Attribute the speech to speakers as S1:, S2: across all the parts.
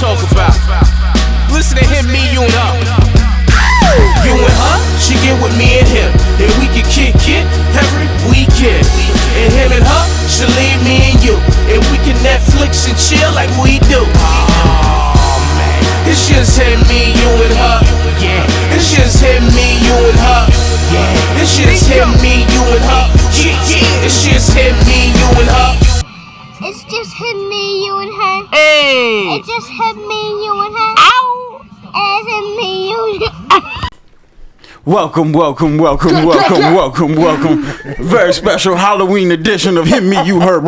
S1: talk about. Listen to him, me, you, and her. You and her, she get with me and him. And we can kick it every weekend. And him and her, she leave me and you. And we can Netflix and chill like we do. Oh, man. It's just him, me, you, and her. Yeah. It's just him, me, you, and her. Yeah. It's just him, me, you, and her. Yeah, yeah. It's just him, me, you, and her.
S2: It's just him, me, you, and her.
S1: Hey!
S3: Mm.
S2: It's just him, me, you, and her. Ow! It's him, me, you.
S4: Welcome, welcome, welcome, welcome, welcome, welcome. Very special Halloween edition of Hit Me You Her.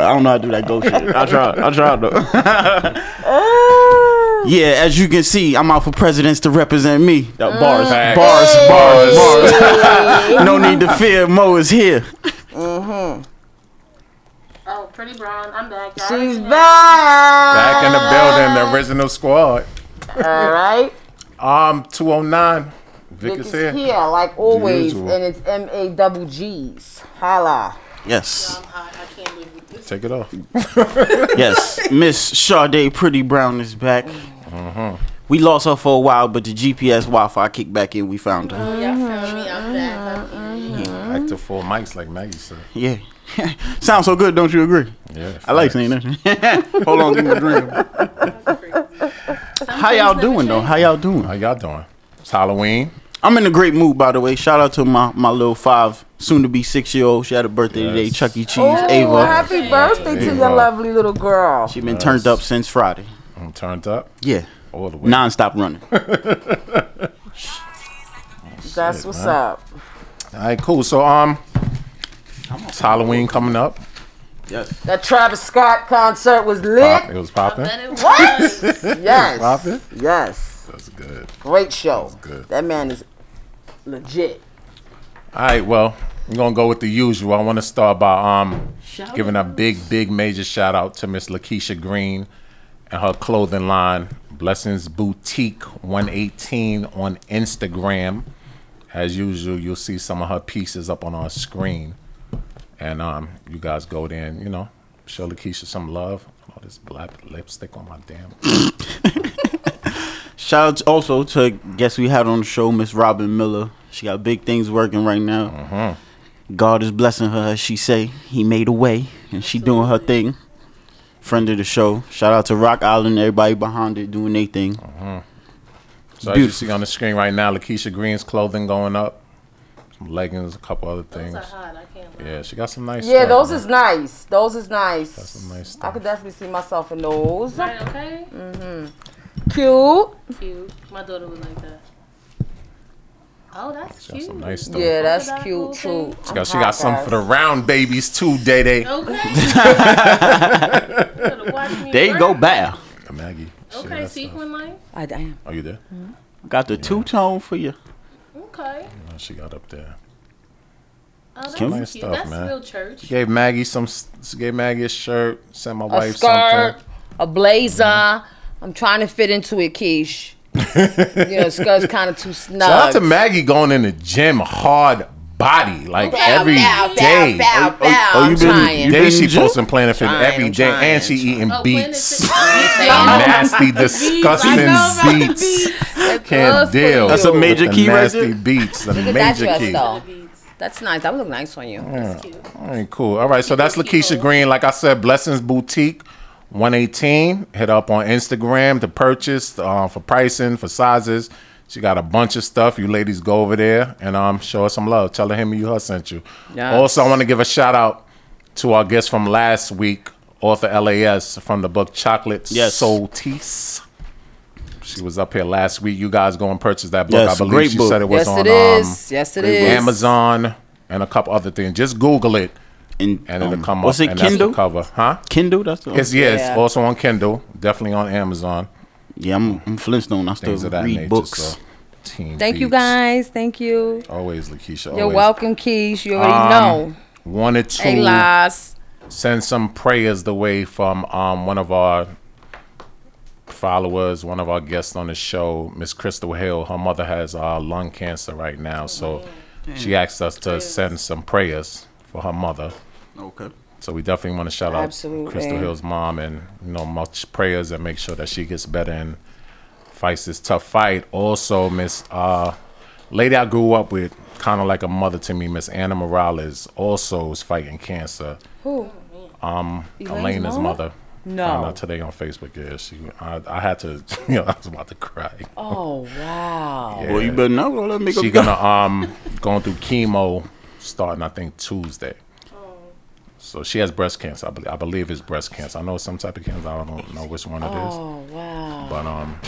S4: I don't know how to do that ghost shit. I tried. I tried though. yeah, as you can see, I'm out for presidents to represent me.
S5: bars.
S4: Bars, bars, bars. no need to fear, Mo is here.
S6: Oh, Pretty Brown, I'm back. guys.
S7: She's back.
S5: Back in the
S6: Uh,
S5: building, the original squad.
S7: All right.
S5: Um, 209. Vic
S7: It's
S5: is here.
S7: here, like always,
S5: usual.
S7: and it's M A double G's. Holla.
S4: Yes,
S6: I, I can't live with this.
S5: Take it off.
S4: yes. Miss Sade Pretty Brown is back.
S5: Mm-hmm.
S4: We lost her for a while, but the GPS Wi Fi kicked back in. We found her.
S6: Y'all found me, I'm back. I'm here.
S4: Mm-hmm.
S5: Back to full mics, like Maggie said.
S4: Yeah. Sounds so good, don't you agree?
S5: Yeah.
S4: I like saying that. Hold on, give me a drink. How y'all doing though? How y'all doing?
S5: How y'all doing? It's Halloween.
S4: I'm in a great mood, by the way. Shout out to my, my little five, soon to be six year old. She had a birthday today.
S5: Yes.
S4: Chuck E. Cheese,
S7: Oh,
S4: Ava.
S7: happy birthday to your
S5: Ava.
S7: lovely little girl.
S4: She been turned up since Friday.
S5: I'm turned up
S4: Yeah,
S5: all the way.
S4: non-stop running.
S7: That's what's up.
S5: All right, cool. So, um, it's Halloween coming up.
S4: Yes.
S7: That Travis Scott concert was
S5: Pop,
S7: lit.
S5: it was popping.
S6: That it was.
S7: Yes.
S5: Popping.
S7: Yes.
S5: That's good.
S7: Great show.
S5: good.
S7: That man is legit.
S5: All right, well, I'm going to go with the usual. I want to start by um giving a big, big, major shout out to Miss Lakeisha Green and her clothing line, Blessings Boutique 118 on Instagram. As usual, you'll see some of her pieces up on our screen. And um, you guys go there and, you know, show Lakeisha some love. All this black lipstick on my damn.
S4: Shout out also to guess we had on the show Miss Robin Miller. She got big things working right now.
S5: Mm-hmm.
S4: God is blessing her, as she say. He made a way, and she doing her thing. Friend of the show. Shout out to Rock Island, everybody behind it doing their thing.
S5: Mm-hmm. So as you
S4: Beautiful.
S5: see on the screen right now, Lakeisha Green's clothing going up. Some leggings, a couple other things.
S6: Those are hot, I can't lie.
S5: Yeah, she got some nice.
S7: Yeah,
S5: stuff,
S7: those
S5: man.
S7: is nice. Those is nice.
S5: some nice
S7: I could definitely see myself in those. Mm-hmm.
S6: Right, okay?
S7: Cute.
S6: Cute. My daughter was like that. Oh, that's
S5: Got
S6: cute.
S5: some nice stuff.
S7: Yeah, that's
S6: Crocodile
S7: cute
S6: pool
S7: too.
S6: thing.
S5: She got, she got some for the round babies too, Day Day.
S6: Okay. Could've watched me
S4: There you
S6: work.
S4: go, bow.
S5: Uh, Maggie. share
S6: Okay,
S5: that stuff.
S6: sequin life.
S7: I damn.
S5: Are you there?
S4: Got the two tone for you.
S6: Okay.
S5: No, she got up there.
S6: Oh, that's
S4: Some
S5: nice
S6: cute.
S5: stuff,
S6: that's
S5: man.
S6: real church.
S5: Gave Maggie some. s- She gave Maggie a shirt. Sent my
S7: A
S5: wife
S7: skirt,
S5: something.
S7: a blazer. I'm trying to fit into it, Keish. you know, skirt's kind of too snug.
S5: Shout out to Maggie going in the gym hard body like
S7: Bow,
S5: every day.
S7: bow, bow, bow, bow.
S4: oh, you
S7: I'm
S4: been-
S7: trying.
S4: you-
S5: Day
S4: been in
S5: she
S4: the gym?
S5: posting Planet Fit
S7: Trying,
S5: every day,
S7: trying,
S5: and she eating
S6: Oh, Planet
S5: beats.
S6: Fit- Yes,
S5: Nasty,
S6: I know about the
S5: disgusting beats. Can't
S7: Love for
S5: deal.
S7: you.
S4: That's a
S5: with
S4: major
S5: the
S4: key right
S5: nasty
S4: there.
S5: beats. The
S7: at that
S5: major
S7: dress,
S5: key.
S7: though.
S6: the beats.
S7: That's nice. That would look nice on you.
S6: That's cute.
S5: All right, cool. All right, so that's Lakeisha Green. Like I said, Blessings Boutique, 118. Hit up on Instagram to purchase uh, for pricing, for sizes. She got a bunch of stuff. You ladies go over there and um, show her some love. Tell her him and you her sent you.
S7: Yes.
S5: Also, I want to give a shout out to our guest from last week, author LAS from the book Chocolate
S4: Yes.
S5: Soul Tease. She was up here last week. You guys go and purchase that book.
S4: Yes,
S5: I believe
S4: great
S5: she
S4: book.
S5: said it was
S7: Yes,
S5: on
S7: it
S5: um,
S7: is. Yes, it is.
S5: Amazon and a couple other things. Just Google it
S4: And,
S5: and it'll
S4: um,
S5: come up.
S4: what's it,
S5: and
S4: Kindle?
S5: That's the cover, huh?
S4: Kindle, that's the
S5: It's yeah, it's
S7: Yeah.
S5: also on Kindle, definitely on Amazon,
S4: Yeah, I'm, I'm Flintstone. I still
S5: things of that
S4: read
S5: nature.
S4: books.
S5: So, teen
S7: Thank you
S5: Beats.
S7: guys. Thank you.
S5: Always, Lakeisha.
S7: You're
S5: always.
S7: welcome, Keish. You already
S5: Um,
S7: know.
S5: Wanted to
S7: Hey, Las.
S5: send some prayers the way from um one of our followers, one of our guests on the show, Miss Crystal Hill. Her mother has uh, lung cancer right now, so she asked us to send some prayers for her mother.
S4: Okay.
S5: So we definitely want to shout out
S7: Absolutely.
S5: Crystal Hill's mom and you know much prayers and make sure that she gets better and fights this tough fight. Also, Miss uh, lady I grew up with, kind of like a mother to me, Miss Anna Morales, also is fighting cancer.
S7: Who?
S5: Um,
S7: Elaine's
S5: Elena's
S7: mama?
S5: mother.
S7: No.
S5: Found out today on Facebook. Yeah, she. I, I had to. You know, I was about to cry.
S7: Oh wow.
S5: Yeah.
S4: Well, you better not roll that nigga.
S5: She
S4: go.
S5: gonna um going through chemo starting I think Tuesday.
S7: Oh.
S5: So she has breast cancer. I believe I believe it's breast cancer. I know it's some type of cancer. I don't know which one it is.
S7: Oh wow.
S5: But um,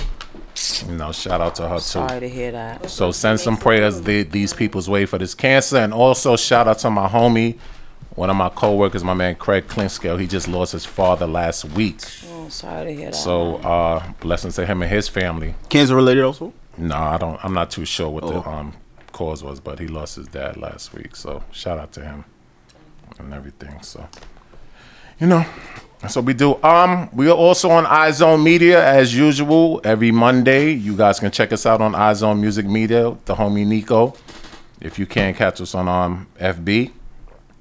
S5: you know, shout out to her
S7: Sorry
S5: too.
S7: to hear that.
S5: So send some prayers the, these people's way for this cancer, and also shout out to my homie, one of my coworkers, my man Craig Klinskell. He just lost his father last week.
S7: Oh, sorry to hear that.
S5: So uh, blessings to him and his family.
S4: Cancer related also.
S5: No, I don't. I'm not too sure what the
S4: Oh.
S5: um, cause was, but he lost his dad last week. So shout out to him and everything. So you know, that's what we do. Um, we are also on iZone Media as usual every Monday. You guys can check us out on iZone Music Media. with The homie Nico. If you can catch us on um FB,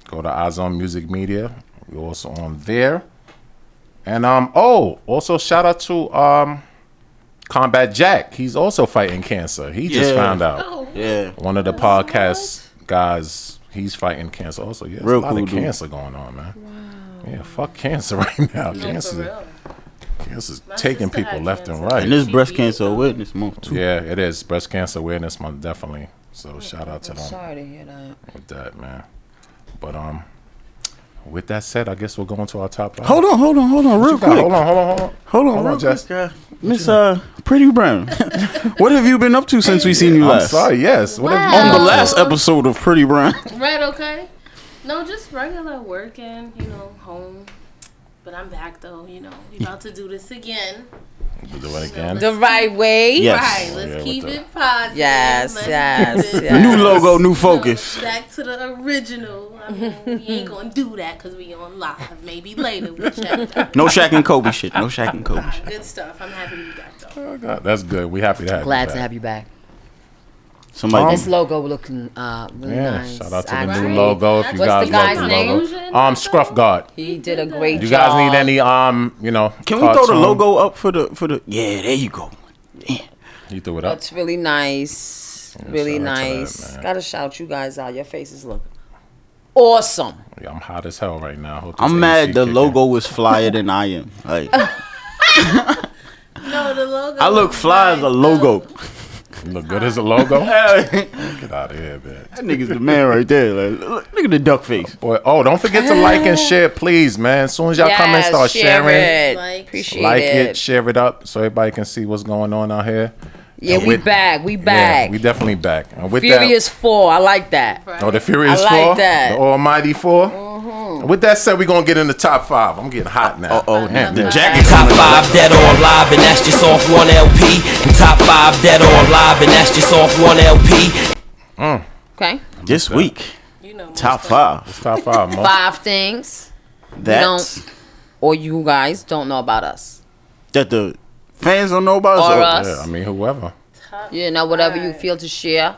S5: go to iZone Music Media. We're also on there. And um oh, also shout out to um Combat Jack. He's also fighting cancer. He just
S4: Yeah.
S5: found out.
S4: Yeah.
S5: One of the podcast guys, he's fighting cancer also. Yeah, there's
S4: Real
S5: a lot
S4: cool
S5: of
S4: dude.
S5: cancer going on, man. Yeah, fuck cancer right now.
S6: for
S5: cancer,
S6: real.
S5: cancer's taking
S6: sister had
S5: people left and
S6: cancer.
S5: right.
S4: And this breast cancer awareness month too.
S5: yeah, it is breast cancer awareness month, definitely. So shout out to them
S7: sorry to hear that.
S5: with that, man. But um, with that said, I guess we're going to our top. Five.
S4: Hold on, hold on, hold on, real
S5: You got-
S4: quick.
S5: hold on, hold on, hold on.
S4: Hold on,
S5: Hold on,
S4: real
S5: Jess.
S4: quick, uh, Miss uh, Pretty Brown. what have you been up to since we seen you
S5: I'm
S4: last?
S5: sorry. Yes. What have you
S4: On the
S6: Wow.
S4: last episode of Pretty Brown,
S6: Red, okay? No, just regular working, you know, home. But I'm back though, you know. We about to do this again.
S5: We'll do it again?
S7: The right way.
S4: Yes.
S6: Right,
S5: Oh,
S6: let's
S5: yeah,
S6: keep
S5: with the-
S6: it positive.
S7: Yes,
S6: Let's
S7: yes,
S6: keep it,
S7: yes.
S4: new logo, new
S6: you know,
S4: focus.
S6: Back to the original. I mean, we ain't gonna do that because we on live. Maybe later we check that.
S4: No Shaq and Kobe shit. No Shaq and Kobe shit.
S6: Good stuff. I'm happy to be back though.
S5: Oh, God, that's good. We happy to have. you
S7: Glad to
S5: back.
S7: have you back.
S4: Somebody.
S7: This logo looking uh really
S5: Yeah,
S7: nice.
S5: shout out to the
S7: I
S5: new
S7: agree.
S5: logo. If you
S6: What's
S5: guys
S7: the
S5: love
S7: guy's
S5: the
S7: name?
S5: logo, um, Scruff God.
S7: He did a great
S5: You
S7: job.
S5: guys need any um, you know?
S4: Can we throw the
S5: cartoon?
S4: logo up for the for the? Yeah, there you go.
S5: You threw it up.
S7: That's really nice. really
S5: shout out to that,
S7: nice.
S5: man.
S7: Gotta shout you guys out. Your faces look awesome.
S5: Yeah, I'm hot as hell right now. Hope this
S4: I'm
S5: AC
S4: mad the
S5: kick in.
S4: logo was flyer than I am. Like
S6: No, the logo.
S4: I look
S6: is
S4: fly as a
S6: nice,
S4: logo.
S5: You look good as a logo.
S4: that
S5: Get out of here, man.
S4: nigga's the man right there. Like, look, look at the duck face.
S5: Boy, oh, don't forget to like and share, please, man. As soon as y'all come and
S7: Yes,
S5: start
S7: share
S5: sharing,
S7: it.
S6: Like,
S7: Appreciate
S5: like
S7: it.
S5: it, share it up, so everybody can see what's going on out here.
S7: Yeah,
S5: And
S7: we
S5: with-
S7: back. We
S5: Yeah,
S7: back.
S5: we definitely back. And with
S7: Furious Four. I like that.
S6: though.
S5: that, oh, the Furious
S7: I like
S5: Four,
S7: that. Mm-hmm.
S5: the Almighty 4 And With that said, we're gonna get in the top five. I'm getting hot now.
S4: Oh,
S5: Damn.
S4: the
S8: And
S4: jacket.
S8: top five dead or alive, and that's just off one LP. And top five dead or alive, and that's just off one LP.
S7: Okay.
S4: This week,
S6: You know,
S4: top five.
S5: top five. Mo.
S7: Five things
S4: That's
S7: or you guys don't know about us.
S4: that the fans don't know about.
S7: Or
S4: so-
S7: us.
S5: Yeah, I mean, whoever.
S7: You know, whatever you
S6: Right.
S7: feel to share.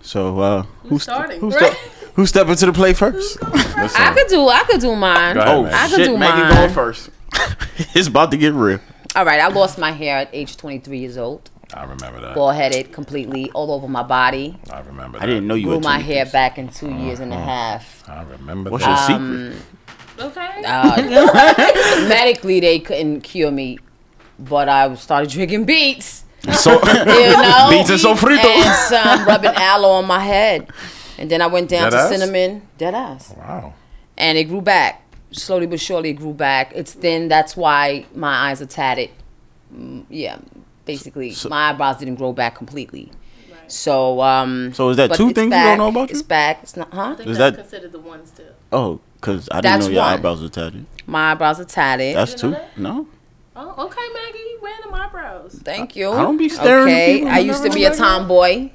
S4: So uh, who's
S6: starting,
S4: who's
S6: right?
S4: step- who's stepping to the play first?
S5: Listen,
S7: I could do I could do mine.
S5: Go ahead.
S4: Oh
S5: man.
S7: I could
S4: shit,
S7: do
S4: Maggie
S7: mine.
S4: going first. it's about to get real.
S7: All right, I lost my hair at age 23 years old.
S5: I remember that.
S7: Bald headed completely all over my body.
S5: I remember that. Uh-huh.
S4: I didn't know you.
S7: Grew
S4: were
S7: my
S4: 23.
S7: hair back in 2 years and a half.
S5: I remember
S4: What's your
S5: that.
S4: secret?
S6: Okay.
S7: Uh, medically they couldn't cure me, but I started drinking beets.
S4: So
S7: You know?
S4: beats and sofrito.
S7: and some rubbing aloe on my head. And then I went down
S5: Deadass?
S7: to cinnamon, dead ass.
S5: Wow.
S7: And it grew back. Slowly but surely it grew back. It's thin, that's why my eyes are tatted. Mm, Yeah, basically. my eyebrows didn't grow back completely. So, um.
S4: So is that
S7: but
S4: two
S7: it's
S4: things you don't
S7: back,
S4: know about you?
S7: It's back. It's not, huh?
S6: I think
S4: Is
S6: that's
S4: that-
S6: considered the one still?
S4: Oh, cause I didn't
S7: That's
S4: know your
S7: one.
S4: eyebrows were tatted.
S7: My eyebrows are tatted.
S4: That's
S6: You
S4: two.
S6: know that?
S4: No,
S6: Oh, okay, Maggie. You wearing them eyebrows?
S7: Thank you.
S4: I don't be staring at
S7: Okay,
S4: people
S7: I used to be a tomboy.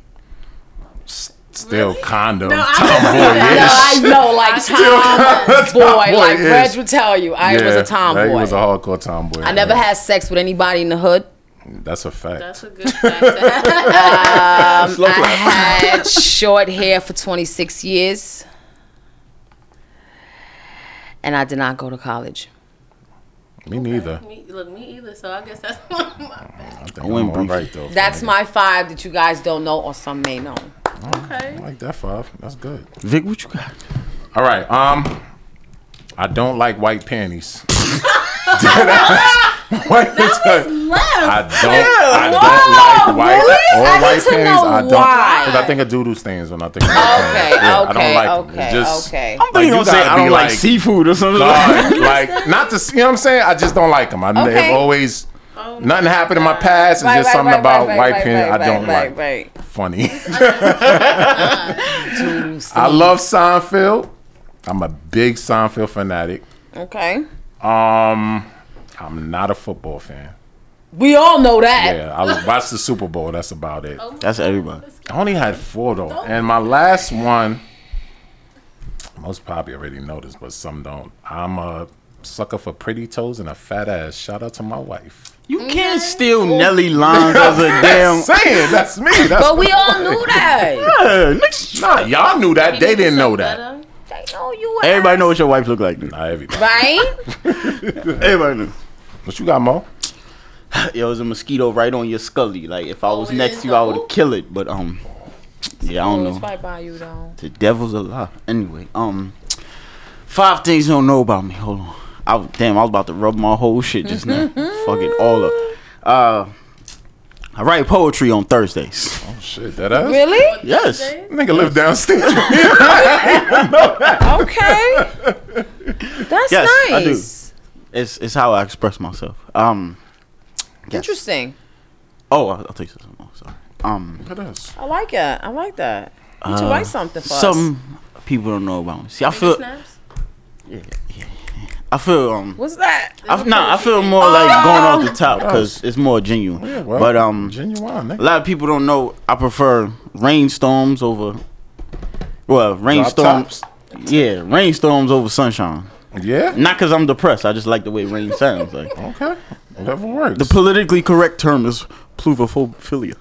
S5: Still kind of.
S6: No, I
S5: tomboy.
S7: No, I know, like tomboy.
S5: Tomboy,
S7: Like
S5: yes.
S7: Reg would tell you, I was a tomboy.
S5: He was a hardcore tomboy.
S7: I never had sex with anybody in the hood.
S5: That's a fact.
S6: That's a good fact. to have.
S7: Um, I had short hair for 26 years. and I did not go to college.
S5: Me neither.
S6: Me, look, me either. So I guess that's one of my
S5: I
S6: bad.
S5: think
S4: I went
S5: I'm all
S4: brief.
S5: right though.
S7: That's my five that you guys don't know or some may know.
S5: I like that five. That's good.
S4: Vic, what you got?
S5: All right. Um, I don't like white panties. What is that? I don't. I don't like white
S7: really?
S5: or
S7: I need
S5: white
S7: to
S5: panties.
S7: know
S5: I don't.
S7: why.
S5: Because I think of doodle stains when I think of white
S7: Okay,
S5: panties. Yeah, I
S7: okay,
S5: don't like them.
S7: okay,
S5: It's just,
S7: okay.
S4: I'm
S5: you
S4: thinking
S5: gotta
S4: say I
S5: be
S4: don't like,
S5: like-
S4: seafood or something.
S5: Nah, like not to you know what I'm saying. I just don't like them. I
S7: Okay. Oh,
S5: have always nothing happened in my past. It's
S7: Right,
S5: just
S7: right,
S5: something
S7: right,
S5: about
S7: right,
S5: white
S7: right,
S5: panties
S7: right,
S5: I don't
S7: right,
S5: like.
S7: Right,
S5: Funny. I love Seinfeld. I'm a big Seinfeld fanatic.
S7: right. Okay.
S5: Um, I'm not a football fan.
S7: We all know that.
S5: Yeah, I watched the Super Bowl. That's about it.
S7: Oh
S4: That's everybody.
S5: I only had four though, and my last one. Most probably already know this, but some don't. I'm a sucker for pretty toes and a fat ass. Shout out to my wife.
S4: You
S7: Mm-hmm.
S4: can't steal Nelly lines as a damn.
S5: Saying that's me. That's
S7: But we all knew that.
S4: Yeah, niggas-
S5: nah, y'all knew that. They didn't know that.
S6: Better.
S7: they know you. were-
S4: Everybody know what your wife look like. Now.
S5: Nah, everything.
S7: Right?
S4: Everybody know.
S5: What you got, Mo?
S4: It was a mosquito right on your scully. Like if I
S7: Oh,
S4: was
S6: it
S4: next
S6: is
S4: to you, I
S6: the-
S4: would kill it. But um, yeah, I don't know.
S7: right by you though.
S4: The devil's a lie. Anyway, um, five things you don't know about me. Hold on. I was- damn, I was about to rub my whole shit just now. Fucking all up. Uh, I write poetry on Thursdays.
S5: Oh shit, that ass.
S7: Really?
S4: Yes.
S5: Nigga live downstairs.
S7: Okay. That's
S4: Yes, I do.
S7: nice.
S4: It's it's how I express myself. Um,
S7: Interesting.
S4: oh, I'll, I'll take something else. Sorry. Um,
S5: that ass.
S7: I like it. I like that. You should write something for us.
S4: Uh, some people don't know about me. See, I feel
S6: Snaps.
S4: I feel um.
S7: What's that?
S4: I, nah, I feel more
S7: Oh!
S4: like going off the top because it's more genuine.
S5: Oh, Yeah, well,
S4: but um,
S5: genuine.
S4: A
S5: Nigga.
S4: lot of people don't know I prefer rainstorms over well, rainstorms.
S5: tops.
S4: Yeah, rainstorms over sunshine.
S5: Yeah.
S4: Not cuz I'm depressed. I just like the way rain sounds like.
S5: Okay. Whatever works.
S4: The politically correct term is pluvophilia.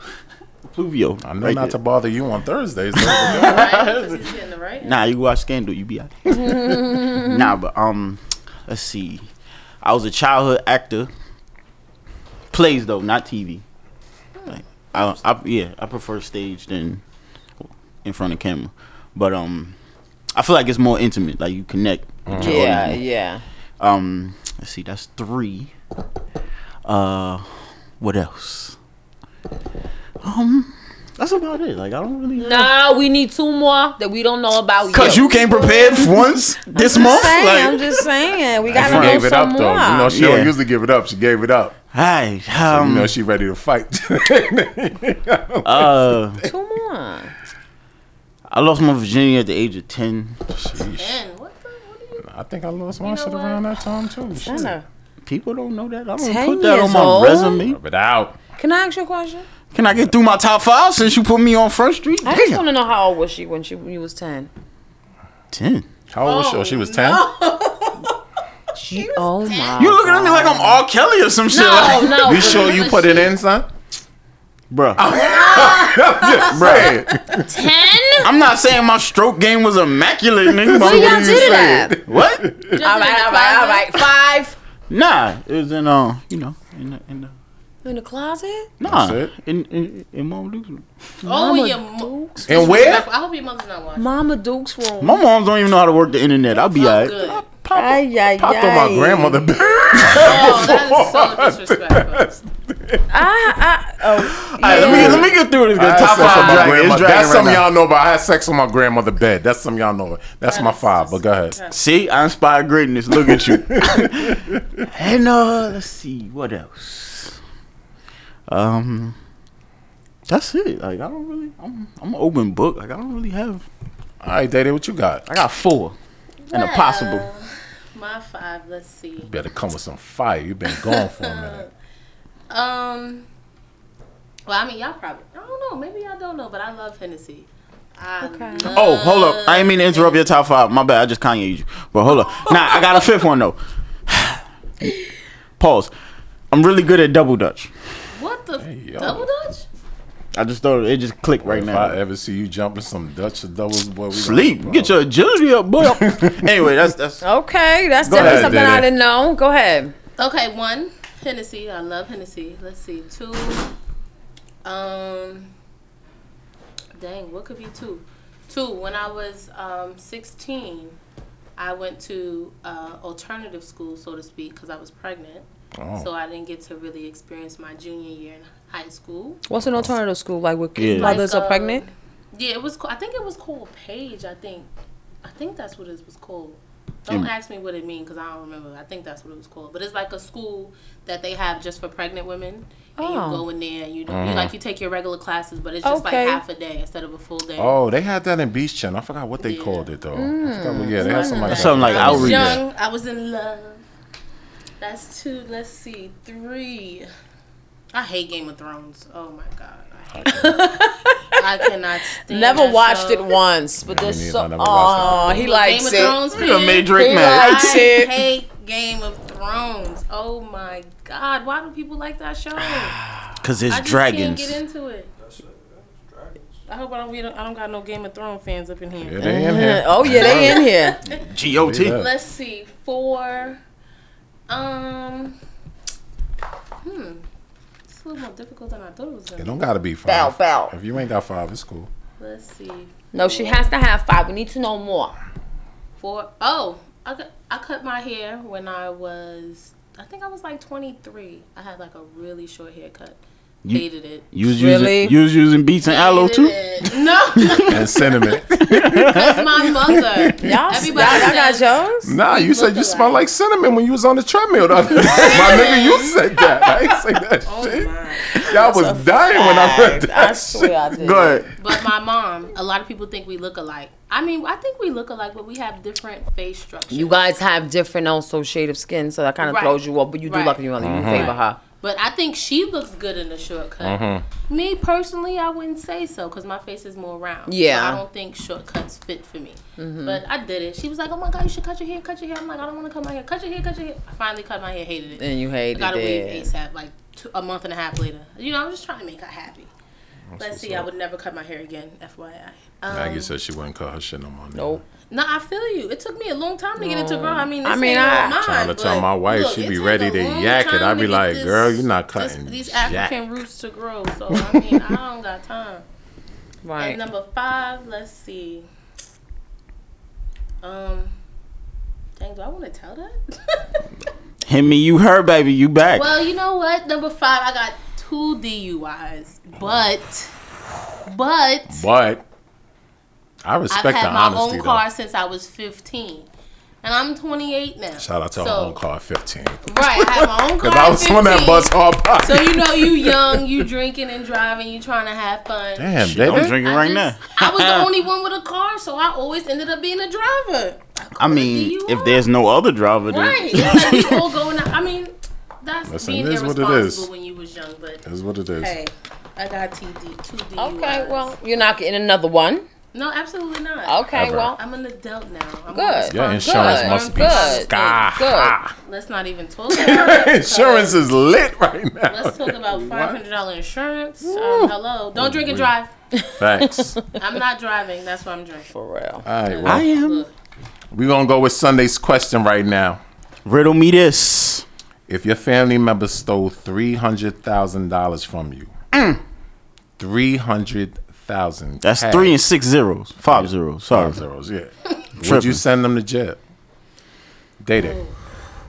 S4: Pluvio.
S5: I know
S4: right
S5: not to
S4: there.
S5: bother you on Thudays. though.
S6: Right? 'Cause he's getting the right.
S4: Nah, you watch Scandal, you be out.
S7: Mm-hmm.
S4: nah, but um let's see. I was a childhood actor. Plays though, not TV. Like, I, I yeah, I prefer stage than in front of camera. But um I feel like it's more intimate, like you connect with your
S7: Yeah,
S4: audience.
S7: yeah.
S4: Um let's see, that's three. Uh what else? Um that's about it. Like I don't really
S7: Nah, we need two more that we don't know about.
S4: Cause you came prepared once this month.
S7: Saying,
S4: like-
S7: I'm just saying. We
S5: She
S7: gotta know
S5: gave it
S7: some
S5: up
S7: more.
S5: though. You know she
S4: Yeah.
S5: don't usually give it up. She gave it up.
S4: Hi.
S5: you know
S4: Um,
S5: she ready to fight.
S4: uh,
S7: two more.
S4: I lost my virginity at the age of 10.
S6: Man, what the? What are you?
S5: I think I lost my shit
S6: know what?
S5: around that time too. Shit.
S7: Kinda.
S4: People don't know that. I'm going
S7: 10
S4: to put that
S7: years
S4: on my
S7: old?
S4: resume.
S5: Rub it out.
S7: Can I ask you a question?
S4: Can I get through my top five since you put me on Front Street?
S7: I just want
S4: Damn.
S7: to know how old was she when she when you was ten.
S4: 10.
S5: How old was she? Oh, She was ten.
S7: She oh my.
S4: You looking at me like I'm R. Kelly or some shit.
S7: no,
S4: Like,
S7: no.
S5: You sure you put it in, son?
S4: bruh.
S5: Right.
S7: ten?
S4: I'm not saying my stroke game was immaculate, nigga. but
S7: Where
S4: what
S7: y'all
S4: do
S7: did
S4: you
S7: it at?
S4: say? What?
S7: All right, all right, all right. Five.
S4: Nah, it was in, uh, you know, in the, in the,
S7: In the closet?
S4: nah,
S5: That's it?
S4: in, in, in Mom Luke's room.
S6: Oh, your mo-
S5: and where?
S6: I hope your mother's not watching.
S7: Mama Duke's room.
S4: My moms don't even know how to work the internet. I'll be all
S6: Good.
S4: right.
S6: Oh,
S7: Ay, ay,
S5: Popped on my
S7: ay.
S5: grandmother. bed.
S6: that is so disrespectful.
S7: I, I, Ah, oh,
S4: All right, let
S7: yeah.
S4: me, let me get through this.
S5: I had
S4: guys. Top
S5: sex on
S4: five.
S5: my
S4: dragon. It's
S5: grandmother-
S4: dragon
S5: That's
S4: right
S5: something
S4: now.
S5: y'all know about. I had sex on my grandmother bed. That's something y'all know. That's my five. But go ahead.
S4: See, I inspire greatness. Look at you. and uh, let's see what else. Um, that's it. Like I don't really, I'm, I'm an open book. Like I don't really have.
S5: All right, Daddy, what you got?
S4: I got four, and a possible.
S6: My five. Let's see.
S5: Better come with some fire. You've been gone for a minute.
S6: Um. Well, I mean, y'all probably. I don't know. Maybe y'all don't know, but I love Hennessy. I
S7: Okay.
S6: love
S4: Oh, hold up. I ain't mean to interrupt your top five. My bad. I just Kanye you. But hold up. Nah, I got a fifth one though. Pause. I'm really good at double dutch.
S6: What the
S5: yo.
S6: double dutch?
S4: I just thought it just clicked right
S5: If
S4: now.
S5: I ever see you jumping some Dutch doubles, boy, we gonna-
S4: Sleep. Get your agility up, boy. anyway, that's that's
S7: Okay, that's
S4: Go
S7: definitely
S4: ahead,
S7: something I
S5: Dada.
S7: didn't know. Go ahead.
S6: Okay, one Hennessy. I love Hennessy. Let's see, two. Um, dang, what could be two? Two. When I was um 16, I went to uh, alternative school, so to speak, because I was pregnant.
S5: Oh.
S6: So I didn't get to really experience my junior year in high school.
S7: What's an alternative school like where kids'
S4: Yeah.
S7: mothers
S6: Like,
S7: are
S6: uh,
S7: pregnant?
S6: Yeah, it was. ca- I think it was called Page. I think. I think that's what it was called. Don't
S4: Mm.
S6: ask me what it means because I don't remember. I think that's what it was called. But it's like a school that they have just for pregnant women, and
S7: Oh.
S6: you go in there and you, do, you
S5: Mm-hmm.
S6: like you take your regular classes, but it's just
S7: Okay.
S6: like half a day instead of a full day.
S5: Oh, they had that in Beach Channel. I forgot what they
S6: Yeah.
S5: called it though.
S6: Mm.
S5: I forgot what, yeah, they had Mm. something like
S4: That's something like
S6: I was
S4: outreach.
S6: young. I was in love. That's two. Let's see, three. I hate Game of Thrones. Oh my god. I, hate it. I cannot stand
S7: Never
S6: that
S7: watched
S6: show.
S7: it once, but
S5: Yeah, me
S7: there's
S5: neither.
S7: so
S5: I never
S7: oh
S5: watched
S7: he
S6: Game
S7: likes
S6: of
S7: it.
S6: Thrones
S4: You done
S6: fan.
S4: made Drake
S7: He
S4: mad.
S7: likes
S6: I
S7: it.
S6: hate Game of Thrones. Oh my god, why do people like that show? I
S4: Cause it's
S6: just can't
S4: dragons.
S6: get into it. I hope I don't. be- I don't got no Game of Thrones fans up in here.
S5: Yeah, they in here.
S7: Oh yeah, they in here.
S4: GOT.
S5: Yeah.
S6: Let's see. Four. Um. Hmm. It's a little more difficult than I thought it was
S5: It
S6: gonna.
S5: don't gotta be
S7: Bow
S5: five.
S7: bow.
S5: If you ain't got five, it's cool.
S6: be. Let's see.
S7: No, she has to have five. We need to know more.
S6: Four. Oh, I cut, I cut my hair when I was. I think I was like 23. I had like a really short haircut.
S4: You-
S6: Hated it.
S4: You was
S7: Really?
S4: using you was using beats and aloe too.
S6: Hated it. No,
S5: And cinnamon.
S6: that's my mother.
S7: Y'all, y'all,
S6: Everybody
S7: y'all got
S6: says-
S7: yours.
S5: nah, you said you
S6: look
S5: smell
S6: alike.
S5: like cinnamon when you was on the treadmill. the other day. My nigga, you said that. I ain't say that
S6: Oh,
S5: shit. Y'all was dying when I read
S7: Fact. I
S5: that.
S7: swear I did.
S4: Go ahead.
S6: But my mom, a lot of people think we look alike. I mean, I think we look alike, but we have different face structures.
S7: You guys have different also shade of skin, so that kind of
S6: Right.
S7: throws you up. But you do
S6: Right.
S7: lucky you only
S4: Mm-hmm.
S7: you favor her.
S6: But I think she looks good in the shortcut.
S4: Mm-hmm.
S6: Me personally, I wouldn't say so because my face is more round. So
S7: Yeah. Mm-hmm.
S6: I don't think shortcuts fit for me. But I did it. She was like, "Oh my god, you should cut your hair, cut your hair." I'm like, "I don't want to cut my hair, cut your hair, cut your hair." I finally cut my hair, hated it.
S7: And you hated
S6: I got a wig
S7: it.
S6: ASAP, like two, a month and a half later. You know, I'm just trying to make her happy. Let's see. I would never cut my hair again, FYI. Um,
S5: Maggie said she wouldn't cut her shit no more. nigga.
S7: Nope.
S6: no, I feel you. It took me a long time to get it to grow. I mean,
S7: I
S6: this
S7: mean,
S6: ain't
S7: I-
S6: all mine,
S5: Trying to
S6: but
S5: tell my wife
S6: look,
S5: she
S6: it
S5: be
S6: take
S5: ready
S6: a
S5: to
S6: long
S5: yak it.
S6: time
S5: I be
S6: to get
S5: like,
S6: this-
S5: girl, you not
S6: this-
S5: cutting
S6: these
S5: jack.
S6: African roots to grow. So I mean, I don't got time. And
S7: Right.
S6: number five, let's see. Um, dang, do I want to tell that?
S4: Hit me, you her baby, you back.
S6: well, you know what? Number five, I got two DUIs, but, but
S5: But I
S6: I've
S5: respect the
S6: had my
S5: honesty
S6: own
S5: though.
S6: car since I was 15. And I'm 28 now.
S5: Shout out to
S6: So-
S5: her own car at 15.
S6: Right, I had my own car.
S5: Cause I was on that bus hard by.
S6: So you know, you young, you drinking and driving, you trying to have fun.
S5: Damn,
S4: Shit, I'm
S5: baby.
S4: drinking
S6: I
S4: right
S6: just-
S4: now.
S6: I was the only one with a car, so I always ended up being a driver.
S4: I mean,
S6: DUI.
S4: if there's no other driver, then
S6: Right, it's like we all going. Out. I mean, that's
S5: Listen,
S6: being
S5: it is what it
S6: irresponsible
S5: is.
S6: when you was young. But
S5: That's what it is.
S6: hey, I got TD, two DUIs.
S7: Okay. Well, you're not getting another one.
S6: no, absolutely not.
S7: Okay.
S5: Ever.
S7: Well,
S6: I'm an adult now. I'm
S7: Good.
S5: Your
S6: Good.
S5: insurance
S7: Good,
S5: must be
S7: good,
S5: sky
S7: good.
S5: high.
S6: Let's not even talk. About it,
S5: Insurance is lit right now.
S6: Let's talk about five hundred dollar insurance. Um, hello, don't drink and drive.
S5: Facts. All
S6: I'm not driving. That's why I'm drinking.
S7: for real.
S5: right,
S4: I
S5: well,
S4: am.
S6: Look,
S5: we're going to go with Sunday's question right now.
S4: Riddle me this.
S5: If your family member stole $300,000 from you, 300000
S4: That's
S5: cash,
S4: three and six zeros, five zeros. Sorry,
S5: five zeros, yeah. Would you
S4: Tripping.
S5: send them to jail? Day day.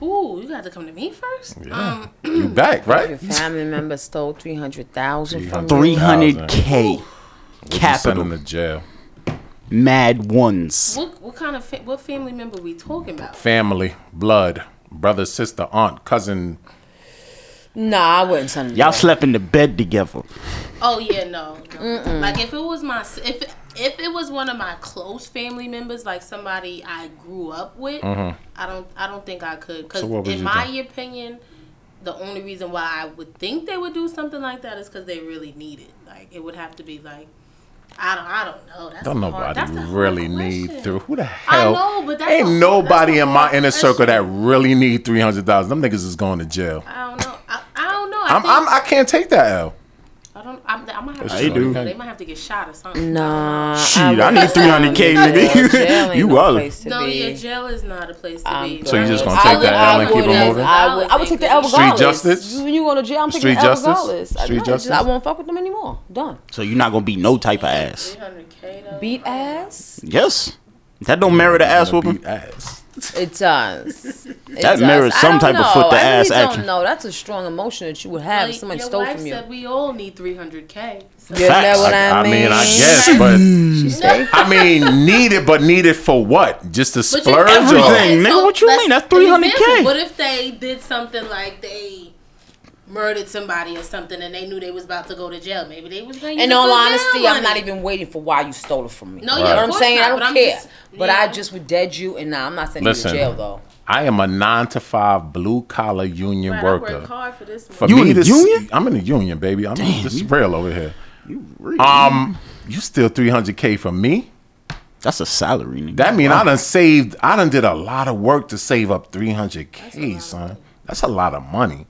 S6: ooh, you got to come to me first. Um,
S5: You back, right?
S7: Your family member stole three hundred thousand from you.
S4: three hundred k,
S5: Send them
S4: capital,
S5: to jail.
S4: mad ones.
S6: what what kind of fa- what family member we talking about?
S5: Family, blood, brother, sister, aunt, cousin.
S7: Nah, I wouldn't send them.
S4: Y'all slept in the bed together.
S6: Oh yeah, no. no. Like if it was my s- if if it was one of my close family members, like somebody I grew up with, I don't I don't think I could. Because
S5: Mm-hmm. So what would
S6: in
S5: you
S6: my
S5: do?
S6: opinion, the only reason why I would think they would do something like that is because they really need it. Like it would have to be like. I don't, I don't know. That's
S5: Don't
S6: a hard-
S5: nobody
S6: Oh, that's a hard
S5: really need
S6: question.
S5: through. Who the hell?
S6: know, but that's
S5: ain't
S6: a-
S5: nobody
S6: that's a
S5: in my
S6: hard
S5: inner circle that
S6: question.
S5: really need three hundred dollars. Them niggas is going to jail.
S6: I don't know. I, I don't know. I,
S5: I'm,
S6: think,
S5: I'm I can't take that L.
S6: I don't. I'm, I I'm gonna have
S4: I
S6: to shoot
S4: do.
S6: them. They might have to get shot or something.
S7: Nah.
S4: Shit, I need 300K, nigga. You wildin'.
S6: No, yeah, jail is not a place to
S7: I'm
S6: be.
S5: So you just gonna
S6: I
S5: take
S6: would-
S5: that
S6: I
S5: L and keep
S6: would
S5: it
S6: as-
S5: moving?
S7: I would, I would take the El
S5: Street justice?
S7: When you go to jail, I'm taking
S5: Street
S7: the El
S5: justice?
S7: Regardless. I,
S5: Street
S7: no,
S5: justice?
S7: Just, I won't fuck with them anymore. Done.
S4: So you're not gonna be no type of ass.
S6: 300K though.
S7: Beat ass.
S4: Yes. That don't merit an ass whooping.
S5: Beat ass.
S7: It does. It
S4: That
S7: does.
S4: mirrors
S7: I
S4: some
S7: don't
S4: type of
S7: know.
S4: foot to
S7: I
S4: ass
S7: really
S4: action.
S7: Don't know. That's a strong emotion that you would have. if
S6: Like,
S7: Somebody
S6: your
S7: stole
S6: wife
S7: from you.
S6: said we all need 300K. So
S7: You
S4: Facts.
S7: know what I,
S5: I
S7: mean?
S5: mean, I guess, but I mean, need it, but need it for what? Just to
S6: But you-
S5: splurge?
S4: Everything.
S5: Or?
S4: nigga,
S6: so
S4: what you
S6: let's-
S4: mean? That's
S6: an
S4: 300K.
S6: example, What if they did something like they murdered somebody or something and they knew they was about to go to jail? Maybe they was going to
S7: In all honesty, I'm not even waiting for why you stole it from me.
S6: No,
S7: you
S6: yeah,
S7: know
S6: of
S7: what I'm
S6: course
S7: saying?
S6: not,
S7: I don't
S6: but I'm
S7: care.
S6: just-
S7: but
S6: yeah.
S7: I just would dead you, and nah, I'm not sending
S5: Listen.
S7: you to jail though.
S5: I am a nine to five blue collar union
S6: I
S5: worker.
S6: worked hard for this
S5: For
S6: one.
S4: You
S5: me
S4: in
S5: to
S4: the
S5: s-
S4: union?
S5: I'm in the union, baby. I'm this is real over here. Um, you still 300k for me?
S4: That's a salary, nigga.
S5: That mean I done saved. I done did a lot of work to save up 300k, son. That's a lot of money.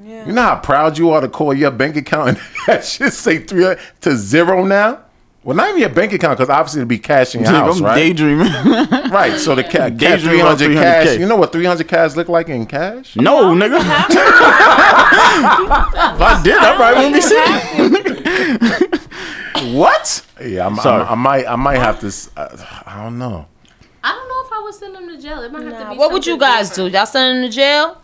S5: You know how proud you are to call your bank account and that shit say 300 to zero now. Well, not even your bank account because obviously it'll be cash in your
S4: Nigga,
S5: house,
S4: I'm
S5: right?
S4: daydreaming.
S5: Right. So the ca- ca-
S4: Daydream
S5: 300
S4: about
S5: cash.
S4: 300K.
S5: You know what 300 cash look like in cash?
S4: no, nigga. if I did, I probably wouldn't be sitting. what?
S5: Yeah, I'm,
S4: Sorry.
S5: I'm, I might. I might have to. s- Uh, I don't know.
S6: I don't know if I would send them to jail. It might have to be
S7: What would you
S6: something
S7: guys
S6: different.
S7: do? Y'all sending them to jail?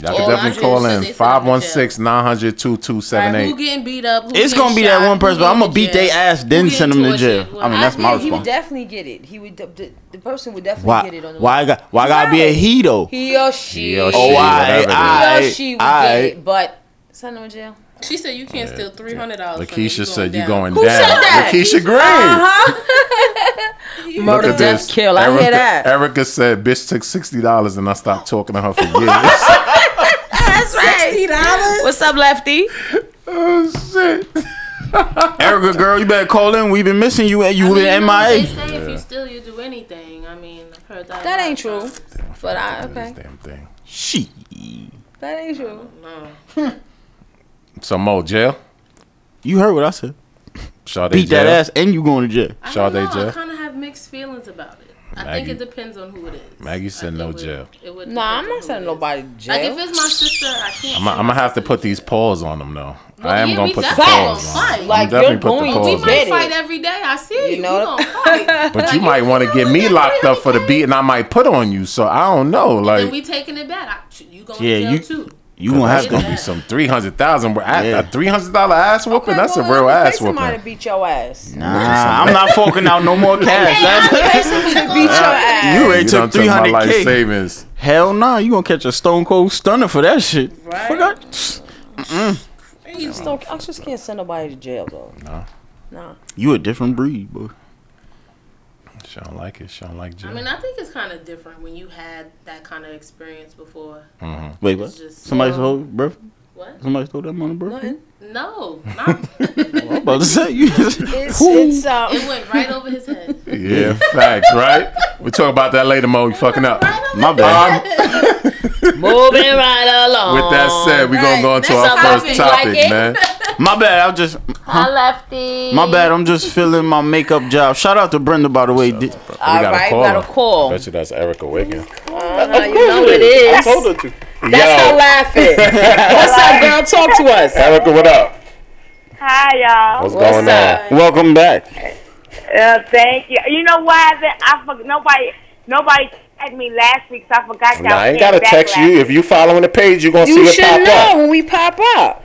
S5: Y'all can
S6: All I
S5: definitely
S6: do
S5: call
S6: is
S5: in
S6: they send them to
S5: 516 900
S6: Like, who
S5: 2278.
S6: getting beat up? Who
S4: It's
S6: getting
S4: gonna be that
S6: shot,
S4: one person,
S6: who
S4: but I'm
S6: getting
S4: gonna beat
S6: jail,
S4: they ass,
S6: who
S4: then
S6: getting
S4: send them to
S6: tortured,
S4: jail.
S6: who-
S4: I mean, that's my
S6: think
S7: He would
S4: response.
S7: definitely get it. He would. The, the person would definitely
S4: Why?
S7: get it on the.
S4: Why? I got, why I gotta be a he though?
S7: He or she.
S5: He
S4: Oh,
S5: or She,
S4: I,
S5: whatever it
S4: I,
S7: He or she would
S4: I-
S7: get it, but send them to jail.
S6: She said you can't steal three hundred dollars.
S5: Lakeisha said you
S6: down.
S5: going
S7: Who
S5: down.
S7: said that? Uh-huh.
S5: Lakeisha Green. Look
S7: Murder,
S5: at
S7: death,
S5: this.
S7: kill. I
S5: Erica,
S7: hear that.
S5: Erica said, "Bitch took sixty dollars, and I stopped talking to her for years."
S7: That's right. Sixty dollars. What's up, Lefty?
S5: oh shit!
S4: Erica, girl, you better call in. We've been missing you, and you
S6: I mean,
S4: been
S6: you know, They
S4: MIA.
S6: say if you steal, you do anything. I mean, I've heard that.
S7: That
S6: a lot.
S7: ain't true. But I okay.
S5: Damn thing.
S4: She.
S7: That ain't true.
S6: No.
S5: So Mo jail.
S4: You heard what I said.
S5: Sade
S4: Beat
S5: jail.
S4: that ass, and you going to jail.
S6: I don't
S5: Sade
S6: know. I
S5: jail.
S6: kind of have mixed feelings about it. I
S5: Maggie-
S6: think it depends on who it is.
S5: Maggie said
S6: I think
S5: no
S6: it would-
S5: jail.
S6: It would
S7: Nah,
S6: depend
S7: I'm
S6: on
S7: not
S6: who
S7: sending
S6: it is.
S7: nobody to
S6: Like
S7: jail.
S6: if it's my sister, I can't.
S5: I'm, I'm gonna have to put these paws on them though. I am
S6: yeah,
S5: gonna
S6: we
S5: put the
S6: definitely
S5: paws
S6: gonna
S5: on.
S6: fight.
S5: them.
S6: Like,
S5: I'm definitely
S7: you're
S5: put the
S7: going
S6: We
S7: to
S5: paws on.
S7: jail.
S5: them.
S6: might
S7: Get it.
S6: fight every day. I see you.
S7: You
S6: You
S7: know-
S6: gonna fight?
S5: But you might want to get me locked up for the beating I might put on you. So I don't know.
S6: Then
S5: Like
S6: we taking it back. I, you going
S4: Yeah,
S6: to jail
S4: you-
S6: too?
S4: You gonna
S5: That's
S4: have
S5: gonna be
S4: to.
S5: some three hundred thousand.
S4: Yeah.
S5: A three hundred dollar ass whooping. That's a
S7: well,
S5: real
S7: I would pay
S5: ass
S7: Somebody
S5: whooping.
S7: to beat your ass.
S4: Nah, I'm not forking out no more cash. That's-
S7: Beat your ass.
S4: you already
S5: You
S4: took
S5: done took my life
S4: 300k.
S5: savings.
S4: Hell nah, you gonna catch a stone cold stunner for that shit. Fuck that.
S7: just don't- I just can't send nobody to jail though. No. Nah.
S4: You a different breed, boy.
S5: She don't like it. She don't like jail.
S6: I mean, I think it's kind of different when you had that kind of experience before.
S5: Mm-hmm.
S4: Mm-hmm. Wait, what?
S6: just-
S7: uh,
S6: um,
S4: Somebody stole bro.
S6: What?
S4: Somebody stole that money, bro. I'm
S6: No, not, it
S4: about to say you.
S7: It's it's um
S6: went right over his head.
S5: yeah, facts, right? We'll talk about that later, Mo. You fucking up.
S4: My bad.
S7: moving right along.
S5: With that said, we're gonna go into
S6: Next
S5: our
S6: topic.
S5: first topic,
S7: Like it?
S5: man.
S4: My bad. I'm just.
S7: I lefty.
S4: My bad. I'm just filling my makeup job. Shout out to Brenda, by the way. Did-
S7: All right, we got a call.
S5: Bet you that's Erica Wiggins.
S7: Uh, you know it is. That's her laughing. What's up, girl? Talk to us.
S5: Erica, what up?
S9: Hi, y'all.
S5: What's,
S7: What's
S5: going on?
S7: up?
S4: Welcome back.
S9: Uh, thank you. You know why? I, been- I for, nobody nobody tagged me last week, so I forgot y'all.
S5: Nah, I ain't
S9: said
S5: gotta
S9: back
S5: text
S9: last
S5: you.
S9: week.
S5: If you following the page, you gonna
S7: You
S5: see it
S7: should
S5: pop
S7: know
S5: up
S7: when we pop up.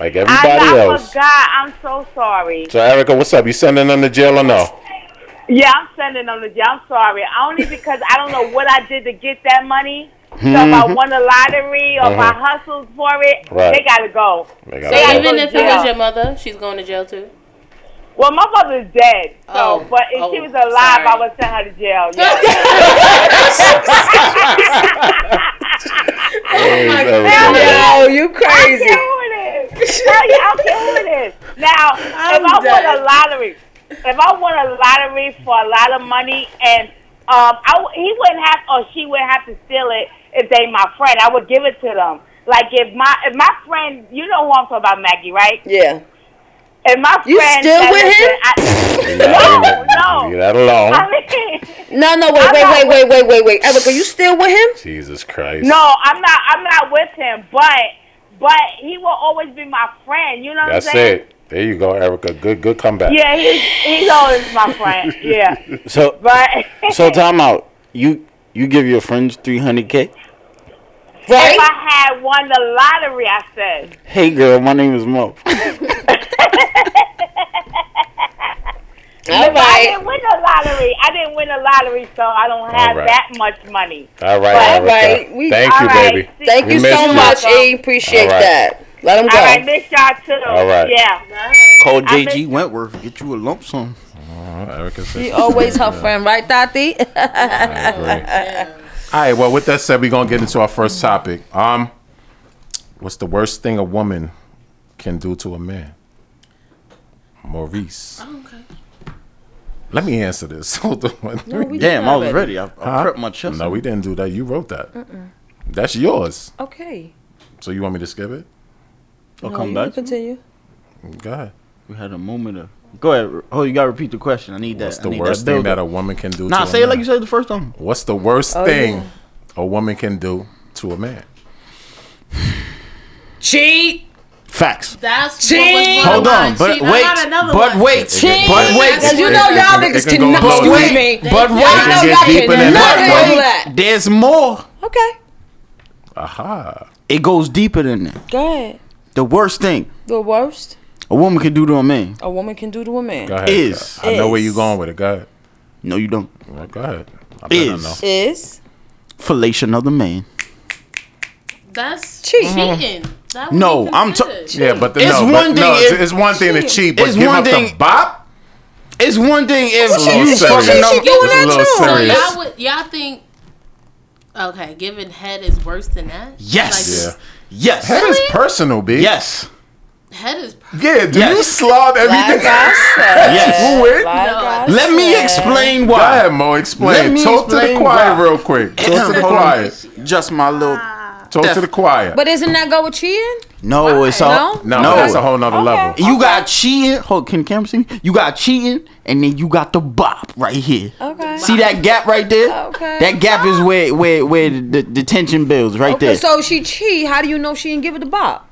S5: like
S9: I,
S5: everybody
S9: I
S5: else.
S9: forgot. I'm so sorry.
S5: So Erica, what's up? You sending them to jail or no?
S9: Yeah, I'm sending them to you. I'm sorry. Only because I don't know what I did to get that money. So if I won the lottery or if I hustled for it,
S5: Mm-hmm. Uh-huh. Right.
S9: they gotta go.
S5: They got
S6: So
S5: a-
S6: even if it was
S9: Yeah.
S6: your mother, she's going to jail too.
S9: Well, my mother's dead, so
S6: Oh,
S9: but if she
S6: oh,
S9: was alive, I
S6: sorry.
S9: would send her to jail. Yeah.
S5: Hey, Erica,
S7: Yo, you
S9: I
S7: crazy.
S9: don't care who it is. Tell you, I don't care who it is. Now, if I won a lottery, if I won a lottery for a lot of money, and um, I w- he wouldn't have or she wouldn't have to steal it if they my friend. I would give it to them. Like if my if my friend, you know who I'm talking about, Maggie, right?
S7: Yeah.
S9: And my
S7: You
S9: friend
S7: still
S9: said,
S7: with
S9: "Listen,
S7: him?"
S9: I, no,
S5: Leave
S9: no.
S5: that alone.
S9: I mean,
S7: No, no, wait,
S9: I'm
S7: wait,
S9: not
S7: wait,
S9: with-
S7: wait, wait, wait, wait. Erica, you still with him?
S5: Jesus Christ.
S9: no, I'm not. I'm not with him. But but he will always be my friend. You know
S5: That's
S9: what I'm saying?
S5: it. There you go, Erica. Good, good comeback.
S9: Yeah, he's he's always my friend. Yeah,
S4: So
S9: but
S4: so time out. You you give your friends three hundred k.
S9: if
S7: Right?
S9: I had won the lottery, I said.
S4: Hey girl, my name is Mo.
S7: All
S9: I
S7: right.
S9: didn't win the lottery. I didn't win the lottery, so I don't have
S5: right.
S9: that much money.
S5: All right,
S7: All
S5: Erica.
S7: right, we-
S5: Thank
S9: All
S5: you,
S9: right,
S5: baby.
S9: see-
S7: Thank
S5: We
S7: you
S5: missed
S7: so
S5: you.
S7: much, E. Appreciate
S5: All right.
S7: that. Let him go.
S9: All right, miss y'all too.
S5: All right.
S9: Yeah.
S4: Call
S9: I miss-
S4: JG Wentworth. Get you a lump sum. Oh,
S5: Erica says
S7: She
S5: she's
S7: always
S5: good.
S7: her friend, right, Tati?
S5: I agree. All right. Well, with that said, we're gonna get into our first topic. Um, what's the worst thing a woman can do to a man? Maurice,
S7: Oh,
S6: Okay.
S5: let me answer this. Hold on.
S4: Damn, I was ready. I, I
S5: Huh?
S4: prepped my chest.
S5: No, we didn't do that. You wrote that. That's yours.
S7: Okay.
S5: So you want me to skip it?
S4: I'll
S7: No,
S4: come
S7: you
S4: back.
S7: Continue.
S5: Go ahead.
S4: We had a moment of. Go ahead. Oh, you gotta repeat the question. I need that.
S5: What's
S4: I
S5: the
S4: need
S5: worst
S4: that
S5: thing that
S4: buildup.
S5: a woman can do?
S4: Nah,
S5: to
S4: say
S5: a
S4: it like
S5: man?
S4: you said the first time.
S5: What's the worst
S7: Oh,
S5: thing
S7: yeah.
S5: a woman can do to a man?
S7: Cheat.
S4: Facts.
S6: That's what was
S7: Cheat.
S6: one
S4: Hold
S6: of
S4: on,
S6: mine.
S4: but
S6: Cheat. I
S4: wait,
S6: got another
S4: but
S6: one.
S4: wait,
S5: Cheat.
S4: but wait,
S7: Because you know y'all
S5: It- it-
S7: niggas
S5: it can go
S7: cannot,
S5: both
S4: but
S7: excuse
S5: ways.
S7: me.
S4: wait, but
S6: They-
S4: wait,
S5: It
S7: Y'all
S5: can
S7: know
S5: get
S7: y'all
S5: deeper than
S7: cannot
S5: that,
S7: handle
S5: right?
S7: that.
S4: There's more.
S7: Okay.
S5: Aha.
S4: It goes deeper than that.
S7: Go ahead.
S4: The worst thing
S7: The worst
S4: a woman can do to a man.
S7: a woman can do to a man
S5: Go ahead.
S4: Is.
S5: I know where you're
S7: Is.
S5: going with it. Go ahead.
S4: No, you don't.
S5: Well, go ahead. I bet I
S4: Is
S5: know.
S7: is
S4: fellation another man.
S6: That's
S7: Cheat.
S6: cheating.
S5: Mm-hmm.
S6: That
S4: No,
S6: would be
S4: I'm ta-
S6: considered.
S5: Yeah, but the,
S4: It's
S5: no, but
S4: one
S5: no,
S4: thing
S5: it's,
S4: if-
S5: it's one thing to cheat, but
S4: It's
S5: give
S4: one
S5: up the
S4: thing-
S5: bop.
S4: It's one thing if
S5: It's a little
S4: you
S5: serious.
S7: she
S4: fucking up.
S7: doing that
S5: it's a little
S7: too.
S6: So
S5: serious.
S6: y'all would y'all think? Okay, giving head is worse than that.
S4: Yes.
S5: Yeah.
S4: Yes.
S5: That is personal, B.
S4: Yes.
S6: Head is
S5: Yeah, do
S4: Yes.
S5: you slob
S7: Like
S5: everything?
S7: I said.
S4: Yes.
S5: Who win?
S7: Like I
S4: Let me
S7: said.
S4: explain
S5: Go ahead,
S4: why.
S5: Mo.
S4: Let
S5: Explain.
S4: me
S5: Talk to the
S4: explain
S5: choir
S4: why.
S5: real quick. Talk to the
S4: Hold on.
S5: choir.
S4: Just my little.
S5: Talk to the
S4: Def-
S5: choir.
S7: Ah. But isn't that go with cheating?
S4: No, it's all.
S7: No?
S5: No, that's a whole nother
S7: Okay.
S5: level.
S4: You got cheating. Hold, can the camera see me? You got cheating, and then you got the bop right here.
S7: Okay.
S4: See that gap right there?
S7: Okay. Ah.
S4: That gap is where where where the, the tension builds right
S7: Okay,
S4: there.
S7: so she cheat. How do you know she didn't give it the bop?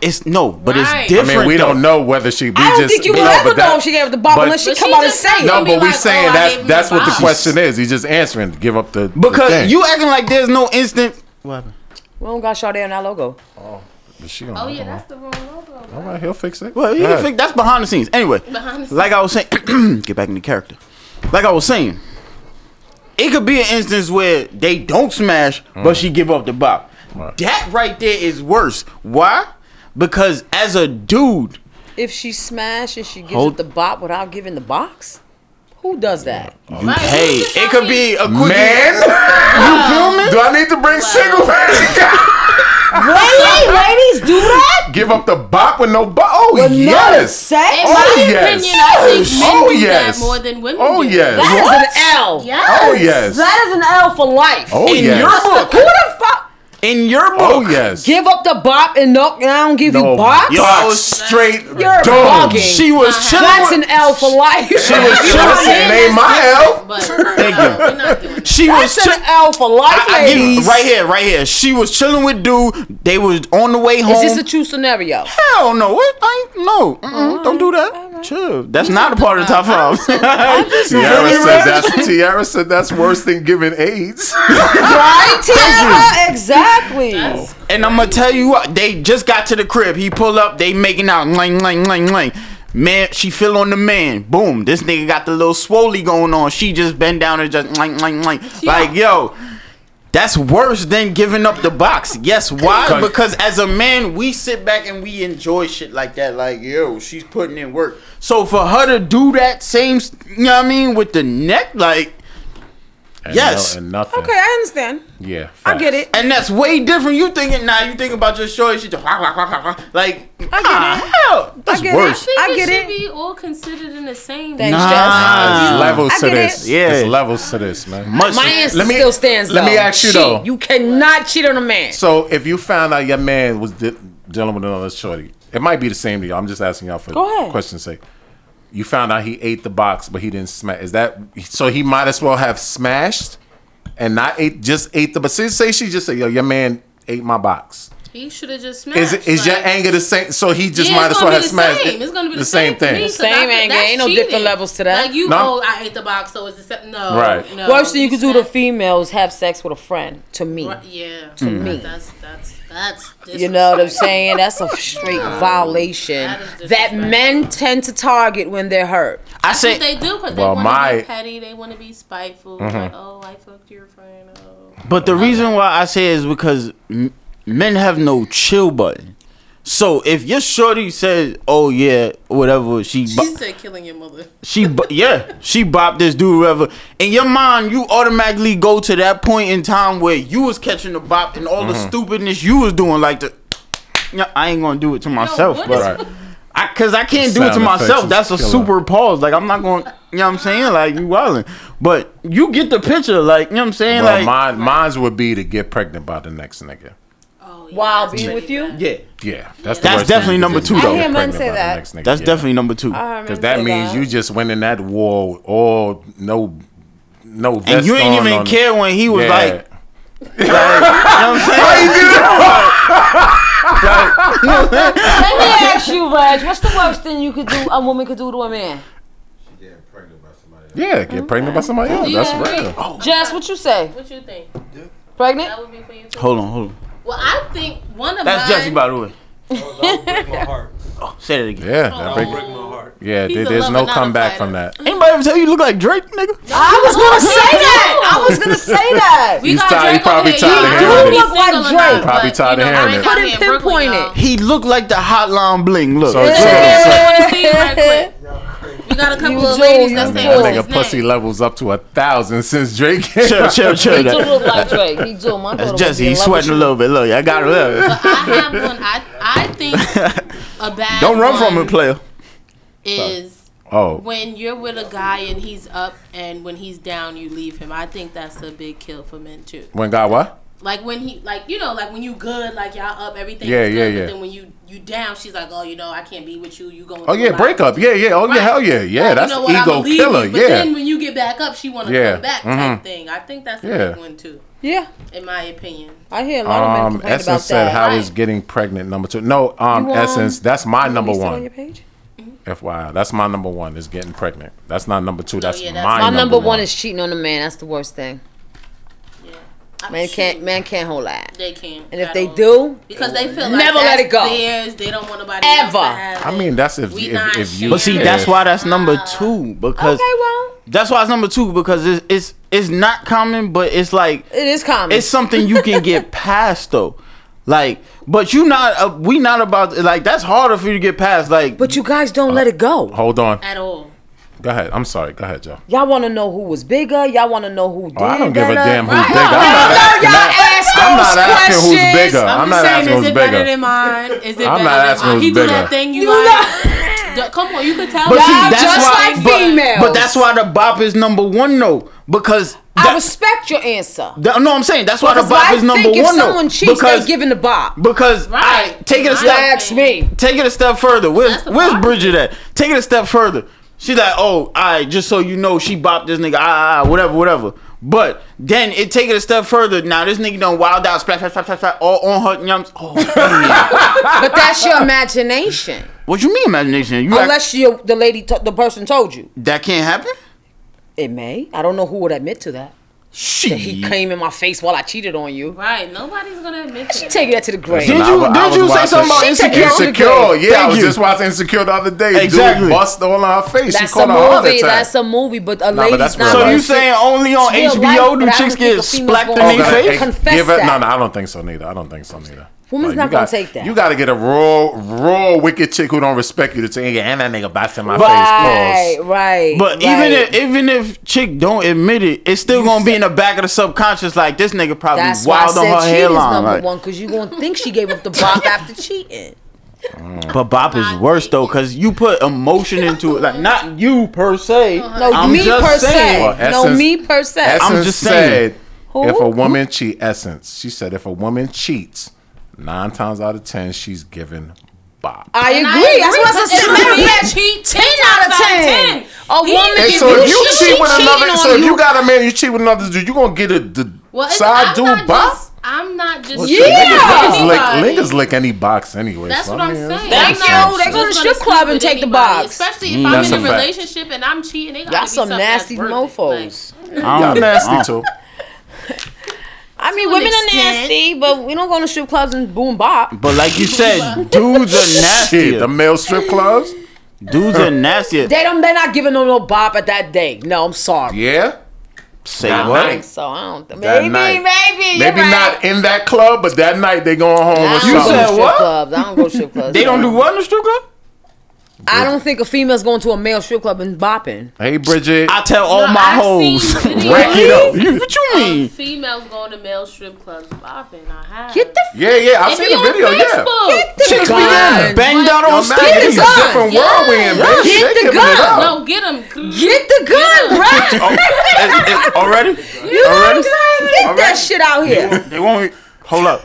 S4: it's no, but
S6: Right.
S4: it's
S5: I
S4: different.
S5: mean, we
S4: though.
S5: don't know whether she. We
S7: I don't
S5: just,
S7: think you
S5: no,
S7: will
S5: but
S7: ever
S5: that-
S7: know if she gave it the bop
S5: but-
S7: unless she
S6: But
S7: come
S6: she
S7: out and
S6: just
S7: say
S6: not
S7: it.
S5: No,
S6: Don't be
S5: but we
S6: like,
S5: saying
S6: oh, I gave
S5: that's
S6: him
S5: that's
S6: the
S5: what the
S6: box.
S5: question is. He's just answering. Give up the the
S4: because
S5: thing.
S4: you acting like there's no instant. What happened?
S7: We don't got Sade on our logo.
S5: Is she gonna-
S6: Oh yeah, that's the wrong logo.
S5: All right, he'll fix it.
S4: Well, you
S5: Go
S4: can
S5: ahead.
S4: Oh, fix- that's behind the scenes. Anyway,
S6: Behind the
S4: like I was saying, get back into character. Like I was saying, it could be an instance where they don't smash, but she give up the bop.
S5: Mm. Right.
S4: That right there is worse. Why? Because as a dude,
S7: If she smash and she gives
S4: Hold-
S7: it the bop without giving the box, who does that?
S6: Like, who's
S4: hey,
S6: this
S4: it
S6: out
S4: could
S6: here?
S4: be a quick
S5: Man, you feel me? Do I need to bring single man?
S7: Really? Ladies do that?
S5: Give up the bop with no bop? Oh yes,
S7: Sex?
S6: In
S5: Oh,
S6: my
S5: yes.
S6: opinion, I think men
S5: Oh,
S6: do
S5: yes.
S6: that more than women
S5: oh
S6: do.
S5: yes,
S7: That is an L.
S6: Yes.
S5: oh yes,
S7: That is an L for life.
S5: oh
S4: in
S5: yes,
S4: your book.
S7: Who the fuck?
S4: In your book.
S5: oh yes.
S7: Give up the bop and no, I don't give you
S5: No,
S7: box?
S4: Yo,
S5: box straight
S7: You're
S5: dog.
S7: bugging.
S4: She was chilling.
S7: That's
S4: with-
S7: an L for life.
S4: she was
S5: She
S4: chilling.
S5: don't say name my help.
S6: But Thank
S4: you.
S6: we're not doing that.
S4: She was
S7: That's an
S4: chilling.
S7: L for life,
S4: I give you
S7: ladies.
S4: right here, right here. She was chilling with dude. They was on the way home.
S7: Is this a true scenario? Oh,
S4: Hell no! What? I ain't, no, Mm-mm, don't do that. Chill. That's not a part of the top five.
S5: Tiara said that's Tiara said that's worse than giving AIDS.
S7: Right, Tiara? Exactly.
S4: and I'm gonna tell you what. They just got to the crib. He pull up. They making out. Lang lang lang lang. Man, she feel on the man. Boom. This nigga got the little swoley going on. She just bend down and just lang lang lang. Like yo. That's worse than giving up the box. Yes, why?
S5: 'Cause-
S4: Because as a man, we sit back and we enjoy shit like that. Like, yo, she's putting in work. So for her to do that same, s- you know what I mean, with the neck, like,
S5: And
S4: Yes.
S5: no- and nothing.
S7: Okay, I understand.
S5: Yeah,
S7: I get it.
S4: And that's way different. You thinking now? You thinking about your shorty? She just wah, wah, wah, wah, wah. like
S7: I get
S6: Oh,
S7: it.
S4: ah, hell.
S7: I get
S5: worse.
S7: it.
S6: I
S7: I
S6: think
S7: get
S6: it should
S7: it.
S6: be all considered in the same.
S7: Thanks,
S4: Nah.
S7: Jess.
S5: There's levels
S7: I
S5: to
S7: get
S5: this.
S7: it.
S4: Yeah.
S5: There's levels to this, man.
S4: Much.
S7: My answer
S5: Let me-
S7: still stands.
S5: let me
S7: though.
S5: ask you,
S7: Cheat.
S5: though.
S7: You cannot cheat on a man.
S5: So if you found out your man was de- dealing with another shorty, It might be the same to y'all. I'm just asking y'all for
S7: Go ahead.
S5: question's sake. You found out he ate the box, but he didn't smash. Is that so? He might as well have smashed and not ate. Just ate the. But say- say she just said, "Yo, your man ate my box."
S6: He should have just smashed.
S5: Is it is your
S6: like-
S5: anger the same? So he just
S6: Yeah,
S5: might
S6: it's
S5: as
S6: gonna
S5: well
S6: be
S5: have
S6: the
S5: smashed
S6: same.
S5: it.
S6: It's gonna be the,
S5: same,
S6: same,
S5: thing.
S6: for me, 'cause
S7: Same
S6: I feel-
S7: anger.
S6: that's
S7: Ain't no different
S6: cheating.
S7: levels to that.
S6: Like you,
S5: No.
S6: oh, I ate the box, so it's the same. No,
S5: Right.
S6: No.
S7: Worst thing you could do to females have sex with a friend. To me,
S6: Right, Yeah.
S7: me.
S6: That's that's that's.
S7: You know what I'm saying? That's a straight violation
S6: That is
S7: that
S6: disrespectful.
S7: men tend to target when they're hurt.
S4: I
S6: That's what
S4: say,
S6: they do because
S5: Well,
S6: they want to
S5: my-
S6: be petty. They want to be spiteful.
S4: Mm-hmm.
S6: Like, oh, I fucked your friend. Oh.
S4: but the reason why I say is because m- men have no chill button. So if your shorty says, "Oh yeah, whatever," she
S6: She
S4: bo-
S6: said killing your mother.
S4: she bo- yeah she bopped this dude, whatever. In your mind, you automatically go to that point in time where you was catching the bop and all
S5: Mm-hmm.
S4: the stupidness you was doing, like the. Yeah, I ain't gonna do it to myself,
S6: what
S4: but
S6: is-
S5: Right.
S4: I, cause I can't do it to
S5: Sound effects
S4: myself.
S5: is
S4: That's a
S5: killer.
S4: super pause. Like I'm not going. You know what I'm saying? Like you wildin'. But you get the picture. Like you know what I'm saying?
S5: Well,
S4: like
S5: mine, mine's would be to get pregnant by the next nigga.
S6: Oh, yeah,
S7: While
S6: that's
S7: being
S6: pretty
S7: with you?
S6: bad.
S4: yeah,
S5: Yeah, that's,
S4: That's
S5: the worst thing
S4: definitely
S5: you
S4: number
S5: could
S4: two,
S5: do,
S4: though.
S5: get
S4: I hear
S7: men
S5: pregnant
S7: say
S5: by the
S7: that.
S5: next nigga.
S4: that's
S5: Yeah.
S4: definitely number two.
S5: Cause that means you just went in that war all no no vest
S4: and you ain't
S5: on,
S4: even
S5: on-
S4: care when he was
S5: Yeah.
S4: like, like, you know what I'm saying?
S7: Let me ask you, Reg, what's the worst thing you could do a woman could do to a man?
S5: Yeah, get pregnant by somebody else. That's
S7: Yeah.
S5: real.
S4: Oh.
S7: Jess, what you say?
S6: What you think?
S7: Pregnant?
S6: That would be for you too.
S4: Hold on, hold on.
S6: Well, I think one of
S4: That's
S6: mine.
S4: Jesse, by the way.
S10: Oh, my heart.
S4: Say that again.
S5: Yeah,
S7: Oh.
S5: that break-
S10: My heart.
S5: yeah.
S6: He's
S5: there-
S6: a
S5: there's
S6: lover,
S5: no
S6: not a
S5: comeback
S6: fighter.
S5: from that.
S4: Anybody ever tell you you look like Drake, nigga?
S7: I was gonna say that. I was gonna say that.
S6: We
S5: He's
S6: got
S5: tired- he
S6: Drake over
S5: probably
S6: here.
S5: tired
S6: Y'all
S5: of
S6: don't
S5: hearing
S6: be
S7: it. He look like
S6: single or not,
S7: Drake.
S5: Probably
S6: but,
S5: tired
S6: you
S5: of
S6: know, I ain't
S5: hearing it.
S6: out
S7: Couldn't
S6: here in Brooklyn,
S7: pinpoint
S6: y'all.
S7: it.
S4: He looked like the Hotline Bling. Look,
S5: So it's
S6: Hey,
S5: yeah.
S6: I wanna see it right quick. We got a couple
S7: You
S6: of
S7: do,
S6: ladies
S7: you
S6: that's
S7: do.
S6: saying
S5: that
S6: what's
S5: nigga
S6: his
S5: pussy
S6: name.
S5: levels up to a thousand since Drake.
S4: chill, chill, chill.
S7: He do
S4: That.
S7: look like Drake. He do. My daughter
S4: That's
S7: would
S4: Jesse.
S7: be in
S4: He's
S7: love with
S4: sweating a little bit. Look, I got
S6: But
S4: it.
S6: I have one. I I think a bad.
S4: Don't run from
S6: one
S4: it, player.
S6: Is
S5: oh,
S6: when you're with a guy and he's up, and when he's down, you leave him. I think that's a big kill for men too.
S5: when God what?
S6: Like when he, like you know, like when you good, like y'all up, everything.
S5: Yeah,
S6: is good,
S5: yeah,
S6: But
S5: yeah.
S6: then when you you down, she's like, oh, you know, I can't be with you. You going?
S5: Oh yeah, break up. Yeah, yeah. Oh yeah,
S6: Right.
S5: hell yeah, yeah.
S6: Like,
S5: that's
S6: you know what, I'ma
S5: ego
S6: leave you,
S5: killer.
S6: But
S5: yeah.
S6: then when you get back up, she want to
S5: Yeah.
S6: come back
S5: Mhm.
S6: type thing. I think that's a
S5: Yeah.
S6: big one too,
S7: you. Yeah,
S6: in my opinion.
S7: I hear a lot of men
S5: Um,
S7: complain about
S5: Essence said,
S7: that.
S5: "How
S6: Right.
S5: is getting pregnant number two? No, um,
S7: You, um,
S5: Essence, that's my number
S7: You still
S5: one.
S7: On your page?
S5: FYI, that's my number one is getting pregnant. That's not number two. That's,
S6: yeah, that's
S7: Oh,
S6: my
S5: my,
S7: My
S5: number,
S7: number one is cheating on a man. That's the worst thing.
S6: Yeah, I'm
S7: Man can't
S6: sure
S7: man can't hold that.
S6: They can.
S7: And if
S6: at
S7: they
S6: all.
S7: do,
S6: because they feel like
S7: Never let
S6: that's
S7: it go.
S6: Theirs. They don't want nobody
S7: Ever.
S6: Else to have
S5: I
S6: it.
S5: mean, that's if
S6: We
S5: if,
S6: not
S5: if you.
S6: sharing.
S4: But see, that's why that's number two because
S7: okay, well,
S4: that's why it's number two because it's it's it's not common, but it's like
S7: it is common.
S4: it's something you can get past though. Like, but you not uh, we not about like that's harder for you to get past. Like,
S7: but you guys don't let it go.
S5: Uh, Hold on.
S6: at all.
S5: Go ahead. I'm sorry. Go ahead, Joe.
S7: Y'all want to know who was bigger. Y'all want to know who did. uh,
S5: Oh, I don't give a
S7: better.
S5: damn who's
S6: Right.
S5: bigger. I'm
S7: Y'all
S5: not,
S7: ask
S5: I'm
S7: those
S5: not asking who's
S7: questions.
S5: bigger. I'm,
S6: I'm,
S5: not
S6: just
S5: asking
S6: saying, is
S5: who's
S6: it better
S5: bigger.
S6: than mine? Is it
S5: I'm
S6: better
S5: not
S6: than
S5: asking
S6: mine?
S5: who's
S6: He do
S5: bigger.
S6: that thing you,
S7: You
S6: like. D- Come on, you can tell.
S4: but see,
S7: Y'all
S4: that's
S7: just
S4: why,
S7: like
S4: but,
S7: females.
S4: But that's why the bop is number one though, because that,
S7: I respect your answer.
S4: that- no, I'm saying that's why the
S7: Because
S4: bop
S7: I
S4: is number
S7: think if
S4: one
S7: someone
S4: though.
S7: cheats,
S4: because
S7: they giving the bop.
S4: because
S6: Right.
S4: I take it a
S6: Right.
S4: step.
S7: Ask me.
S4: Take it a step further. Where's
S6: That's the
S4: Where's
S6: part.
S4: Bridget at? Take it a step further. She like, oh, I just so you know, she bopped this nigga, ah, ah, ah, whatever, whatever. But then it take it a step further. Now this nigga done wild out, splash, splash, splash, splash, splash all on her yums. Oh, man.
S7: But that's your imagination.
S4: what you mean imagination? You act,
S7: Unless you, the lady, to, the person told you.
S4: that can't happen.
S7: It may. I don't know who would admit to that.
S4: She.
S7: He came in my face while I cheated on you.
S6: Right, nobody's gonna admit
S7: She
S6: to
S7: take that to the grave.
S4: Did
S5: Nah,
S4: you
S5: I wa- I
S4: Did
S5: was
S4: you say
S5: watching-
S4: something about
S7: She take it
S4: insecure?
S7: on the
S5: Insecure, yeah. I
S4: Thank
S5: was
S4: you.
S5: just watching Insecure the other day. Dude
S4: Exactly.
S5: bust all on her face. she
S7: That's a
S5: caught a heart
S7: movie.
S5: attack.
S7: That's a movie. But a
S5: but that's
S7: lady's
S5: real
S7: not.
S4: So
S5: life.
S4: you
S7: gonna
S4: saying only on
S7: Real life,
S4: HBO
S7: but I
S4: do
S7: don't
S4: chicks
S7: think a
S4: get
S7: female's
S4: splacked
S7: gonna
S4: in their
S7: do that.
S4: face?
S7: Confess
S5: give it,
S7: that.
S5: No, no, I don't think so neither. I don't think so neither.
S7: Woman's
S5: you
S7: not gonna
S5: got-
S7: take that.
S5: You got to get a raw, raw, wicked chick who don't respect you to say, yeah, and that nigga box in my
S7: Right,
S5: face. Pause.
S7: right. right.
S4: But even if even if chick don't admit it, it's still gonna be in the back of the subconscious. Like this nigga probably
S7: that's why I
S4: wild on
S7: said
S4: her
S7: cheating is
S4: hairline.
S7: number
S4: Like,
S7: one because you gonna think she gave up the bop after cheating.
S4: but bop is worse though, cause you put emotion into it. Like not you per se.
S7: No,
S4: I'm
S7: me
S4: just
S7: per
S4: saying.
S7: se.
S5: Well,
S7: no,
S5: essence-
S7: me per se.
S5: Essence
S4: just saying.
S5: said,
S7: Who?
S5: if a woman cheat, Essence, she said, if a woman cheats, nine times out of ten, she's given bop.
S7: I agree. That's what I said. Matter of fact,
S6: Cheat
S7: ten out of ten. A woman
S5: And
S7: can
S5: so if you
S7: she-
S5: cheat
S7: she
S5: with
S7: cheating
S5: another,
S7: on
S5: so if you got a man, you cheat with another dude, you gonna get a the
S6: Well, it's,
S5: side
S6: I'm
S5: dude
S6: not
S5: bop.
S6: just. I'm not just.
S5: Well, shit,
S6: cheating
S7: Yeah.
S6: with
S5: Niggas lick,
S6: anybody.
S5: niggas lick any box anyway.
S6: That's
S5: so,
S6: what
S5: I
S6: I'm
S5: mean,
S6: saying.
S5: that's
S7: Thank
S6: I'm
S7: you.
S6: not
S7: They go to
S6: just
S7: strip
S6: gonna
S7: club
S6: sleep
S7: and
S6: with
S7: take the
S6: anybody,
S7: box.
S6: Especially if
S5: Mm, That's
S6: I'm
S5: a
S6: in a
S5: fact.
S6: relationship and I'm cheating. They gotta
S7: Y'all
S6: be
S7: some
S6: something that's
S7: nasty
S6: worth it.
S7: mofos.
S4: I
S5: Y'all
S4: don't, I
S5: nasty
S4: don't-
S5: too.
S7: I mean,
S6: To an
S7: women are
S6: extent.
S7: nasty, but we don't go to strip clubs and boom bop.
S4: But like you said, dudes are
S5: Shit, the
S4: nastier.
S5: male strip clubs.
S4: Dudes are nastier.
S7: They don't. They're not giving them no bop at that day. No, I'm sorry.
S5: Yeah,
S4: Say
S5: Nah,
S4: what?
S5: night.
S7: So I don't. Maybe,
S5: That night.
S7: maybe,
S5: maybe not in that club, but that night they going home
S7: I
S5: with
S7: don't
S4: You
S7: go to
S4: said
S5: something.
S7: strip
S4: what?
S7: clubs. I don't go to strip clubs.
S4: They don't do what in the strip club?
S7: I don't think a female's going to a male strip club and bopping.
S5: Hey, Bridget,
S4: I tell all
S6: No,
S4: my
S6: I've
S4: hoes.
S6: seen videos
S5: rack it up.
S4: You- what you
S6: of
S4: mean?
S6: Females going to male strip clubs bopping. I have.
S7: Get the f-
S5: Yeah, yeah, I
S6: It
S5: seen
S6: be
S5: the
S6: on
S5: video. Yeah.
S6: Facebook.
S4: Chicks be
S7: gun.
S4: getting banged out on
S5: Don't matter,
S4: stage.
S5: It's a
S7: gun.
S5: different world we in,
S7: Get
S5: bitch. They
S7: the
S5: giving it
S7: gun.
S5: up.
S6: No, get them.
S7: Get the gun, right?
S4: Oh, it- it- already?
S7: You know what I'm
S4: Already?
S7: saying? Get that shit out here.
S4: They won't. Hold up.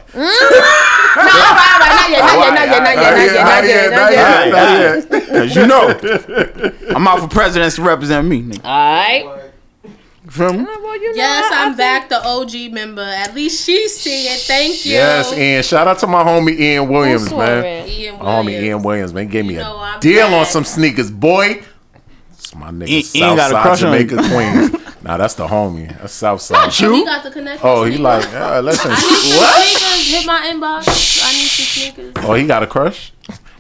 S7: All right, all right, not yet, not yet, not yet, not yet, not yet, not yet, not yet.
S4: yet,
S5: Not yet.
S4: Cause you know, I'm out for presidents to represent me. Nigga.
S7: All right.
S4: Feel me?
S6: Yes, I'm back, the OG member. At least she's singing. Thank you.
S5: Yes, Ian. Shout out to my homie Ian Williams, man.
S6: Ian
S5: My homie
S6: Williams.
S5: Ian Williams, man, gave me
S6: know
S5: a
S6: I'm
S5: deal
S6: back.
S5: on some sneakers, boy. It's my nigga,
S4: Ian- Ian got a
S5: Southside
S4: crush on
S5: Jamaica, Queens. Nah, that's the homie. That's Southside.
S6: So He got the connection.
S5: Oh, he
S6: sneakers.
S5: like, uh, listen.
S6: I need some sneakers. Hit my inbox. I need some sneakers.
S5: Oh, he got a crush.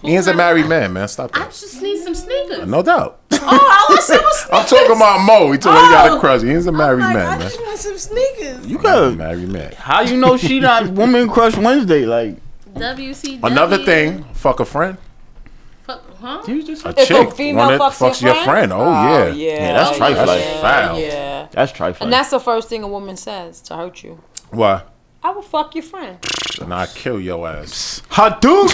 S5: Ian's a married man, man. Stop
S6: I
S5: that.
S6: just need some sneakers.
S5: No doubt.
S6: Oh, I want some sneakers.
S5: I'm talking about Mo. He told me he got a
S6: Oh.
S5: crush. Ian's a married
S6: Like,
S5: man,
S6: I
S5: man.
S6: just want some sneakers.
S4: You could.
S5: Married man.
S4: How you know she not Woman Crush Wednesday? Like,
S6: WCW.
S5: Another thing, fuck a friend.
S6: Fuck, huh?
S4: you just
S5: A
S7: a
S5: chick
S7: female
S5: wanna-
S7: fucks your
S5: your
S7: friend? Oh,
S5: friend. Oh, yeah.
S4: Yeah, that's
S5: That's
S4: trifling.
S5: foul.
S7: Yeah.
S4: That's trifling.
S7: And that's the first thing a woman says to hurt you.
S5: Why?
S7: I will fuck your friend.
S5: And I kill your ass.
S4: Hadouken.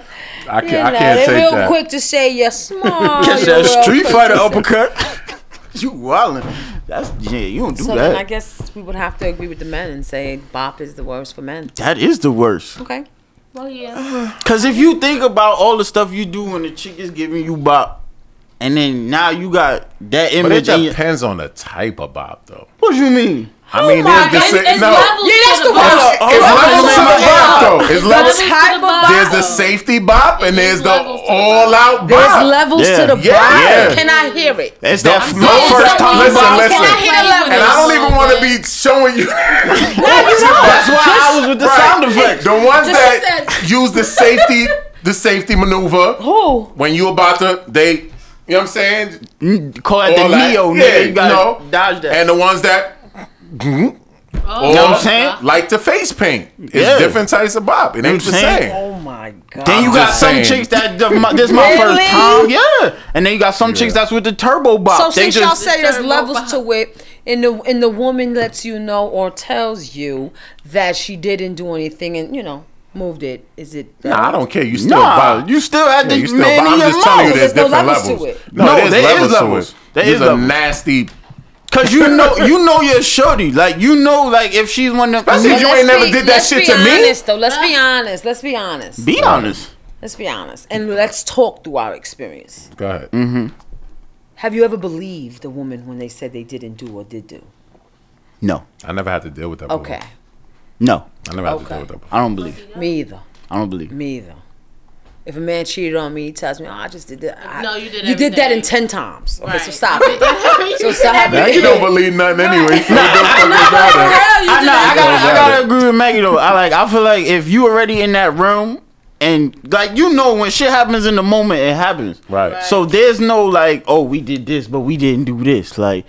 S7: You
S5: can't. I
S7: know,
S5: can't
S7: they
S5: take
S7: real
S5: that.
S7: quick to say you're small.
S4: Catch
S7: you're
S4: that
S7: real
S4: Street
S7: quick
S4: Fighter
S7: to say-
S4: uppercut. you wildin'. That's yeah. You don't do
S7: So then I
S4: that.
S7: guess we would have to agree with the men and say bop is the worst for men.
S4: That is the worst.
S7: Okay.
S6: Well, yeah.
S4: Cause if you think about all the stuff you do when the chick is giving you bop, and then now you got that
S5: But it
S4: image. in your,
S5: depends on the type of bop, though.
S4: what you mean?
S5: I mean, there's the
S6: It's, it's
S5: sa- no.
S6: levels
S7: Yeah, that's
S6: to
S7: the
S6: bop.
S7: worst.
S4: Hold
S5: It's
S4: on, hold on,
S5: levels to the bop,
S4: hold on.
S5: though. It's
S7: Levels
S5: levels.
S7: to Type
S6: Levels to
S7: of
S6: the bop.
S5: There's the safety bop, and there's the
S6: Levels to the
S5: all-out
S7: There's
S5: bop.
S7: levels
S4: Yeah.
S7: to the
S5: Yeah.
S7: bop.
S5: Yeah.
S7: Can I hear it?
S4: It's that
S5: That's-
S4: no
S5: those
S4: first
S5: are-
S4: time
S5: listen,
S4: bop.
S5: listen.
S6: Can I hit a level?
S5: And I don't even want to be showing you.
S4: That's why I was with the sound effects.
S5: The ones that
S6: said-
S5: use the safety, the safety maneuver
S7: Who?
S5: when you about to they, you know what I'm saying?
S4: Mm, Call it the
S5: All that.
S4: Neo,
S5: Yeah,
S4: nigga. You gotta
S5: no.
S4: dodge that.
S5: And the ones that
S6: Oh,
S5: you know
S4: what I'm saying?
S5: like the face paint. It's
S4: Yeah.
S5: different types of bop. It ain't the
S4: what I'm saying?
S5: same.
S7: Oh my god.
S4: Then you
S5: I'm
S4: got
S5: just
S4: some
S5: saying.
S4: chicks that the- my- this my
S7: Really?
S4: first time, yeah. And then you got some chicks that's with the turbo bop.
S7: So
S4: they
S7: since
S4: just,
S7: y'all say there's
S6: Turbo
S7: levels
S6: bop.
S7: to it, and the and the woman lets you know or tells you that she didn't do anything and you know moved it. Is it?
S5: Nah, I don't care. You still
S4: nah,
S5: bop.
S4: you still had
S5: Yeah,
S4: the
S5: you still
S4: man
S5: bop. I'm
S4: in your
S5: just telling you,
S4: mouth
S5: there's
S7: There's no
S5: different
S7: levels to
S5: levels.
S7: it.
S5: No,
S4: No,
S5: there's
S4: there is
S5: levels to
S4: levels.
S5: it.
S4: There
S5: There's
S4: is
S5: a
S4: levels.
S5: nasty.
S4: because you know you know your shorty. Like you know, like if she's one of
S5: Especially if
S4: them.
S5: you ain't never did that
S7: let's
S5: shit
S7: be
S5: to me.
S7: honest, Though, let's be honest. Let's be honest.
S4: Be honest.
S7: let's be honest, and let's talk through our experience.
S5: Go ahead.
S7: Have you ever believed a woman when they said they didn't do or did do?
S4: No,
S5: I never had to deal with that. before.
S7: Okay,
S4: no,
S5: I never had to
S7: Okay.
S5: deal with that. Before.
S4: I don't believe.
S7: me either.
S4: I don't believe.
S7: Me either. If a man cheated on me, he tells me, "Oh, I just did that." I-
S6: No, you did
S7: You did that
S6: everything.
S7: in ten times. Okay, so
S6: Right.
S7: stop it. so stop
S5: Now you
S7: it.
S5: don't believe nothing anyway. So it don't fucking matter.
S7: Hell, you
S4: I
S7: did
S4: know. I
S7: that.
S4: gotta, I
S5: Don't
S4: gotta
S5: matter.
S4: agree with Maggie though. I like. I feel like if you already in that room, and like you know when shit happens in the moment, it happens.
S5: Right.
S4: So there's no like, oh, we did this, but we didn't do this. Like,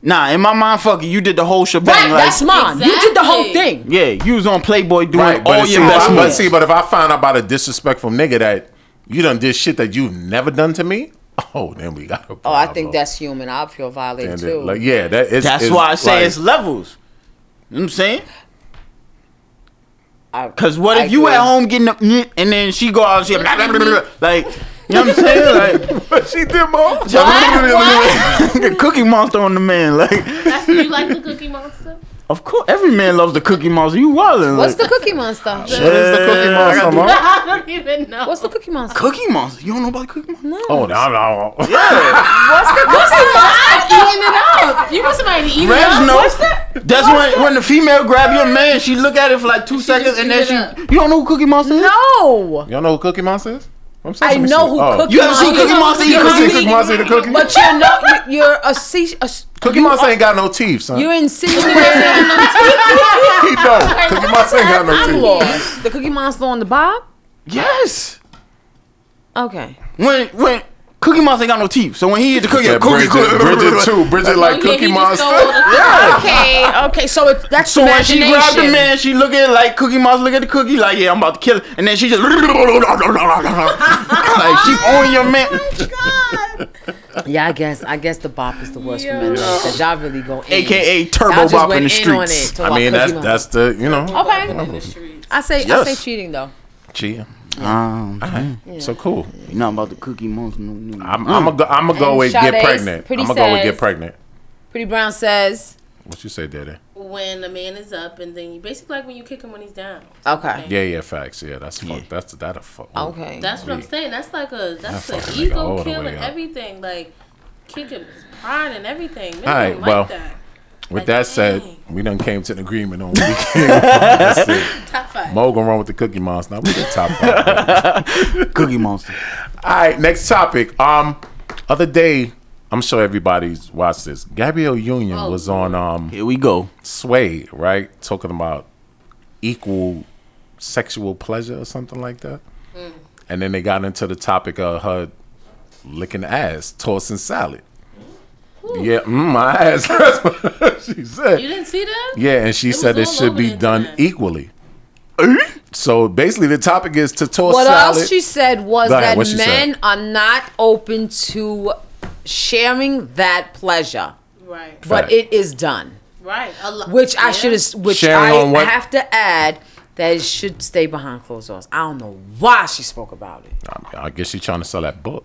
S4: nah, in my mind, fucking, you did the whole shebang.
S7: Right,
S4: like,
S7: that's mine. You did the whole
S6: Exactly.
S7: thing.
S4: yeah, you was on Playboy doing
S5: Right, but,
S4: all
S5: see,
S4: your
S5: if
S4: best
S5: I- but
S4: moves.
S5: see, but if I find out about a disrespectful nigga that you done did shit that you've never done to me, oh, then we got a problem.
S7: Oh, I think that's human. I feel
S5: And
S7: violated
S5: then,
S7: too.
S5: like, yeah, that is.
S4: That's
S5: is
S4: why I say
S5: like-
S4: it's levels. You know what I'm saying?
S7: I-
S4: Cause what
S7: I
S4: if you
S7: agree.
S4: at home getting up and then she go out and she blah, blah, blah, blah, blah. like You know what I'm saying? Like,
S5: But she did more.
S4: the Cookie Monster on the man. Like,
S6: That's, you like the Cookie Monster?
S4: of course, every man loves the Cookie Monster. You wildin'.
S7: What's the
S4: like,
S7: Cookie Monster?
S4: What is the Cookie Monster? Ma?
S6: I don't even know.
S7: What's the Cookie Monster?
S4: Cookie Monster. You don't know about the Cookie Monster?
S5: Oh no, no.
S7: What's the Cookie Monster?
S6: eating it up? You want somebody to eat it
S4: Revs
S6: up?
S4: know. That's when when the female grab your man, she look at it for like two seconds, and then
S6: eat
S4: she.
S6: it
S4: You don't know who Cookie Monster is?
S7: No,
S5: Y'all know who Cookie Monster is? I'm
S7: I
S5: Sesame
S7: know
S5: Street.
S7: who
S5: Oh.
S7: Cookie
S4: You ever seen
S7: Monster-
S4: Cookie Monster eat
S7: You
S5: You ever
S4: Cookie?
S5: seen Cookie Monster eat the cookie?
S7: But you're not. you- You're a sea. A, s-
S5: Cookie Monster ain't got no teeth, son.
S7: you're insinuating
S5: he don't. Cookie Monster ain't got no
S7: I'm
S5: teeth.
S7: lost. The Cookie Monster on the bob.
S4: Yes.
S7: Okay.
S4: When when Cookie Monster ain't got no teeth, so when he eat the cookie,
S5: Yeah,
S4: cookie,
S5: Bridget,
S4: cookie,
S5: Bridget too. Bridget like
S6: Yeah,
S5: Cookie
S6: he just stole
S5: Monster.
S6: all the-
S7: Okay. Okay. So it, that's
S4: So when she
S7: imagination.
S4: grabbed the man, she look at it like Cookie Monster look at the cookie like yeah I'm about to kill it, and then she just like she on your man.
S7: Yeah, I guess. I guess the bop is the worst for men because y'all really go. in.
S4: AKA Turbo
S7: Y'all just
S4: Bop
S7: went
S4: in the
S7: on it
S4: streets.
S7: to
S5: I
S7: about
S5: mean, that's
S7: Cookie Monster.
S5: that's the you know.
S7: Okay. I say I
S4: Yes.
S7: say cheating though.
S5: Cheating.
S4: Um,
S5: So cool.
S4: you know about the Cookie Monster. No, no.
S5: I'm I'm a go, I'm a go
S7: And
S5: with get
S7: Sade's
S5: pregnant. I'm
S7: pretty
S5: gonna go with get
S7: says-
S5: pregnant.
S7: Pretty Brown says.
S5: What you say, Daddy?
S6: When a man is up, and then you basically like when you kick him when he's down.
S7: Okay.
S5: Yeah, yeah, facts. Yeah, that's fuck. That's that a fuck.
S7: Okay.
S6: That's what I'm saying. That's like a that's
S5: That
S6: an
S5: fucking nigga all
S6: ego
S5: the
S6: kill
S5: way
S6: and
S5: up.
S6: everything. Like kick him, his pride and everything. Make
S5: Alright,
S6: him
S5: well,
S6: like that.
S5: With
S6: Like,
S5: that said,
S6: dang.
S5: we done came to an agreement on what we came. up with. That's it.
S6: Top five.
S5: Mo gonna run with the Cookie Monster. I'm with the top five.
S4: Cookie Monster.
S5: All right, next topic. Um, other day, I'm sure everybody's watched this. Gabrielle Union
S6: Oh,
S5: was on um
S4: Here we go.
S5: Sway, right, talking about equal sexual pleasure or something like that.
S11: Mm.
S5: And then they got into the topic of her licking ass, tossing salad. Yeah, mm, my ass. That's what she said.
S6: you didn't see that?
S5: Yeah, and she
S6: It
S5: said it
S6: was all
S5: should
S6: over
S5: be
S6: the
S5: done
S6: internet.
S5: equally. Eh? so basically, the topic is to toss
S7: What
S5: salad.
S7: else she said was
S5: Go ahead,
S7: that
S5: what she
S7: men
S5: said.
S7: are not open to sharing that pleasure,
S6: Right.
S5: Fact.
S7: but it is done.
S6: Right. A lo-
S7: Which I
S6: yeah.
S7: should have, which
S5: Sharing on
S7: I
S5: what-
S7: have to add that it should stay behind closed doors. I don't know why she spoke about it.
S5: I, I guess she's trying to sell that book.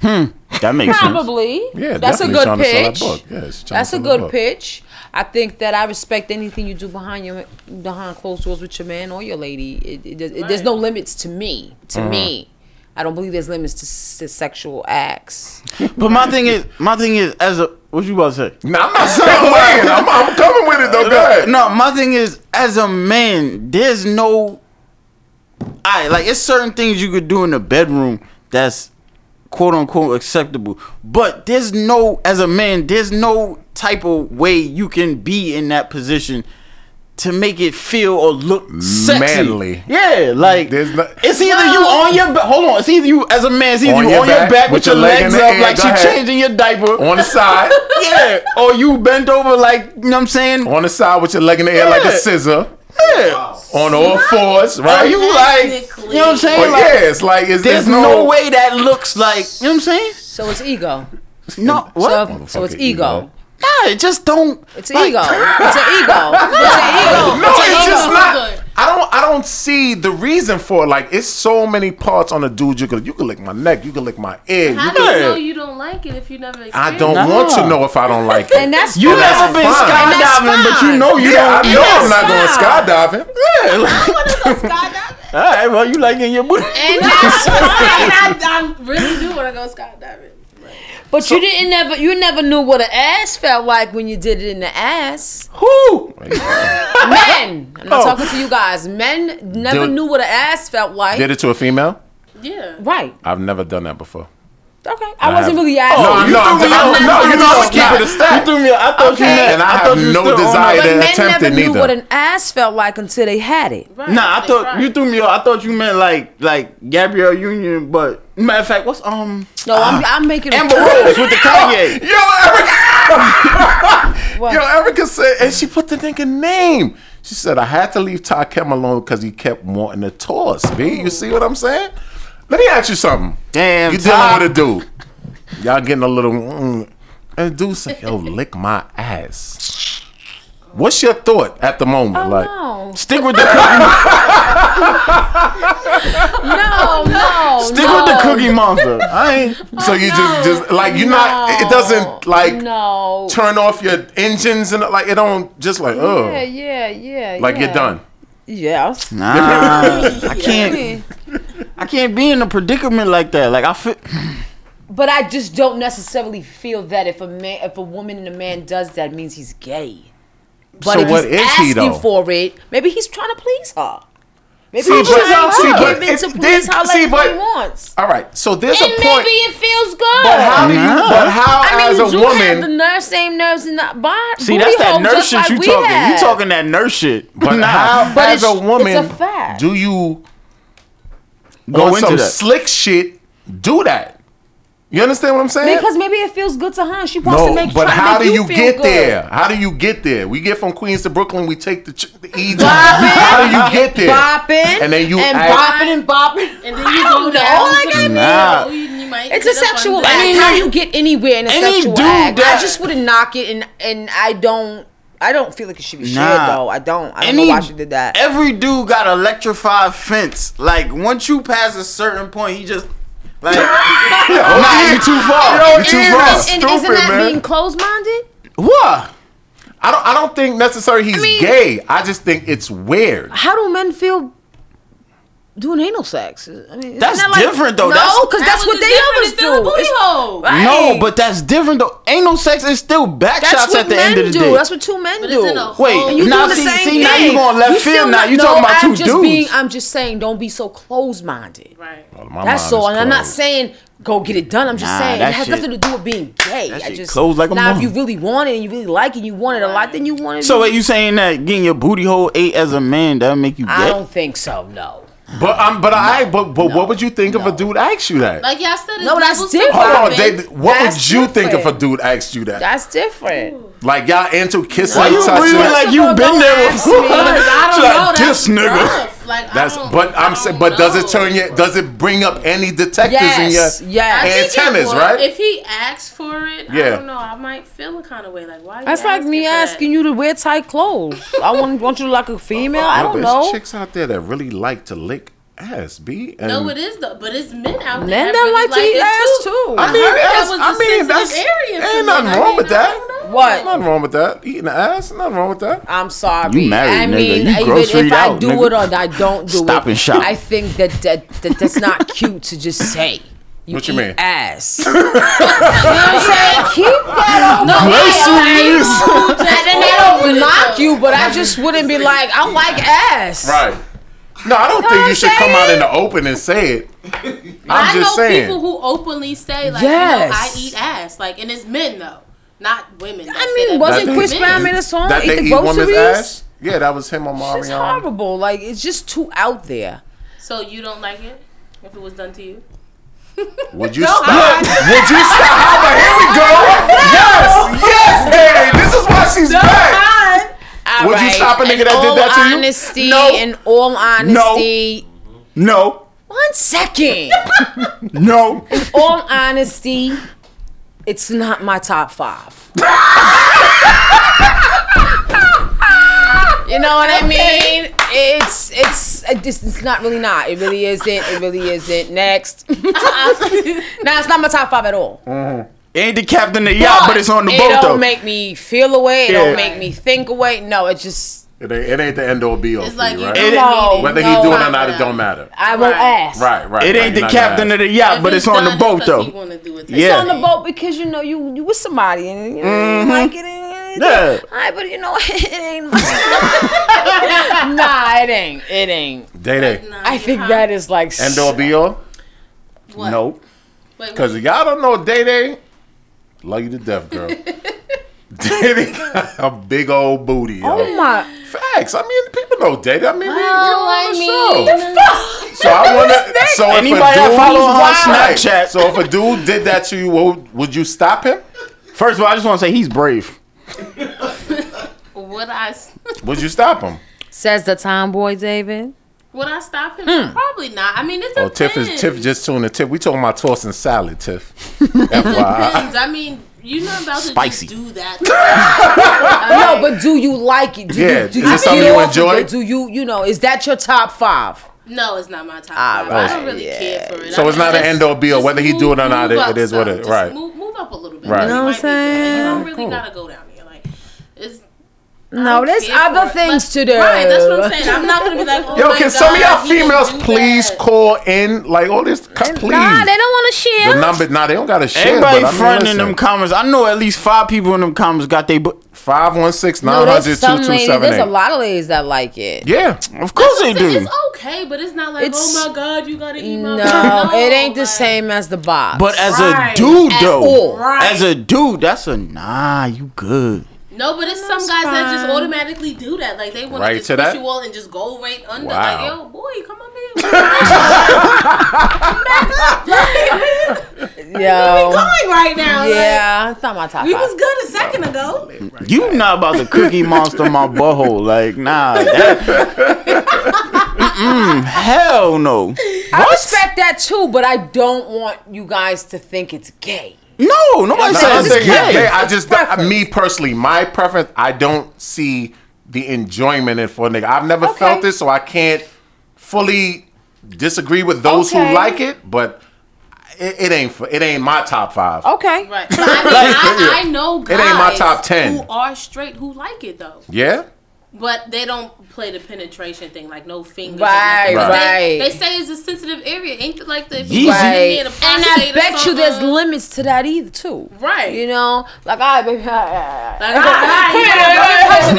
S4: Hmm. That makes sense.
S7: Probably.
S5: Yeah,
S7: that's a
S5: definitely
S7: good
S5: trying to sell that
S7: pitch.
S5: book. Yeah, she's trying to
S7: that's a
S5: sell that
S7: good
S5: book.
S7: pitch. I think that I respect anything you do behind your behind closed doors with your man or your lady. It, it, it- There's no limits to me. To
S5: Mm-hmm.
S7: me, I don't believe there's limits to, s- to sexual acts.
S4: But my thing is, my thing is, as a what you about to say?
S5: Nah, I'm not saying win. I'm, I'm coming with it though. Go ahead.
S4: No, my thing is, as a man, there's no. I like it's certain things you could do in the bedroom that's quote unquote acceptable, but there's no as a man, there's no type of way you can be in that position to make it feel or look sexy.
S5: Manly.
S4: Yeah, like
S5: There's no-
S4: it's either you on your ba- hold on, it's either you as a man, it's either
S5: On
S4: you
S5: your
S4: on your
S5: back
S4: back with your
S5: leg
S4: legs
S5: in the
S4: up
S5: air,
S4: like
S5: go
S4: she
S5: ahead.
S4: changing your diaper.
S5: On the side,
S4: yeah, or you bent over like you know what I'm saying.
S5: on the side with your leg in the air like a
S4: Yeah.
S5: scissor.
S4: Yeah.
S5: On all fours,
S4: Are
S5: right?
S4: you like, you know what I'm saying?
S5: But
S4: Like,
S5: yeah, it's like it's,
S4: there's no, way that looks like, you know what I'm saying?
S7: So it's ego.
S4: No, what?
S7: So, so it's
S5: Motherfucker,
S7: ego.
S5: ego.
S4: nah, it just don't.
S7: It's ego. It's an ego. It's an ego.
S5: No, it's just
S6: on.
S5: not.
S6: Good.
S5: I don't. I don't see the reason for it. Like it's so many parts on a dude. You could. You could lick my neck. You could lick my ear. You
S6: How
S5: could,
S6: do you know
S4: Yeah.
S6: you don't like it if you never? Experienced
S5: I don't
S4: Nah.
S5: want to know if I don't like it.
S7: And that's
S4: You
S7: fine.
S4: never been
S5: fine.
S4: skydiving,
S7: That's
S4: but you know you
S5: yeah,
S4: don't.
S5: I know I'm
S7: that's
S5: not going skydiving.
S4: Yeah, like, all right, well, you like in your booty.
S6: And that's right. I, I really do want to go skydiving.
S7: But you didn't never. You never knew what an ass felt like when you did it in the ass.
S4: Who?
S7: Men. I'm not
S4: Oh.
S7: talking to you guys. Men never
S5: Dude.
S7: knew what an ass felt like.
S5: Did it to a female?
S6: Yeah.
S7: Right.
S5: I've never done that before. Oh,
S7: Okay. I wasn't really
S5: No,
S7: asking.
S5: I'm not.
S4: threw me off.
S5: I'm- No, you know I'm keeping it a
S4: You
S5: stack.
S4: threw me. I thought you
S7: Okay.
S4: meant.
S5: And I
S4: thought
S5: have
S4: you
S5: no
S4: still on
S5: desire
S4: that.
S5: to
S7: men
S5: attempt
S7: never
S5: it
S7: knew what
S5: neither.
S7: an ass felt like until they had it.
S6: Right.
S4: Nah, I
S6: They
S4: thought
S6: tried.
S4: you threw me off. I thought you meant like like Gabrielle Union, but matter of fact, what's um
S7: No, I'm, I'm making a
S4: Amber Rose with the Kanye?
S5: Yo, Erica.
S7: What?
S5: Yo, Erica said, and she put the nigga name. She said, I had to leave Takem alone because he kept wanting to toss. B,
S7: Oh.
S5: you see what I'm saying? Let me ask you something.
S4: Damn,
S5: you dealing
S4: Ty.
S5: with a dude. Y'all getting a little. Mm, and the dude said, Yo, lick my ass. What's your thought at the moment?
S7: Oh,
S5: like,
S7: no.
S5: stick with the cookie.
S7: No, no.
S5: stick
S7: no. Oh,
S5: with the cookie monster. I ain't. So you just, just like you are not. It doesn't like
S7: no.
S5: turn off your engines and like it don't just like oh
S7: Yeah, yeah, yeah.
S5: like
S7: yeah.
S5: you're done.
S7: Yes.
S4: Nah, I can't. I can't be in a predicament like that. Like I feel.
S7: But I just don't necessarily feel that if a man, if a woman and a man does that, it means he's gay. But
S5: So
S7: if
S5: what
S7: he's
S5: is
S7: asking
S5: he, though?
S7: for it, maybe he's trying to please her. Maybe
S5: See,
S7: he's
S5: but-
S7: trying
S5: see,
S7: to
S5: but
S7: give it to
S5: if-
S7: please
S5: then-
S7: her like
S5: see, but-
S7: he wants.
S5: All right. So there's
S7: And
S5: a
S7: maybe
S5: point.
S7: it feels good.
S5: But how do you?
S4: Nah.
S5: But how
S7: I mean,
S5: as a
S7: you have the
S5: woman?
S7: ner- same nerves in the body.
S4: See, that's that nurse shit you talking. You talking that nurse shit.
S5: But
S4: Nah.
S5: how
S7: But
S5: as
S7: it's-
S5: a woman?
S7: it's a fact.
S5: Do you
S4: Go
S5: on
S4: into
S5: some
S4: that.
S5: slick shit? Do that. You understand what I'm saying?
S7: Because maybe it feels good to her. And she wants to
S5: no,
S7: make.
S5: but
S7: try to
S5: how
S7: make
S5: do you
S7: feel
S5: get
S7: good.
S5: there? How do you get there? We get from Queens to Brooklyn. We take the, ch- the E. How do you get there?
S7: Bopping
S5: And then you
S7: and
S5: act-
S7: bopping and bopping.
S6: And then you
S7: I
S6: go
S7: don't know. All
S6: down.
S7: I
S6: to
S7: got
S6: the-
S4: Nah.
S6: you- you might
S7: It's a
S6: get up on
S7: sexual
S6: that.
S7: act. how you get anywhere in a
S4: any
S7: sexual
S4: dude
S7: act?
S4: that-
S7: I just wouldn't knock it, and and I don't. I don't feel like it should be shared
S4: Nah.
S7: though. I don't. I don't
S4: Any-
S7: know why she did that.
S4: Every dude got electrified fence. Like once you pass a certain point, he just like nah, you too far.
S5: Yo,
S4: you too
S5: ears.
S4: far.
S7: and isn't
S5: stupid,
S7: that
S5: man.
S7: being closed minded?
S4: What?
S5: I don't. I don't think necessarily he's
S7: mean-
S5: gay. I just think it's weird.
S7: How do men feel doing anal sex? I mean,
S4: That's
S7: isn't that like-
S4: different, though.
S7: No,
S4: That's-
S7: because that's
S6: That was
S7: what
S6: a
S7: they
S6: different-
S7: always
S6: it's still a
S7: do.
S6: booty
S7: It's-
S6: hole.
S7: Right.
S4: No, but that's different though. Anal sex is still back
S7: that's
S4: shots
S7: what
S4: at the
S7: men
S4: end of the
S7: do.
S4: day.
S7: That's what two men
S6: But
S7: do.
S6: it's in a
S4: Wait,
S6: whole-
S7: And you
S4: now
S7: doing
S4: see,
S7: the same
S4: see,
S7: thing.
S4: now you going left
S7: still
S4: field. Now
S7: not-
S4: you
S7: no,
S4: talking about
S7: I'm
S4: two
S7: just
S4: dudes.
S7: Being, I'm just saying, don't be so closed minded.
S6: Right.
S5: Oh, My
S7: That's
S5: mind
S7: all.
S5: is
S7: And I'm not
S5: closed.
S7: saying go get it done. I'm just
S4: Nah,
S7: saying
S4: that
S7: it has
S4: shit-
S7: nothing to do with being gay.
S4: that
S7: I
S4: shit
S7: just
S4: closed like a
S7: now. If
S4: mom.
S7: you really want it and you really like it, and you want it a lot, then you want it.
S4: so are you saying that getting your booty hole ate as a man that make you
S7: I
S4: gay?
S7: don't think so. No.
S5: But um, but I but but what would you think if a dude asked you that?
S6: Like y'all said, it's
S7: No, that's
S6: levels
S7: different.
S6: to
S5: Hold on,
S6: it.
S5: David. What
S7: That's
S5: would you think if
S7: different.
S5: a dude asked you that?
S7: That's different.
S5: like y'all into kissing,
S4: Why you
S5: touching.
S4: really like you
S7: Don't
S4: been there
S7: ask me,
S4: before?
S7: 'cause I
S4: She
S7: don't
S4: like,
S7: know. That's
S4: this nigga.
S6: Rough. Like, I
S5: That's
S6: don't-
S5: but
S6: I
S5: I'm
S6: don't
S5: saying but does it
S6: know.
S5: turn you? Does it bring up any detectors
S7: Yes.
S5: in your
S7: Yes.
S6: I think it
S5: antennas,
S6: would.
S5: right?
S6: If he asks for it, I
S5: Yeah.
S6: don't know. I might feel a kind of way. Like why?
S7: That's like me asking you to wear tight clothes. I want want you to like a female. I
S5: No, but
S7: don't
S5: it's
S7: know.
S5: Chicks out there that really like to lick ass, b. And
S6: No, it is though. But it's men out there.
S7: Men
S6: that
S7: don't
S6: really
S7: like to eat
S6: it,
S7: ass too.
S5: I mean,
S6: heard that
S5: that's,
S6: was
S5: I
S6: a
S5: mean,
S6: sensitive
S5: that's eh,
S6: area for
S5: ain't
S6: men.
S5: nothing
S6: I
S5: wrong
S6: mean,
S5: with
S6: I
S5: that.
S6: don't know.
S7: What?
S5: Nothing wrong with that. Eating the ass, nothing wrong with that.
S7: I'm sorry.
S4: You married,
S7: I
S4: nigga.
S7: mean,
S4: You
S7: even
S4: groceryed
S7: if I
S4: out,
S7: do
S4: nigga.
S7: it or I don't do
S4: Stop
S7: it,
S4: and shop.
S7: I think that, that, that that's not cute to just say. You
S5: What you
S7: eat
S5: mean?
S7: Ass. you know what I'm saying? Keep that on. No,
S4: Groceries.
S7: and I don't knock you, but I just wouldn't be like, I like ass.
S5: Right. No, I don't
S7: Know
S5: think
S7: what
S5: you
S7: I'm
S5: should come out
S7: saying?
S5: in the open and say it.
S6: i
S5: I'm just
S6: know
S5: saying.
S6: people who openly say like, you know, I
S7: Yes.
S6: eat ass. Like, and it's men though, not women. that
S7: I
S6: say
S7: mean,
S6: that.
S7: wasn't
S6: It's
S7: Chris
S6: men.
S7: Brown made a song?
S5: that
S7: eat
S5: they
S7: the
S5: eat woman's
S7: groceries?
S5: ass. Yeah, that was him on
S7: It's
S5: Marion.
S7: horrible. Like, it's just too out there.
S6: So you don't like it if it was done to you?
S5: Would you stop? Would you stop? Hava, Here we go. Yes, yes, Danny. This is why she's back.
S7: All
S5: Would you stop a nigga that did that to you?
S7: honesty,
S5: No.
S7: In all honesty,
S4: No,
S7: one second.
S4: no.
S7: all honesty, it's not my top five. you know what I mean? It's it's it's, it's not really not. It really isn't. It really isn't. Next, no, it's not my top five at all.
S4: Mm-hmm. Ain't the captain of the yacht, but it's on the
S7: it
S4: boat
S7: don't
S4: though.
S7: make me feel away. It
S4: Yeah.
S7: don't make me think away. No, it just
S5: It ain't, it ain't the end all be all.
S6: It's
S5: for
S6: like
S5: you,
S6: you
S5: right?
S6: don't
S4: It-
S6: need it.
S5: Whether
S7: No.
S5: he do it or not, it don't matter.
S7: I won't
S6: Right.
S7: ask.
S5: Right, right.
S4: It ain't the captain of the yacht, but it's on the boat though. Yeah.
S7: It's on the boat because you know you you with somebody and you know,
S4: Mm-hmm.
S5: Mm-hmm.
S7: you like it. And,
S4: Yeah.
S7: All right, but you know it ain't. nah, it ain't. It ain't.
S5: Day day.
S7: I think that is like
S5: End all be all. Nope. Cause if y'all don't know Day Day. Love you to death, girl. Day Day got a big old booty. yo.
S7: Oh my!
S5: Facts. I mean, people know Day Day. I mean, we-
S6: I
S5: we,
S6: mean,
S5: on the show. So I want to. So if
S4: Anybody
S5: a
S4: that
S5: dude,
S4: follow her on
S5: Right.
S4: Snapchat.
S5: So if a dude did that to you, would, would you stop him?
S4: First of all, I just want to say he's brave.
S6: would I s-
S5: Would you stop him?
S7: Says the tomboy David.
S6: would I stop him?
S7: Hmm.
S6: Probably not. I mean, it
S5: Oh,
S6: depends.
S5: Tiff is Tiff just tuned in. Tiff, we talking about tossing salad, Tiff.
S6: It
S5: FYI.
S6: depends. I mean, You're not about to
S4: Spicy.
S6: just do that.
S7: No, but do you like it? Do
S5: Yeah,
S7: you, do
S5: is
S7: you
S5: it something
S7: get
S5: you
S7: off of
S5: enjoy?
S7: it? Do you, you know, is that your top five?
S6: No, it's not my top
S7: All
S6: five.
S7: right,
S6: I don't really care for it.
S5: So
S6: I-
S5: it's not an
S6: just-
S5: end-all, be-all.
S6: just
S5: Whether he do it or not,
S6: move
S5: it-
S6: up
S5: it is what it-
S6: some.
S5: right.
S6: Just move, move up a little bit.
S5: Right.
S6: You
S5: You
S7: know
S6: might
S7: what
S6: be
S7: I'm
S6: good. You don't
S7: saying?
S6: really
S5: Cool.
S6: gotta go down there. Like it's
S7: No,
S6: don't
S7: there's
S6: care
S7: other
S6: for it.
S7: things to
S6: Like,
S7: do.
S6: Right, that's what I'm saying. I'm not gonna be like, oh
S5: Yo,
S6: my
S5: can
S6: God,
S5: some of y'all
S6: he didn't
S5: females
S6: do
S5: please
S6: that.
S5: call in? Like all this, please.
S7: Nah, they don't want to
S5: the
S7: share.
S5: number, nah, they don't got to share.
S4: Everybody
S5: but I mean,
S4: fronting
S5: listen,
S4: them comments. I know at least five people in them comments got they. But
S7: No, there's some ladies. There's a
S5: 516-900-2278.
S7: lot of ladies that like it.
S5: Yeah,
S4: of course they
S6: It's,
S4: do.
S6: it's okay, but it's not like,
S7: It's-
S6: oh my God, you gotta eat my.
S7: No, it ain't the
S6: like,
S7: same as the box.
S4: But as
S6: Right.
S4: a dude
S7: At
S4: though,
S7: all.
S6: Right.
S4: as a dude, that's a nah. You good?
S6: No, but it's some guys that just automatically do that. Like they want
S5: Right
S6: to just
S5: to
S6: push
S5: that?
S6: you all and just go right under.
S5: Wow.
S6: Like, yo, boy, come up here.
S7: yo,
S6: going right now. Yeah.
S7: yeah, it's not my top
S6: Like, we
S7: five.
S6: was good a second ago.
S4: You not about the cookie monster my butthole? Like nah. That, Mm-mm, hell no.
S7: I respect that too, but I don't want you guys to think it's gay.
S4: No, nobody
S5: Nah,
S4: says
S5: I'm saying,
S4: it's
S5: yeah,
S4: gay.
S5: man, I just me personally, my preference. I don't see the enjoyment in for a nigga. I've never felt this, so I can't fully disagree with those
S7: Okay.
S5: who like it. But it, it ain't for, it ain't my top five.
S7: Okay.
S6: Right. But I, mean, I, I know
S5: It
S6: guys
S5: ain't my top 10.
S6: who are straight who like it though,
S5: Yeah,
S6: but they don't play the penetration thing like no fingers. or
S7: Right,
S6: nothing. They,
S7: right.
S6: they say it's a sensitive area. Ain't it like the if
S4: Yeezy.
S6: you put it
S7: Right.
S6: in a
S7: And I
S6: prostate or
S7: bet you there's
S6: something?
S7: limits to that either too.
S6: Right.
S7: You know, like all right, baby. all right, all right, all
S6: Like,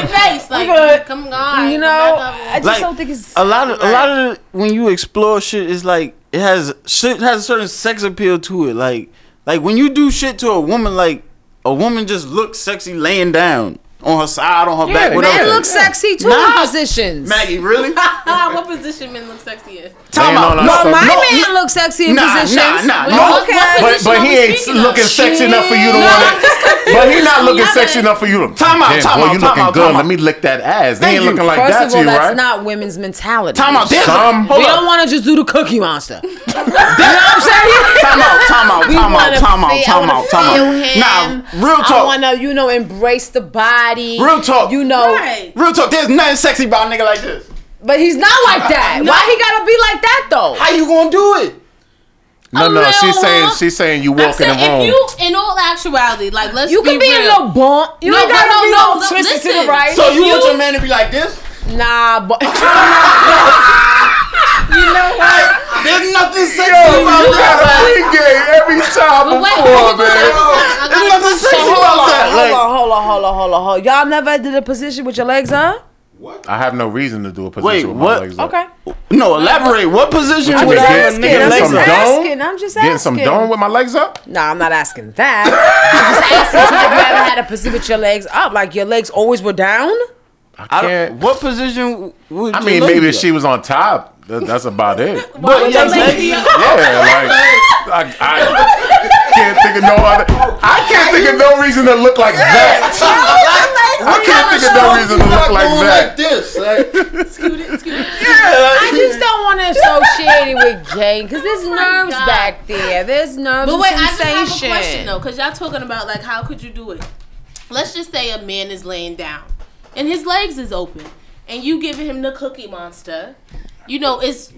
S7: right. Come here,
S6: ah, ah, you got a punch in the face. Like,
S7: good.
S6: come on.
S7: You
S6: come
S7: know,
S6: back
S7: I
S6: up.
S7: just
S4: Like,
S7: don't think it's.
S4: a lot of a lot of the, when you explore shit it's like it has shit has a certain sex appeal to it like like when you do shit to a woman like a woman just looks sexy laying down on her side on her
S5: Yeah,
S4: back
S5: they
S4: whatever
S7: Men look sexy too
S4: Nah.
S7: in positions.
S4: Maggie really
S6: Ah, what position men look sexy in?
S4: Time
S5: Laying
S4: out.
S5: on her
S4: No,
S5: stomach.
S7: My
S4: no,
S7: man looks sexy in
S4: Nah, nah,
S7: positions.
S4: nah,
S7: Well,
S4: no.
S7: okay.
S5: but but he ain't looking sexy enough for you to want it. But he not looking sexy enough for you to.
S4: Time out,
S5: Damn,
S4: time
S5: boy,
S4: out,
S5: you
S4: time
S5: looking
S4: out,
S5: good.
S4: time
S5: Let
S4: out.
S5: me lick that ass. They
S4: Thank
S5: ain't
S4: you.
S5: looking like
S7: First
S5: that
S7: of
S5: to
S7: all,
S5: you,
S7: that's
S5: right?
S7: not women's mentality.
S4: time out there's a,
S5: Some-
S4: hold
S7: we
S4: up.
S7: don't want to just do the cookie monster.
S4: time out time out time out
S7: wanna
S4: time out
S7: feel- I
S4: time out
S7: wanna feel
S4: time
S7: him.
S4: out nah real
S7: I
S4: talk
S7: want to, you know, embrace the body.
S4: Real talk.
S7: You know,
S6: Right.
S4: real talk there's nothing sexy about a nigga like this
S7: but he's not like that. Why he gotta be like that though?
S4: how you gonna do it
S5: No, no, she's
S6: little,
S5: saying
S6: huh?
S5: she's saying you
S6: I'm
S5: walk in
S6: saying,
S5: the room.
S6: if you, in all actuality, like, let's
S7: You could be
S6: real.
S7: in a bump. You
S6: No,
S7: ain't gotta
S6: no,
S7: be
S6: no,
S7: no,
S6: no,
S7: twisted to
S6: listen.
S7: the right.
S4: so you, want your man to be like this
S7: nah, but
S4: there's nothing sexy
S5: you
S4: about that
S5: got a pregame every time
S6: But wait,
S5: before,
S6: wait, wait,
S5: man.
S6: wait, wait, wait, wait.
S4: nothing sexy
S7: hold
S4: about
S7: on,
S4: that
S7: hold on, hold on, hold on, hold on, hold on. Y'all never did a position with your legs up?
S5: I have no reason to do a position
S4: Wait,
S5: with
S4: what?
S5: my legs up.
S7: Okay.
S4: No, elaborate. What position
S5: I'm
S4: would
S5: just
S4: I
S5: getting-
S4: ask
S5: getting
S4: your legs
S5: some
S4: up?
S5: dome?
S7: asking. I'm just
S5: Getting some
S7: asking.
S5: dome with my legs up?
S7: No, I'm not asking that. I'm just asking if you ever had a position with your legs up. Like your legs always were down?
S5: I
S4: I don't-
S5: can't.
S4: What position would
S5: I
S4: your
S5: mean,
S4: legs
S5: maybe
S4: up?
S5: if she was on top, tha- that's about it.
S4: But your legs-
S5: yeah, like I, I can't think of no other. I can't think of no reason to look like that. I can't think of no reason to look like that.
S4: this. like-
S7: I just don't want to associate it with gay because there's nerves
S6: God.
S7: back there. There's nerves.
S6: But
S7: and
S6: wait, I just have a
S7: sensation.
S6: question though, because y'all talking about like how could you do it? Let's just say a man is laying down, and his legs is open, and you giving him the cookie monster. You know, it's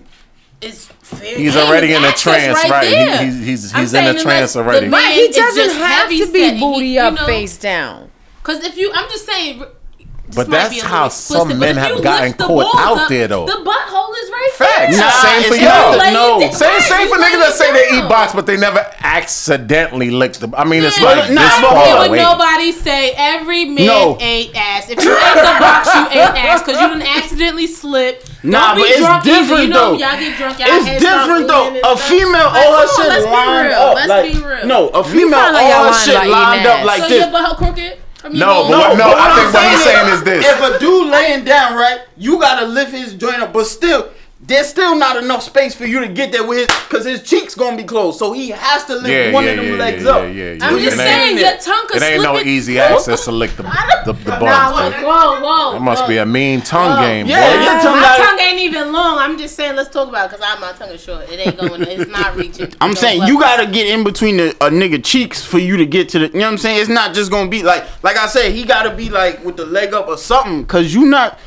S6: it's fair
S5: He's
S6: game.
S5: already
S6: It's
S5: in a
S6: access
S5: trance, right? He-
S6: there.
S5: he's- he's-
S6: I'm
S5: he's in a
S6: saying unless
S5: trance
S6: the
S5: already.
S6: man
S7: Right, he
S6: is just
S7: doesn't have
S6: heavy
S7: to
S6: set and
S7: be
S6: he-
S7: booty
S6: you
S7: up,
S6: know,
S7: face down.
S6: Cause if you, I'm just saying. r- This
S5: But
S6: might
S5: that's
S6: be a little
S5: how
S6: explicit,
S5: some
S6: but
S5: men
S6: if
S5: have
S6: you
S5: gotten
S6: lift the
S5: caught
S6: balls
S5: out
S6: up,
S5: there, though.
S6: The butthole is right
S5: Facts.
S6: there.
S4: Nah,
S5: same for
S4: it's
S5: y'all.
S4: not.
S6: Like,
S4: No.
S6: it's
S5: Same,
S6: right,
S5: same for
S6: you
S5: niggas
S6: lay
S5: that say they
S6: down.
S5: eat box, but they never accidentally lick the. I mean, it's
S6: Yeah.
S5: like
S6: But
S4: nah,
S5: this
S4: but
S6: It
S5: far
S6: would
S5: away.
S6: nobody say every man
S4: No.
S6: ate ass. If you ate the box, you ate ass because you didn't accidentally slip.
S4: Nah,
S6: Don't be
S4: but it's
S6: drunk either.
S4: different,
S6: you know,
S4: though.
S6: Y'all get drunk. Y'all
S4: It's
S6: heads
S4: different
S6: start
S4: though.
S6: moving and
S4: A
S6: stuff.
S4: female,
S6: Like,
S4: all her
S6: come on,
S4: shit
S6: let's be
S4: lined
S6: real.
S4: up.
S6: Let's
S4: like-
S6: be real.
S4: No, a female, all
S7: sound like y'all
S4: her
S7: lying
S4: shit
S7: about eating
S4: lined up
S7: ass.
S4: like
S6: so
S4: this.
S6: your butthole crooked? I mean,
S5: No,
S6: you
S5: but
S6: know,
S5: what- no, I think what he's saying
S4: is
S5: is this.
S4: If a dude laying down, right, you gotta lift his joint up, but still, there's still not enough space for you to get there with his, cause his cheeks gonna be closed, so he has to lift
S5: Yeah,
S4: one
S5: yeah,
S4: of them
S5: yeah,
S4: legs
S5: yeah,
S4: up.
S5: yeah, yeah,
S6: I'm
S5: yeah.
S6: just
S5: It
S6: saying
S5: ain't-
S6: your tongue could
S5: It ain't
S6: slip
S5: no
S6: it-
S5: easy access to lick the the, the
S6: Nah,
S5: bone.
S6: whoa, whoa, whoa.
S5: It must be a mean tongue game,
S4: Yeah,
S5: boy.
S4: your tongue
S6: My
S4: gotta-
S6: tongue ain't even long. I'm just saying, let's talk about because I my tongue is short. It ain't going. It's not reaching.
S4: I'm
S6: No,
S4: saying
S6: well,
S4: you gotta get in between the, a nigga cheeks for you to get to the. You know what I'm saying? It's not just gonna be like, like I said, he gotta be like with the leg up or something, cause you not.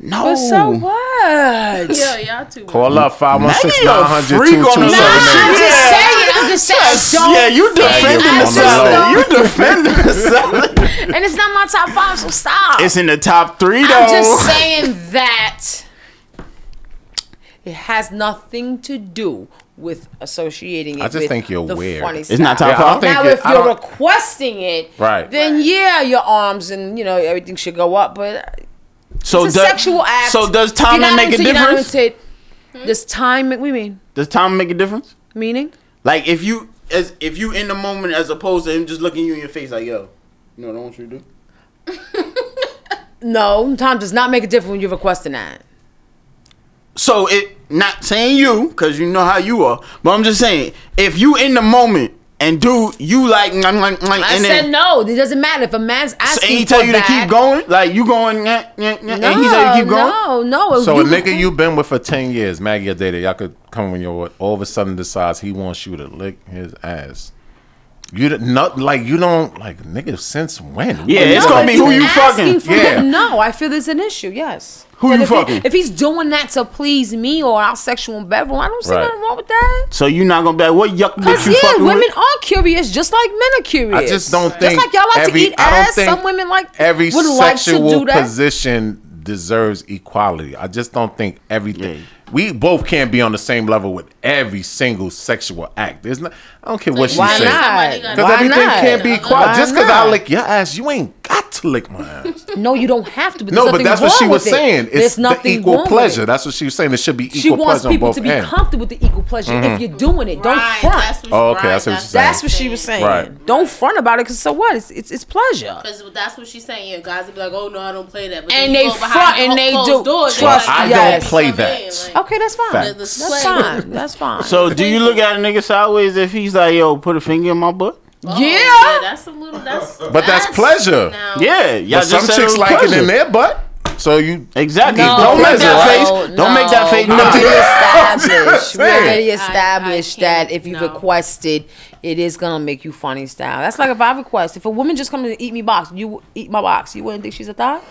S4: No.
S7: But so what?
S6: Yeah, y'all too.
S5: Call up
S4: Now you a freak on the
S7: I'm
S5: 516-900-2278.
S4: Yeah.
S7: just saying. I'm just saying.
S4: Yes,
S7: don't
S4: yeah, you
S7: think
S4: defending
S7: I
S4: the
S5: on the low.
S4: salad.
S7: just
S4: You defending the salad.
S7: don't- And it's not my top five, so stop.
S4: It's in the top three though.
S7: I'm just saying that it has nothing to do with associating it.
S5: I just
S7: with
S5: think you're
S7: the
S5: weird.
S7: funny
S4: It's not
S7: style.
S4: top
S5: Yeah, I don't
S4: five.
S5: think
S7: Now,
S5: it-
S7: if
S5: I
S7: you're
S5: don't-
S7: requesting it,
S5: Right.
S7: then yeah, your arms and you know everything should go up. But
S4: so
S7: it's a
S4: does-
S7: sexual act.
S4: So does
S7: If you're
S4: timing
S7: not
S4: make a
S7: into it, you're not
S4: difference?
S7: into it. Does time make? We mean
S4: Does timing make a difference?
S7: meaning?
S4: Like if you as if you in the moment as opposed to him just looking you in your face like yo, you know what I want you to do?
S7: No, time does not make a difference when you're requesting that.
S4: So it not saying you because you know how you are, but I'm just saying if you in the moment and do you like mm, mm, mm, and
S7: I
S4: then,
S7: said no. It doesn't matter if a man's
S4: So,
S7: asking
S4: and he tell
S7: for
S4: you
S7: that,
S4: to keep going, like you going, eh? nah, nah, nah,
S7: No,
S4: and he tell you keep going.
S7: no, no.
S5: So a
S7: you-
S5: nigga you've been with for ten years, Maggie or Data, y'all could come when you're all of a sudden decides he wants you to lick his ass. You don't- not like you don't like nigga since when?
S4: Yeah, it's
S7: No,
S4: gonna be who
S7: he's
S4: you
S7: asking
S4: fucking.
S7: for-
S5: Yeah.
S7: No, I feel there's an issue. Yes.
S4: Who
S7: But
S4: you
S7: if he-
S4: fucking?
S7: if he's doing that to please me or our sexual bevel, I don't see
S5: Right.
S7: nothing wrong with that.
S4: So you not gonna be like, what yuck bitch
S7: Cause
S4: you
S7: yeah,
S4: fucking
S7: women
S4: with?
S7: are curious, just like men are curious.
S5: I just don't think
S7: just like y'all like
S5: every,
S7: to eat
S5: I don't
S7: ass.
S5: think
S7: Some women like
S5: every
S7: would like to
S5: sexual
S7: do that.
S5: position deserves equality. I just don't think everything.
S4: Yeah.
S5: We both can't be on the same level with every single sexual act. There's not. I don't care what she
S7: Why
S5: says.
S7: not?
S5: Because
S7: Why
S5: everything
S7: not?
S5: can't be equal.
S7: Why
S5: Just because I
S7: not?
S5: lick your ass, you ain't got to lick my ass.
S7: No, you don't have to. But
S5: no,
S7: there's
S5: but
S7: nothing
S5: that's what
S7: wrong
S5: she was
S7: with it.
S5: saying. It's
S7: There's
S5: the
S7: nothing wrong
S5: equal
S7: with
S5: pleasure.
S7: it.
S5: That's what she was saying. There should be equal
S7: She wants
S5: pleasure on
S7: people
S5: both
S7: to be
S5: ends.
S7: comfortable with the equal pleasure if you're doing it. Don't
S6: Right,
S7: front.
S6: that's what-
S5: Oh, okay, I
S6: right,
S5: see what you're saying.
S7: That's what she was saying.
S5: Right.
S7: Don't front about it, cause so what? It's it's, it's pleasure.
S6: Cause that's what she's saying. Yeah, guys would be like, "Oh no, I don't play that." But
S7: And
S6: then you
S7: they
S6: go behind
S7: front
S6: the
S7: and
S6: clo-
S7: they
S6: closed
S7: do.
S6: doors,
S7: Trust
S6: they're
S7: me,
S6: like,
S5: I
S7: Yes.
S5: don't play
S6: "Come
S5: that.
S6: in," like-
S7: Okay, that's fine.
S5: Fact.
S7: That's
S6: Let's play.
S7: fine. That's fine.
S4: So do you look at a nigga sideways if he's like, yo, put a finger in my butt?
S6: Oh,
S7: yeah.
S6: that's a little. That's
S5: But that's pleasure.
S6: now-
S4: Yeah, y'all
S5: But
S4: just
S5: some
S4: said
S5: chicks
S4: was
S5: like it
S4: pleasure.
S5: in their butt. So you
S4: Exactly.
S5: No,
S4: don't make
S5: pleasure,
S4: that
S5: right?
S4: face. Don't make that face.
S7: We
S4: Nah.
S7: already established.
S5: just
S7: We already
S5: saying.
S7: established
S6: I- I can't,
S7: that if you
S6: no.
S7: requested, it is gonna make you funny style. That's like if I request, if a woman just comes to eat me box, you w- eat my box. You wouldn't think she's a thought?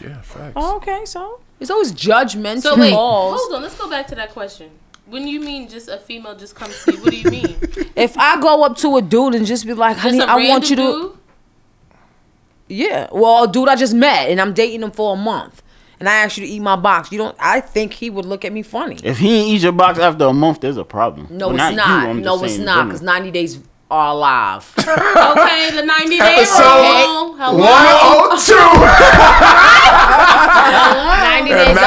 S5: yeah, facts.
S7: Oh, Okay, so it's always judgmental.
S6: So wait,
S7: calls.
S6: hold on. Let's go back to that question. When you mean just a female just comes to you, what do you mean? Just
S7: If I go up to a dude and just be like, honey,
S6: a
S7: I want you to,
S6: random
S7: yeah, well, a dude I just met and I'm dating him for a month, and I ask you to eat my box, you don't? I think he would look at me funny.
S4: If he ain't eat your box after a month, there's a problem.
S7: No,
S4: Well,
S7: it's
S4: you,
S7: not.
S4: I'm
S7: no,
S4: just
S7: it's
S4: saying in
S7: not. Because
S4: general.
S7: 90 days are alive.
S6: dude? Okay, the ninety day
S5: Episode
S6: rule. Hello.
S5: 102.
S7: 90 days
S5: The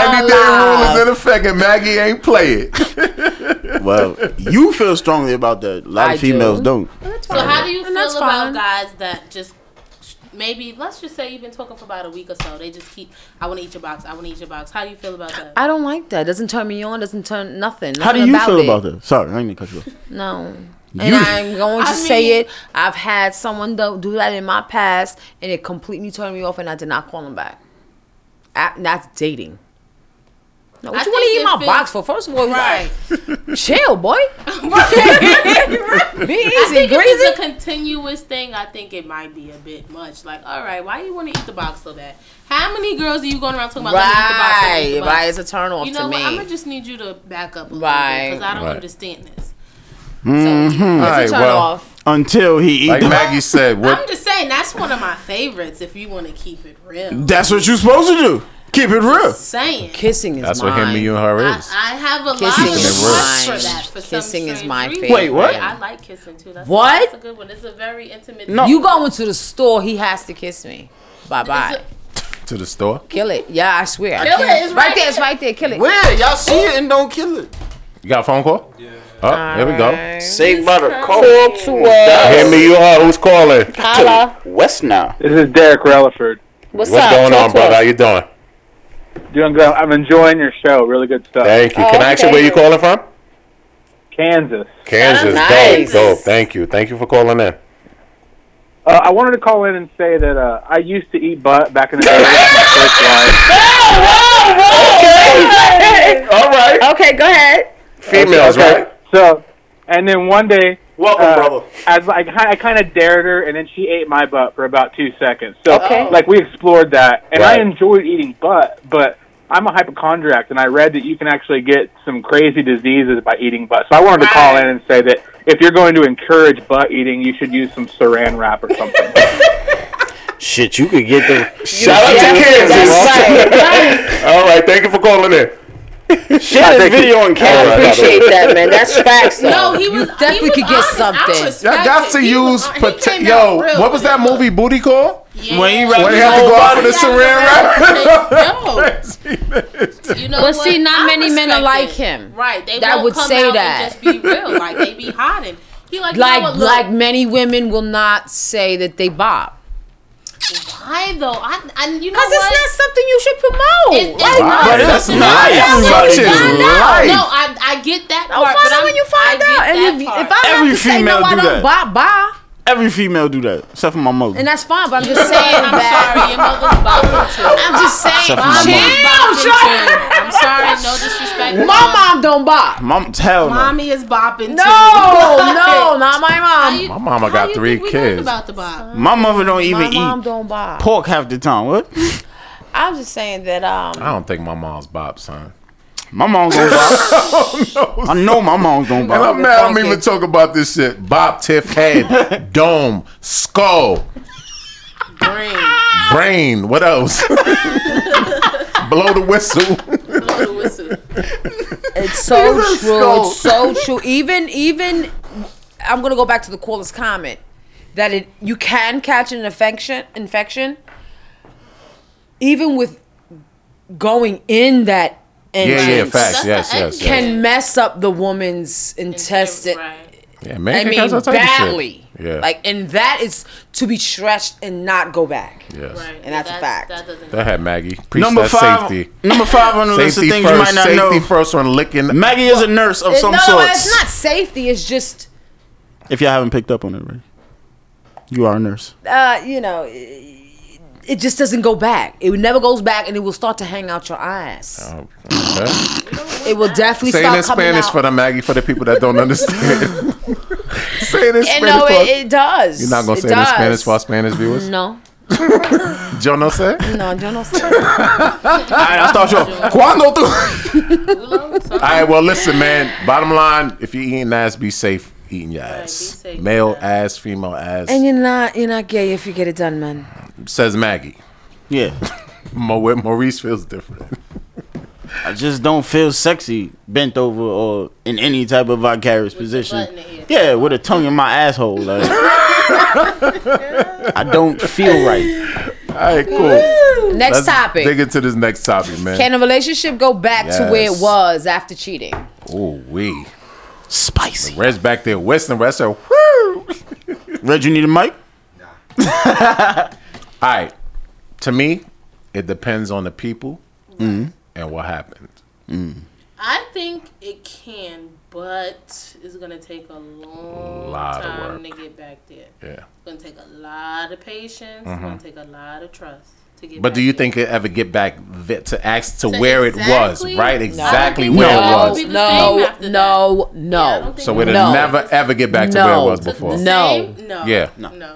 S5: 90 day rule
S7: are
S5: is
S7: alive.
S5: in effect, and Maggie ain't play it.
S4: Well, you feel strongly about that. A lot
S7: I
S4: of females
S7: do.
S4: do. not
S6: So how do you
S7: And
S6: feel
S7: that's
S6: about
S7: fine.
S6: guys that just maybe let's just say you've been talking for about a week or so. They just keep, I want to eat your box. I want to eat your box. How do you feel about that?
S7: I don't like that. Doesn't turn me on. Doesn't turn nothing.
S4: How do
S7: Nothing
S4: you feel
S7: it.
S4: about that? Sorry, I didn't mean to cut you off.
S7: No.
S4: You-
S7: And I'm going to
S6: I
S7: say
S6: mean-
S7: it. I've had someone do, do that in my past, and it completely turned me off, and I did not call him back. I, that's dating. No, what you
S6: I
S7: want to
S6: think
S7: eat my
S6: if it-
S7: box for? First of all,
S6: Right.
S7: chill, boy. Be
S6: I
S7: easy,
S6: think if it's
S7: greasy.
S6: a continuous thing, I think it might be a bit much. Like, all right, why you want to eat the box so bad? How many girls are you going around talking about? "Let me eat the box, let me eat the
S7: Right,
S6: box"?
S7: right. It's a turn off
S6: You know
S7: to me.
S6: what? I'm gonna just need you to back up a little
S7: Right.
S6: because I don't
S5: Right.
S6: understand this.
S5: All right,
S7: It's a turn
S5: well,
S7: off.
S4: Mm-hmm. Until he eat
S5: like
S4: the
S5: Maggie said,
S6: I'm
S5: what
S6: just saying that's one of my favorites. If you want to keep it real,
S4: That's what you're supposed to do. Keep it real.
S6: saying
S7: Kissing is
S5: that's
S7: mine.
S5: what him, you, and her
S6: I,
S5: is.
S6: I have a
S7: Kissing
S6: lot of
S5: is
S6: respect
S7: mine.
S6: for that. For some
S7: Kissing is
S6: strange
S7: my
S6: reason.
S7: favorite.
S4: Wait, what?
S6: I like kissing too. That's
S7: What?
S6: That's a good one. It's a very intimate.
S4: No.
S7: You go into the store, he has to kiss me. Bye
S6: It's
S7: bye.
S6: a-
S5: to the store.
S7: Kill it. Yeah, I swear. I
S6: Kill
S7: can't-
S6: it. It's right
S7: there. It's right there. Kill it.
S4: Where? Y'all see it and don't kill it.
S5: You got a phone call? Yeah. Oh, here we go.
S4: Saved by the call.
S5: Hit me, you, and her. Who's calling?
S4: West now.
S3: This is Derek Relaford.
S7: What's,
S5: you doing?
S3: Doing good. I'm enjoying your show. Really good stuff.
S5: Thank you. Can I ask you where you calling from?
S4: Ah,
S3: Kansas.
S5: Kansas.
S7: Nice.
S5: Dope, dope. Thank you. Thank you for calling in.
S3: Uh, I wanted to call in and say that uh, I used to eat butt back in the day. That was my first life.
S5: Okay.
S7: Okay, go ahead.
S5: Females, right?
S3: So, and then one day,
S5: Welcome,
S3: uh,
S5: brother.
S3: I was like, I kind of dared her, and then she ate my butt for about two seconds. So,
S7: Okay.
S3: like we explored that, and
S5: Right.
S3: I enjoyed eating butt, but I'm a hypochondriac, and I read that you can actually get some crazy diseases by eating butt. So I wanted to call in and say that if you're going to encourage butt eating, you should use some Saran wrap or something.
S4: Shit, you could get the
S5: Shout out to Kansas. All right, thank you for calling in.
S4: share this video on
S7: I
S4: camera.
S7: appreciate that, man. That's facts. Though.
S6: No, he was.
S7: definitely
S6: he
S7: could get
S6: was honest.
S7: something.
S6: I
S5: Y'all
S6: respect
S5: got
S6: it.
S5: to
S6: He was
S5: use
S6: hon- he
S5: potato.
S6: came
S5: Yo,
S6: out real
S5: what was that
S6: with it.
S5: movie Booty Call?
S6: Yeah.
S1: When he
S5: When
S1: wrapped
S5: they
S1: his
S5: had to
S1: whole
S5: go out
S1: body.
S5: with a
S6: Yo,
S5: saran wrap.
S6: you know
S7: But
S6: what?
S7: see, not
S6: I
S7: many men are
S6: respect
S7: like
S6: it.
S7: him.
S6: Right? They
S7: That
S6: won't
S7: would
S6: come
S7: say
S6: out
S7: that.
S6: And just be real, like they be hiding. He like,
S7: like
S6: you know what, look,
S7: like many women will not say that they bob
S6: why though? I, I you know
S7: because it's
S6: what?
S7: not something you should promote.
S6: It's- it's not.
S5: But
S4: that's
S6: It's
S4: nice.
S6: not.
S4: Everybody's
S6: It's not.
S5: life.
S6: No, I I get that
S7: I'll
S6: part,
S7: find
S6: but
S7: out
S6: I'm-
S7: when you find
S6: I get
S7: out, and
S6: that
S7: if,
S6: part.
S7: if I
S4: Every
S7: have to say
S4: female
S7: no, I
S4: do
S7: don't
S4: that.
S7: bob, bob,
S4: Every female do that, except for my mother.
S7: and that's fine. But I'm
S6: You're
S7: just saying
S6: I'm
S7: that.
S6: sorry, your mother's bothering too.
S7: I'm just saying,
S4: Except for my
S7: chill,
S6: Bopping
S7: chill.
S6: too. I'm sorry, no disrespect. to
S7: My mom don't bob.
S4: Mom, hell no.
S6: mommy is bopping
S7: No,
S6: too.
S7: no, not my
S6: How
S7: mom.
S6: you-
S5: My mama
S6: how
S5: got
S6: you
S5: three
S6: think we
S5: kids.
S6: learned about the bop?
S4: My mother don't even
S7: My mom
S4: eat
S7: don't bob.
S4: pork half the time. What?
S7: I'm just saying that. Um,
S5: I don't think my mom's Bob, son.
S4: My mom gonna buy.
S5: Oh,
S4: I know my mom's gonna
S5: And
S4: buy.
S5: I'm mad I'm
S7: funky.
S5: even talking about this shit. Bob, Tiff, Head, Dome, Skull,
S6: Brain.
S5: Brain, what else? Blow the whistle.
S6: Blow the whistle.
S7: It's so
S5: Let's
S7: true.
S5: go.
S7: It's so true. Even even I'm gonna go back to the caller's comment that it you can catch an infection infection even with going in that
S5: yeah,
S7: entrance
S5: yeah, facts.
S6: the
S5: Yes, yes,
S6: exit.
S5: yes.
S7: can mess up the woman's intestine.
S6: Right.
S5: Yeah,
S7: I
S5: man,
S7: mean,
S5: that's all type of shit.
S7: badly.
S5: Yeah.
S7: Like, and that is to be stretched and not go back.
S5: yes.
S6: Right.
S7: And that's a fact.
S6: That doesn't.
S5: That had Maggie. Preach
S4: Number
S5: that
S4: five.
S5: safety.
S4: Number five on the list of
S5: Safety
S4: things
S5: first.
S4: you might not
S5: safety
S4: know.
S5: first on licking.
S4: Maggie is a nurse of some
S7: no,
S4: sort.
S7: it's not safety. It's just,
S4: If y'all haven't picked up on it, already. you are a nurse.
S7: uh, you know, it it just doesn't go back. It never goes back, and it will start to hang out your ass.
S5: Oh, okay.
S7: It will definitely
S5: Say it
S7: start
S5: in
S7: coming
S5: Spanish
S7: out.
S5: for the Maggie for the people that don't understand. Say it in
S7: and
S5: Spanish.
S7: no,
S5: for-
S7: it, it does.
S5: You're not gonna
S7: It
S5: say it in
S7: does.
S5: Spanish for our Spanish viewers.
S7: No,
S5: Yo no sé.
S7: no, yo no sé.
S4: All right, I'll start you. off. Cuando tu?
S5: All right, well listen, man. Bottom line, if you're eating ass, be safe eating your ass.
S6: safe,
S5: Male ass, female ass.
S7: and you're not, you're not gay if you get it done, man.
S5: says Maggie.
S4: Yeah,
S5: Mo- Maurice feels different.
S4: I just don't feel sexy bent over or in any type of vicarious
S6: butt in
S4: position.
S6: the air.
S4: Yeah, with a tongue in my asshole. Like, I don't feel right.
S5: All right, cool.
S7: Next
S5: Let's
S7: topic.
S5: Dig into this next topic, man.
S7: Can a relationship go back to where it
S5: Yes.
S7: was after cheating?
S5: Ooh wee.
S4: Spicy.
S5: Red's back there whistling. Red said, "Woo."
S4: Red, you need a mic?
S5: All right. To me, it depends on the people
S4: Mm-hmm.
S5: and what happened.
S4: Mm.
S6: I think it can, but it's gonna take a long
S5: Lot of
S6: time to
S5: work.
S6: get back there.
S5: Yeah.
S6: It's gonna take a lot of patience. It's gonna take a lot of trust to get.
S5: Mm-hmm. But
S6: back
S5: do you
S6: there.
S5: think it ever get back th- to ask to
S6: To
S5: where
S6: exactly-
S5: it was, right?
S6: No.
S5: Exactly
S6: No.
S5: where
S6: No.
S5: it
S6: Be
S5: was.
S6: the same
S7: no,
S6: after that.
S7: no,
S6: Yeah, I
S7: no.
S6: don't think
S5: So it'll
S7: No.
S5: never ever get back to where it
S7: No.
S5: was
S7: To the
S5: before.
S6: The
S7: No.
S6: same? No.
S5: Yeah.
S6: No.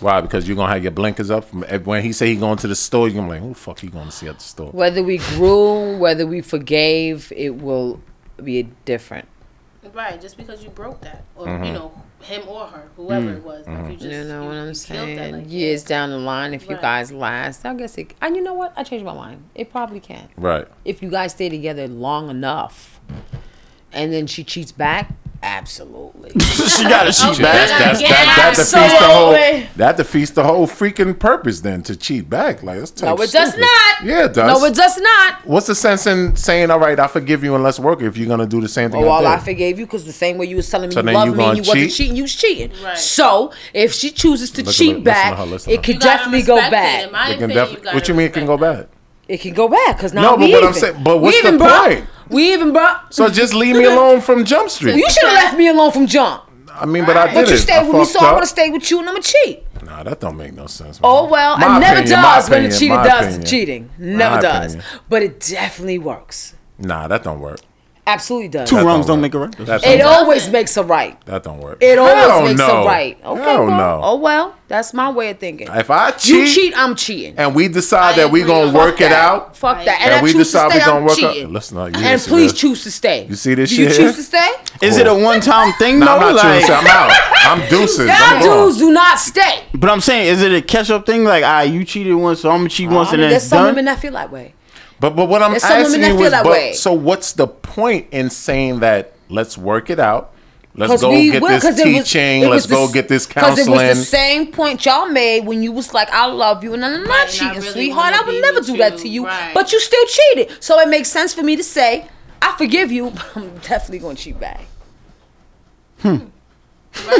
S5: Why? Because you're gonna have your blinkers up from ev- when he say he going to the store. You're gonna be like, who the fuck he going to see at the store?
S7: Whether we grew, whether we forgave, it will be different.
S6: Right. Just because you broke that, or
S5: Mm-hmm.
S6: you know, him or her, whoever
S5: Mm.
S6: it was, like you just
S7: You know
S6: you,
S7: what
S6: you
S7: I'm
S6: killed
S7: saying?
S6: That, like,
S7: Years down the line, if you
S6: Right.
S7: guys last, I guess it. And you know what? I changed my mind. It probably can.
S5: Right.
S7: If you guys stay together long enough, and then she cheats back, absolutely.
S4: she got it. She's
S6: Okay.
S4: back.
S5: That's, that's,
S6: Yeah,
S5: that, that defeats the
S7: absolutely.
S5: whole that defeats the whole freaking purpose then to cheat back. Like that's
S7: No,
S5: type
S7: it does
S5: stupid.
S7: not.
S5: Yeah, it does.
S7: no, it does not.
S5: What's the sense in saying, "All right, I forgive you and let's work"? If you're gonna do the same thing,
S7: Oh, well, I
S5: I did?
S7: forgave you because the same way you was telling me
S5: So
S7: you
S5: then
S7: loved
S5: you
S7: me and
S5: gonna
S7: you wasn't
S5: cheat?
S7: cheating, you was cheating.
S6: Right.
S7: So if she chooses to
S5: Look,
S7: cheat
S5: look, listen to
S7: back,
S5: her, listen to
S7: it
S5: her.
S7: could
S6: you gotta
S7: definitely go
S6: respect it.
S7: back.
S6: In my
S5: It can
S6: opinion,
S5: defi-
S6: you gotta
S5: what you mean it can
S6: respect
S5: go
S6: that.
S5: back?
S7: It can go back because now
S5: No,
S7: we
S5: but what I'm
S7: even.
S5: saying- but
S7: We
S5: what's the
S7: even brought-
S5: point?
S7: we even brought.
S5: So just leave me alone from Jump Street.
S7: You should have left me alone from jump.
S5: I mean, but I did
S7: But you
S5: it.
S7: stayed
S5: I
S7: with me,
S5: fucked
S7: so I'm
S5: up.
S7: gonna stay with you, and I'm gonna cheat.
S5: Nah, that don't make no sense. man.
S7: Oh well,
S5: My
S7: it never
S5: opinion, my
S7: does when the
S5: opinion,
S7: cheater
S5: my
S7: does
S5: opinion.
S7: cheating. Never
S5: My
S7: does,
S5: opinion.
S7: but it definitely works.
S5: Nah, that don't work.
S7: Absolutely does.
S4: Two wrongs don't make a right.
S5: That's
S7: It always makes a right.
S5: That don't work.
S7: It always
S5: Hell
S7: makes
S5: no.
S7: a right. Okay,
S5: Hell
S7: well,
S5: no.
S7: oh well, that's my way of thinking.
S5: If I
S7: you
S5: cheat-
S7: cheat, I'm cheating.
S5: and we decide that we're gonna
S7: Fuck
S5: work it
S7: that.
S5: out.
S7: Fuck that. And, I
S5: we
S7: choose
S5: decide
S7: to stay,
S5: we're
S7: I'm
S5: gonna work
S7: cheating.
S5: out. Listen, no, you
S7: and
S5: listen,
S7: please
S5: man.
S7: choose to stay.
S5: You see this
S7: Do
S5: shit?
S7: you
S5: here?
S7: choose to stay?
S4: Is it a one time thing?
S5: Nah,
S4: no,
S5: I'm not
S4: like,
S5: choosing. I'm out. I'm deuces.
S7: Y'all
S5: I'm gone.
S7: dudes do not stay.
S4: But I'm saying, is it a catch up thing? Like, ah, you cheated once, so I'm gonna cheat once,
S7: Oh, I mean,
S4: and then
S7: there's
S4: it's
S7: some
S4: done.
S7: women that feel that way.
S5: But but what I'm
S7: There's some women
S5: asking
S7: that
S5: you
S7: feel
S5: is,
S7: that
S5: but,
S7: way.
S5: so what's the point in saying that? Let's work it out. Let's
S7: 'Cause
S5: go
S7: we
S5: get
S7: will, 'cause
S5: this
S7: it was-
S5: teaching.
S7: it
S5: Let's
S7: was the
S5: go
S7: s-
S5: get this
S7: 'cause
S5: counseling.
S7: it was the same point y'all made when you was like, "I love you," and I'm not cheating,
S6: really
S7: sweetheart. I
S6: wanna
S7: would
S6: be
S7: never
S6: with
S7: do that
S6: you."
S7: to you,
S6: Right.
S7: but you still cheated. So it makes sense for me to say, "I forgive you," but I'm definitely gonna cheat back.
S5: yo, you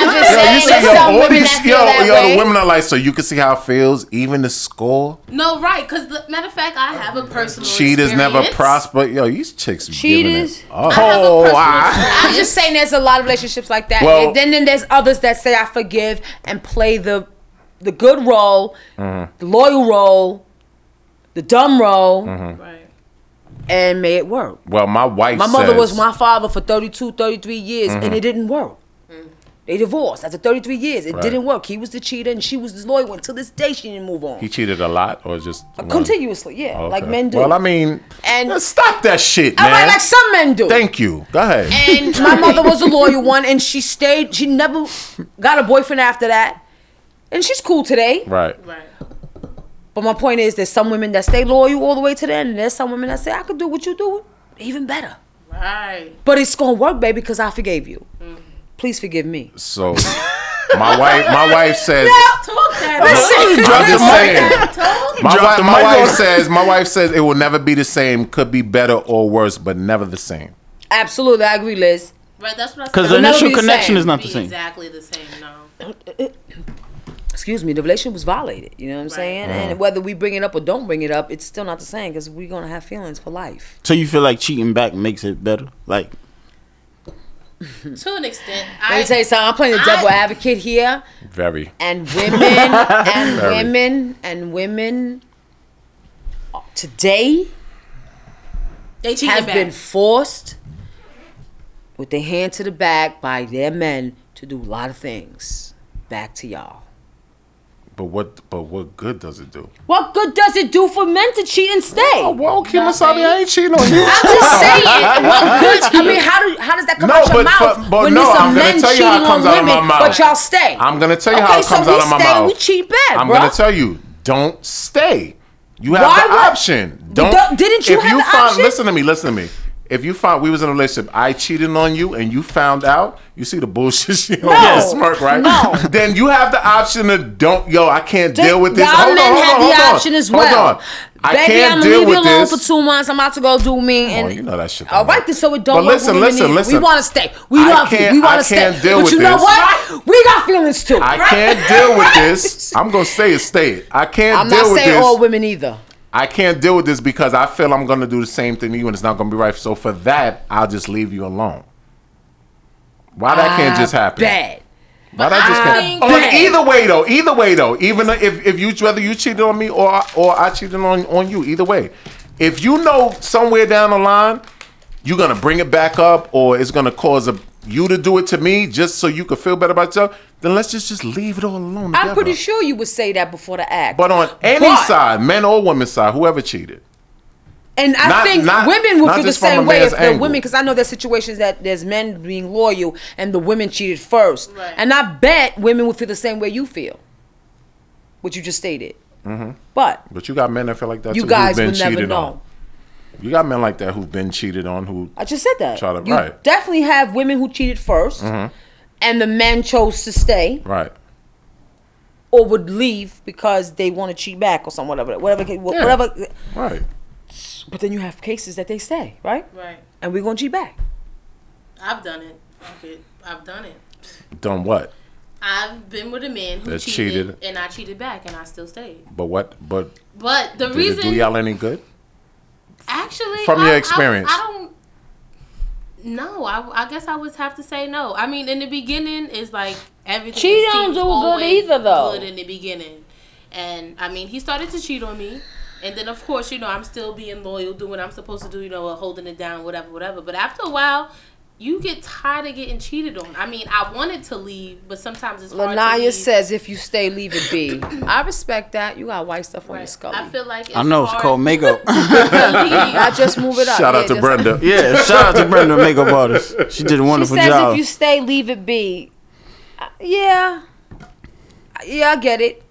S7: saying
S5: see,
S7: there's
S5: yo,
S7: some
S5: all
S7: women
S5: these,
S7: that feel
S5: yo,
S7: that
S5: yo,
S7: way.
S5: the women are like, so you can see how it feels. Even the score,
S6: No, right? Because matter of fact, I
S7: Oh,
S6: have a personal.
S5: cheaters never
S6: experience.
S5: prosper. Yo, these chicks,
S7: Cheaters.
S5: cheaters. Oh,
S7: I'm just saying, there's a lot of relationships like that.
S5: Well-
S7: and then, then there's others that say, "I forgive" and play the the good role, the loyal role, the dumb role,
S5: Mm-hmm.
S6: Right.
S7: and may it work.
S5: well, my wife.
S7: Mm-hmm. My mother was
S5: says- Mm-hmm.
S7: my father for 32, 33 years, and it didn't work. They divorced after 33 years. It
S5: Right.
S7: didn't work. He was the cheater and she was the loyal one. Till this day, she didn't move on.
S5: He cheated a lot, or just one? Oh,
S7: Continuously, yeah,
S5: Okay.
S7: Uh, like men do.
S5: Well, I mean,
S7: And-
S5: and stop that shit,
S7: All
S5: man.
S7: right, like some men do.
S5: Thank you. Go ahead.
S7: and my mother was a loyal one, and she stayed. She never got a boyfriend after that, and she's cool today.
S5: right.
S6: Right.
S7: But my point is, there's some women that stay loyal all the way to the end, and there's some women that say, "I could do what you do, even better."
S6: Right. Mm-hmm.
S7: But it's gonna work, baby, because I forgave you. Please forgive me.
S5: So my wife, my wife says.
S6: Talk that.
S7: Listen,
S5: I'm just saying.
S6: Talk.
S5: My,
S4: Drop
S5: wife,
S4: the
S5: my
S4: mic
S5: wife
S4: on.
S5: says. My wife says it will never be the same. Could be better or worse, but never the same.
S7: Absolutely, I agree, Liz.
S6: Right. That's what I said.
S4: Because the
S6: It'll never
S4: initial
S7: be the
S4: connection
S7: same.
S4: is not
S6: be
S4: the same.
S6: Exactly the same. No.
S7: Excuse me, the relationship was violated. You know what I'm saying? And whether we bring it up or don't bring it up, it's still not the same because we're gonna have feelings for life.
S4: So you feel like cheating back makes it better? Like,
S6: To an extent,
S7: Let
S6: I
S7: me tell you something. I'm playing the devil advocate here.
S5: Very.
S7: and women and
S5: Very.
S7: women and women today
S6: they cheated
S7: have
S6: back.
S7: been forced with their hand to the back by their men to do a lot of things back to y'all
S5: But what? But what good does it do?
S7: what good does it do for men to cheat and stay
S5: Well, Kimasabi, I ain't cheating on you.
S7: I'm just saying, what good? I mean, how do how does that come
S5: No,
S7: out your
S5: but
S7: mouth
S5: fu- but
S7: when
S5: no,
S7: there's some
S5: I'm gonna
S7: men
S5: tell you
S7: cheating
S5: how it
S7: on
S5: comes out of
S7: women,
S5: my mouth.
S7: but y'all stay?
S5: I'm gonna tell you
S7: okay,
S5: how it
S7: so
S5: comes
S7: we
S5: out of my
S7: stay,
S5: mouth.
S7: We cheat back,
S5: I'm
S7: bruh.
S5: gonna tell you, don't stay. You have
S7: Why
S5: the
S7: would-
S5: option. Don't.
S7: Don't- didn't you
S5: if
S7: have
S5: you
S7: the
S5: find,
S7: option?
S5: Listen to me. Listen to me. If you found we was in a relationship, I cheated on you, and you found out, you see the bullshit she no. on
S7: Yes.
S5: smirk, right?
S7: No.
S5: Then you have the option to don't. Yo, I can't
S7: Th-
S5: deal with this.
S7: Y'all
S5: Hold on,
S7: men
S5: hold on,
S7: have
S5: hold
S7: the
S5: on.
S7: option as
S5: Hold
S7: well.
S5: on. I
S7: Baby,
S5: can't
S7: I'm
S5: deal
S7: leave you
S5: with
S7: alone
S5: this.
S7: for two months. I'm about to go do me. And
S5: Oh, you know that shit don't
S7: All right,
S5: work.
S7: then, so it don't
S5: But
S7: work. with
S5: listen,
S7: women
S5: listen,
S7: either.
S5: listen.
S7: We want to stay. We
S5: I
S7: love you.
S5: can't-
S7: We want
S5: I
S7: to stay.
S5: can't deal
S7: but
S5: with
S7: you know
S5: this.
S7: what? We got feelings too.
S5: I can't deal with this. I'm gonna say it, stay it. I can't
S7: I'm
S5: deal
S7: not
S5: with
S7: saying
S5: this.
S7: all women either.
S5: I can't deal with this because I feel I'm gonna do the same thing to you and it's not gonna be right. So for that, I'll just leave you alone. Why that can't just happen?
S7: Bad.
S5: Why that just can't?
S6: I
S5: On
S6: bet.
S5: either way though, either way though, even if if you whether you cheated on me or I- or I cheated on on you, either way, if you know somewhere down the line you're gonna bring it back up or it's gonna cause a you to do it to me just so you could feel better about yourself, then let's just just leave it all alone.
S7: I'm
S5: together.
S7: pretty sure you would say that before the act.
S5: But on any
S7: But-
S5: side, men or women's side, whoever cheated.
S7: And I
S5: Not-
S7: think
S5: not-
S7: women would
S5: not
S7: feel the
S5: just from
S7: same
S5: a
S7: way if
S5: man's
S7: the
S5: angle.
S7: women, because I know there's situations that there's men being loyal and the women cheated first.
S6: Right.
S7: And I bet women would feel the same way you feel, what you just stated. But
S5: Mm-hmm. But you got men that feel like that.
S7: you
S5: too,
S7: guys
S5: who've been
S7: would never
S5: cheated
S7: know.
S5: On. You got men like that who've been cheated on. Who
S7: I just said that.
S5: Try to-
S7: you
S5: right.
S7: definitely have women who cheated 1st and the men chose to stay
S5: mm-hmm, right?
S7: or would leave because they want to cheat back or something, whatever, whatever, whatever.
S5: Right.
S7: But then you have cases that they stay, right?
S6: Right.
S7: And we're gonna cheat back.
S6: I've done it. Fuck it. I've done it.
S5: Done what?
S6: I've been with a man who
S5: That
S6: cheated,
S5: cheated.
S6: and I cheated back, and I still stayed.
S5: But what? But
S6: But the
S5: did it do
S6: reason,
S5: y'all any good?
S6: actually,
S5: from
S6: I-
S5: your
S6: I-
S5: experience?
S6: I, don't. No, I, I guess I would have to say no. I mean, in the beginning, it's like everything.
S7: Cheating don't
S6: seems
S7: do good
S6: always
S7: either, though.
S6: Good in the beginning, and I mean, he started to cheat on me, And then, of course, you know, I'm still being loyal, doing what I'm supposed to do, you know, uh, holding it down, whatever, whatever. But after a while, you get tired of getting cheated on. I mean, I wanted to leave, but sometimes it's hard to
S7: Lanaya
S6: leave.
S7: says, if you stay, leave it be. I respect that. You got white stuff on your skull.
S6: I feel like it's
S4: I know it's
S6: hard.
S4: called makeup.
S7: I just move it up.
S5: Shout
S7: Yeah,
S5: out to
S7: just-
S5: Brenda.
S4: yeah, shout out to Brenda, makeup artist. She did a
S7: She
S4: wonderful
S7: says,
S4: job.
S7: if you stay, leave it be. Uh, Yeah. Yeah, I get it.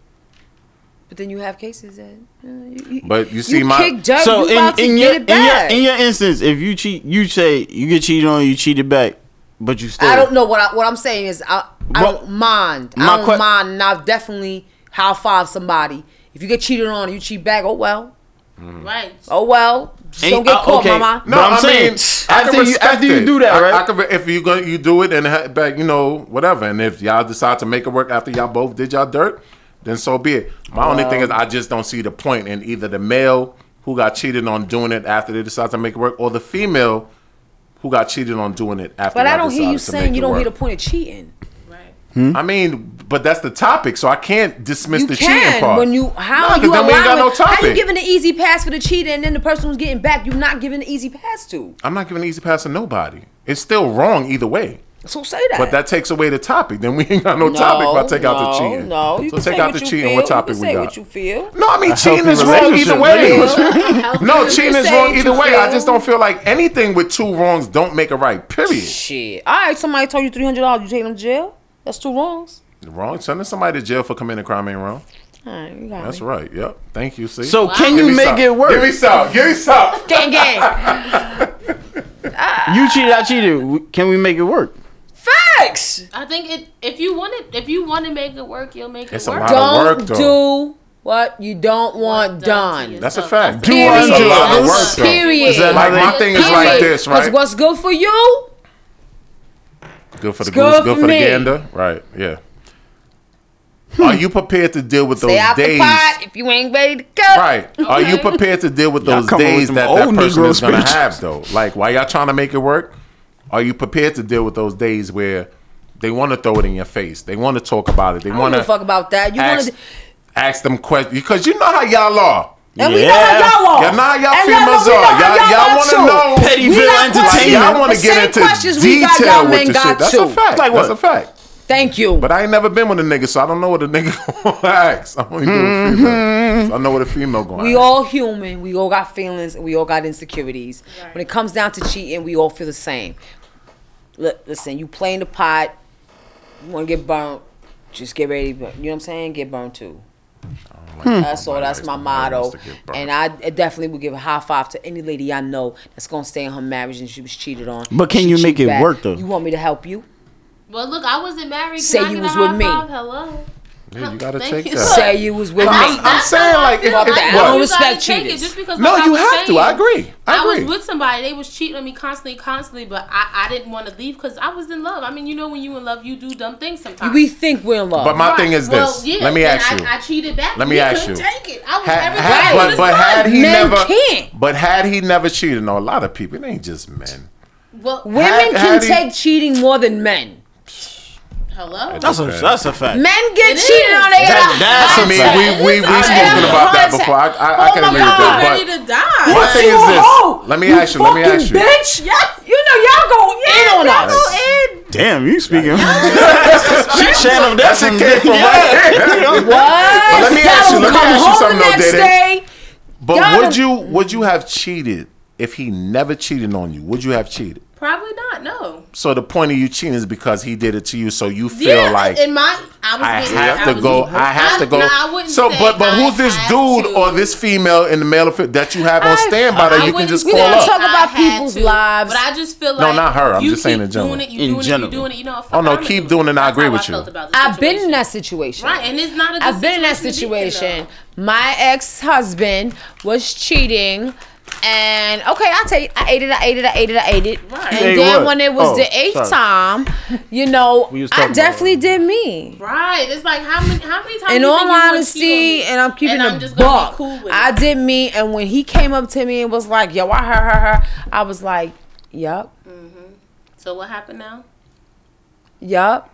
S7: But then you have cases that. uh, you- you-
S5: But you
S7: you
S5: see my
S7: kick dirt,
S4: so
S7: you
S4: in,
S7: about to
S4: in
S7: get
S4: your
S7: it
S4: in your
S7: back.
S4: in your instance, if you cheat, you say you get cheated on, you cheated back, but you stay.
S7: I don't know what I, what I'm saying is I, I
S4: Well,
S7: don't mind.
S4: my
S7: I don't
S4: que-
S7: mind, and I've definitely high five somebody. If you get cheated on, and you cheat back. Oh well.
S6: Right.
S7: Oh well. Just
S4: Mm. Ain't-
S7: don't get
S4: uh,
S7: caught,
S4: okay.
S7: mama.
S4: No, But I'm saying,
S5: I
S4: after
S5: can
S4: you-
S5: respect
S4: after you
S5: it.
S4: do that,
S5: I-
S4: right?
S5: I can re- if you go, you do it and ha- back, you know, whatever. And if y'all decide to make it work after y'all both did y'all dirt, then so be it. My only thing is, I just don't see the point in either the male who got cheated on doing it after they decide to make it work, or the female who got cheated on doing it after.
S7: But I
S5: y'all
S7: don't hear
S5: decided
S7: you
S5: to
S7: saying
S5: make
S7: you
S5: it
S7: don't hear the
S5: work.
S7: point of cheating.
S4: Hmm?
S5: I mean, but that's the topic, so I can't dismiss
S7: You
S5: the cheating
S7: can
S5: part.
S7: when you how
S5: Nah,
S7: are
S5: 'cause
S7: you
S5: then
S7: allowing,
S5: we ain't got no
S7: how you
S5: topic.
S7: giving an easy pass for the cheating and then the person who's getting back you're not giving an easy pass to.
S5: I'm not giving an easy pass to nobody. It's still wrong either way.
S7: So say that.
S5: But that takes away the topic. Then we ain't got no,
S7: No,
S5: topic if I take out the
S7: no,
S5: cheating.
S7: No, you
S5: so
S7: can
S5: take
S7: say
S5: out
S7: what
S5: the
S7: you
S5: cheating.
S7: feel.
S5: What topic
S7: you can
S5: we
S7: say
S5: got?
S7: what you feel.
S5: No, I mean cheating
S4: healthy
S5: is wrong
S4: relationship,
S5: either way. no,
S7: You
S5: cheating
S7: can
S5: is
S7: say
S5: wrong
S7: what
S5: either
S7: you
S5: way. I just
S7: feel.
S5: don't feel like anything with two wrongs don't make it right. Period.
S7: Shit. All right, somebody told you three hundred dollars. You take them to jail. That's two wrongs.
S5: Wrong. Sending somebody to jail for committing a crime ain't wrong.
S7: All right, you got
S5: That's
S7: me.
S5: right. Yep. Thank you. See.
S4: So can
S5: Give
S4: you
S5: me
S4: make
S5: some.
S4: it work?
S5: Give me some. Give me some.
S7: Gang gang.
S4: you cheated, I cheated. W- Can we make it work?
S7: Facts.
S6: I think it. If you want it, if you want to make it work, you'll make
S5: It's
S6: it
S5: a
S6: work.
S5: lot. Gotta
S7: Don't
S5: work, though.
S7: do what you don't want
S6: What done to
S7: done.
S6: you.
S5: That's a
S6: So
S5: fact.
S6: that's Do
S5: It's a
S7: unto
S5: lot of
S7: us.
S5: work, though.
S7: Period. Is that
S5: Like
S4: how
S5: my
S4: they-
S5: thing is like this,
S7: Because
S5: right?
S7: what's good for you,
S5: Good for the
S7: good
S5: goose, good
S7: for
S5: for the
S7: me.
S5: gander. Right. Yeah.
S4: Hmm.
S5: Are you prepared to deal with
S7: stay
S5: those
S7: out the
S5: days?
S7: pot if you ain't ready to go.
S5: Right. Are you prepared to deal with those
S4: come up with
S5: days
S4: them
S5: that that
S4: old
S5: person
S4: Negro
S5: is going to
S4: speeches.
S5: have, though? Like, why y'all trying to make it work? Are you prepared to deal with those days where they want to throw it in your face? They want to talk about it. They
S7: I don't
S5: want
S7: give a fuck
S5: to
S7: about that. You want
S5: ask,
S7: to,
S5: ask them questions because you know how y'all are.
S7: and we know how y'all are.
S5: Y'all know how y'all
S7: And
S5: females
S7: we know
S5: are.
S7: how
S5: Y'all, y'all want to
S7: too.
S5: know.
S4: Pettyville
S5: Like,
S4: entertainment.
S5: y'all want
S7: The
S5: to get
S7: same
S5: into
S7: questions we got, y'all
S5: detail with
S7: men
S5: the
S7: got
S5: shit. That's
S7: too.
S5: a fact.
S4: Like
S5: That's
S4: what?
S5: a fact.
S7: Thank you.
S5: But I ain't never been with a nigga, so I don't know what a nigga gonna ask. I only do with females. So I know what a female going.
S7: Mm-hmm. we all human. We all got feelings and we all got insecurities. When it comes down to cheating, we all feel the same. Look, listen, you playing the pot, you want to get burnt, just get ready. To burn. You know what I'm saying? Get burnt too.
S5: Hmm.
S7: That's all. That's my
S5: Nobody wants
S7: motto,
S5: to get burnt.
S7: and I definitely would give a high five to any lady I know that's gonna stay in her marriage and she was cheated on.
S4: But can
S7: She
S4: you make
S7: cheat
S4: it work, though?
S7: You want me to help you?
S6: Well, look, I wasn't married. Can
S7: Say
S6: I
S7: you
S6: get
S7: was
S6: a
S7: with
S6: high
S7: me.
S6: five? Hello.
S5: Yeah, you gotta
S6: Thank
S5: take
S6: you.
S5: that.
S7: Say you was with
S5: I'm,
S7: me.
S5: I'm saying
S6: how I
S5: like,
S6: feel.
S5: if,
S7: Fuck
S5: if,
S7: that.
S6: know
S7: I
S5: what?
S7: don't
S6: you gotta
S7: respect
S6: take it
S7: cheaters.
S6: Just because
S5: No,
S6: like I
S5: you
S6: was
S5: have to.
S6: saying,
S5: I agree. I
S6: I
S5: agree.
S6: was with somebody. They was cheating on me constantly, constantly. But I, I didn't want to leave because I was in love. I mean, you know, when you in love, you do dumb things sometimes.
S7: We think we're in love.
S5: but my
S6: Right.
S5: thing is this.
S6: Well, yeah,
S5: Let me
S6: and
S5: ask
S6: I,
S5: you.
S6: I cheated back.
S5: Let me
S6: You
S5: ask
S6: couldn't
S5: you.
S6: Take it. I was
S5: Ha-
S6: everything
S5: ha-
S6: under
S5: but,
S6: the
S5: but
S6: sun.
S5: had he
S7: Men
S5: never,
S7: can't.
S5: but had he never cheated on a lot of people, it ain't just men.
S6: Well,
S7: Women
S5: How-
S7: can
S5: how do you-
S7: take cheating more than men.
S6: hello.
S4: That's a that's a fact.
S7: Men get
S6: It
S7: cheated
S6: is.
S7: on. They get
S4: That-
S7: a
S4: that's
S5: I
S4: a
S5: mean,
S4: fact.
S5: we we we
S7: I
S5: spoken
S7: am
S5: about that
S7: contact.
S5: before. I I, I
S7: Oh
S5: can
S7: my
S5: agree with
S7: God.
S5: that.
S6: ready
S5: But
S6: to die.
S5: My thing
S7: You
S5: is
S7: a
S5: this.
S7: hoe.
S5: Let me ask you, let me
S7: fucking
S5: ask you.
S7: Bitch, you know y'all go in on us.
S4: Damn, you speaking. she channeled that
S5: That
S4: from
S5: shit came from right here.
S7: What?
S5: let me ask you-
S7: Y'all
S5: let me
S7: come
S5: ask you
S7: home
S5: something
S7: the
S5: though,
S7: next
S5: Dada.
S7: day.
S5: But
S7: Y'all
S5: would
S7: done-
S5: you would you have cheated if he never cheated on you? Would you have cheated?
S6: Probably not. No.
S5: So the point of you cheating is because he did it to you, so you feel
S6: yeah,
S5: like
S6: in my, I was.
S5: I
S6: getting-
S5: have
S6: I
S5: to
S6: was-
S5: go. I have to go.
S6: No, I wouldn't
S5: so,
S6: say
S5: but but
S6: I
S5: who's this
S6: have
S5: dude
S6: to.
S5: or this female in the male fi- that you have on
S7: I-
S5: standby
S6: I
S5: that you can
S6: wouldn't
S5: just
S6: say
S5: call
S7: don't
S6: I
S5: up?
S7: talk about
S6: had
S7: people's
S6: to,
S7: lives.
S6: But I just feel like
S5: No, not her. I'm
S6: you
S5: just saying
S6: keep
S5: in general.
S6: Doing it, you
S4: In
S6: doing
S4: general.
S6: It, you doing it. You know. fuck,
S5: Oh, no,
S6: I'm
S5: keep
S6: gonna
S5: doing it, I
S6: That's
S5: agree
S6: how
S5: with
S6: I
S5: you.
S6: felt about this
S7: I've been in
S6: situation.
S7: that situation.
S6: Right, and it's not a good
S7: I've been in that
S6: situation to be in,
S7: situation. My ex-husband was cheating. And okay, I tell you, I ate it, I ate it, I ate it, I ate it.
S6: Right.
S7: And
S4: Ate
S7: then
S4: what?
S7: when it was
S4: Oh,
S7: the eighth
S4: sorry.
S7: time, you know,
S4: We was talking
S7: I
S4: about
S7: definitely
S4: that.
S7: did me.
S6: Right. It's like how many how many times
S7: In
S6: you think
S7: all
S6: you gonna
S7: honesty,
S6: cheat on me?
S7: and I'm keeping
S6: And I'm
S7: the
S6: just gonna be
S7: buck.
S6: cool with it.
S7: I did me, and when he came up to me and was like, "Yo, I heard her," her I was like, "Yup,
S6: Mm-hmm. So what happened now?
S7: yup."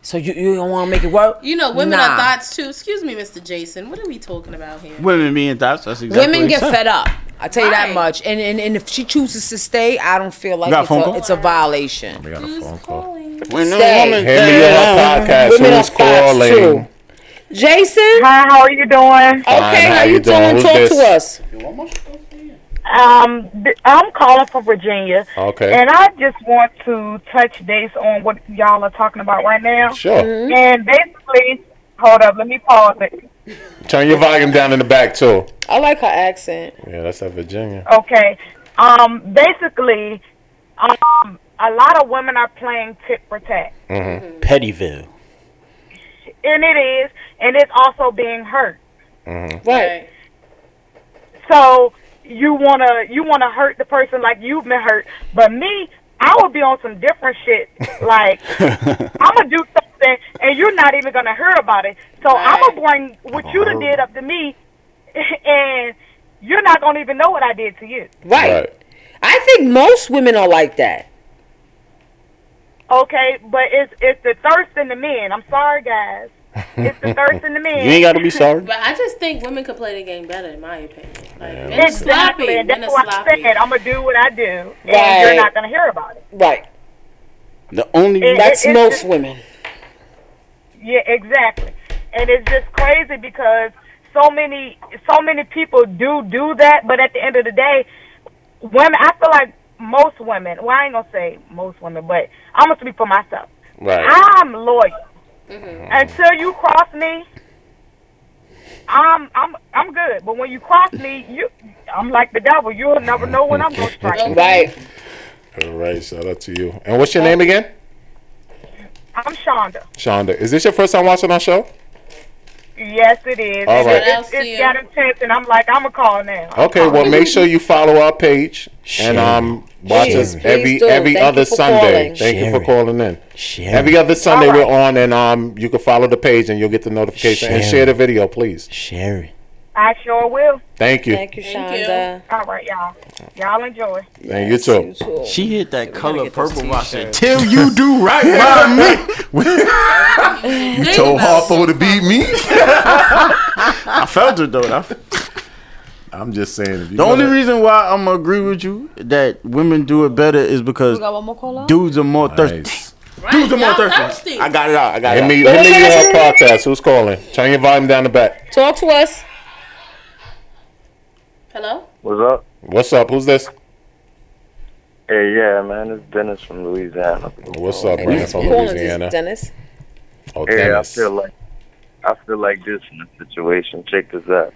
S7: So you, you don't want to make it work?
S6: You know, women
S7: Nah.
S6: are thoughts too. Excuse me, Mr. Jason. What are we talking about here?
S4: Women being thoughts. That's exactly
S7: Women
S4: what he
S7: get
S4: said.
S7: fed up. I tell you that
S6: Right.
S7: much. And, and and if she chooses to stay, I don't feel like
S4: got a
S7: it's
S4: phone
S7: a,
S4: call?
S7: it's a violation.
S5: We got a phone call.
S4: When no
S7: Stay.
S4: woman
S5: Hit me on my podcast.
S7: Women
S5: Who's
S7: are fast,
S5: calling?
S7: Jason,
S9: Hi, how are you doing?
S7: okay,
S5: how
S7: how
S5: you
S7: you
S5: doing?
S7: doing?
S5: Who's
S7: Talk
S5: this?
S7: to us.
S9: Um, th- I'm calling from Virginia,
S5: Okay.
S9: and I just want to touch base on what y'all are talking about right now.
S5: Sure.
S7: Mm-hmm.
S9: And basically, hold up, let me pause it.
S5: Turn your volume down in the back too.
S7: I like her accent.
S5: Yeah, that's at Virginia.
S9: Okay. Um, basically, um, a lot of women are playing tit for tat,
S4: Pettyville.
S9: and it is, and it's also being hurt. Mm-hmm.
S7: Right.
S9: So you wanna you wanna hurt the person like you've been hurt, but me, I would be on some different shit. Like I'm gonna do something, and you're not even gonna hear about it. So I'm gonna bring what you done did up to me, and you're not gonna even know what I did to you.
S7: Right. I think most women are like that.
S9: Okay, but it's it's the thirst in the men. I'm sorry, guys. It's
S6: Mm-hmm.
S9: the thirst in the men.
S4: You ain't got to be sorry.
S6: But I just think women could play the game better, in my opinion. Like, men are
S9: Exactly,
S6: sloppy.
S9: and
S6: Men are
S9: that's what I
S6: sloppy.
S9: said. I'm gonna do what I do, and
S7: Right.
S9: you're not gonna hear about it.
S7: Right.
S4: The only
S9: It-
S7: That's
S9: it- it's
S7: most
S9: just-
S7: women.
S9: Yeah, exactly. And it's just crazy because so many so many people do do that, but at the end of the day, women I feel like most women, well I ain't gonna say most women, but I'm gonna speak for myself.
S5: Right.
S9: I'm loyal. Until you cross me, I'm I'm I'm good. But when you cross me, you I'm like the devil. You'll never know when I'm gonna strike.
S7: Right.
S5: All right. Shout out to you. And what's your name again?
S9: I'm Shonda.
S5: Shonda. Is this your first time watching our show?
S9: Yes, it is.
S5: All
S9: And
S5: right.
S9: it- It's, it's got intense, and I'm like, I'm gonna call now.
S5: Okay, well, make sure you follow our page and um watch us
S7: Please, please
S5: every
S7: do.
S5: every
S7: Thank
S5: other
S7: you for
S5: Sunday.
S7: calling.
S5: Thank you
S4: Share
S5: for
S4: it.
S5: calling in.
S4: Share
S5: Every other Sunday
S9: All right.
S5: we're on, and um you can follow the page and you'll get the notification and
S4: Share
S5: share
S4: it.
S5: the video, please.
S4: Share it.
S9: I sure will.
S5: Thank you.
S7: Thank you,
S6: Thank you.
S7: Shonda.
S9: All right, y'all. Y'all enjoy.
S5: And you too.
S7: too.
S4: She hit that color
S7: get those
S4: purple. I said,
S7: t-shirts.
S4: "Till you do right by me."
S6: Think
S5: Told
S6: about
S5: Harpo to beat me.
S4: I felt it though. I f-
S5: I'm just saying. If you
S4: The only reason why I'm gonna agree with you that women do it better is because
S7: one more caller?
S4: dudes are more thirsty.
S5: Nice.
S6: it. Right,
S4: Dudes are more
S6: y'all
S4: thirsty.
S6: thirsty.
S4: I got it out. I got
S5: Hit
S4: it.
S5: me, hit me your podcast. Who's calling? Turn your volume down the back.
S7: Talk to us.
S6: Hello?
S11: What's up?
S5: What's up? Who's this?
S11: Hey, yeah, man, it's Dennis from Louisiana.
S5: Oh, What's
S4: Oh,
S5: up,
S7: Thanks
S5: Brandon
S7: for
S5: from
S7: calling us,
S5: Louisiana?
S7: Dennis.
S5: Oh,
S11: Hey,
S5: Dennis.
S11: I feel like I feel like this in the situation. Check this out.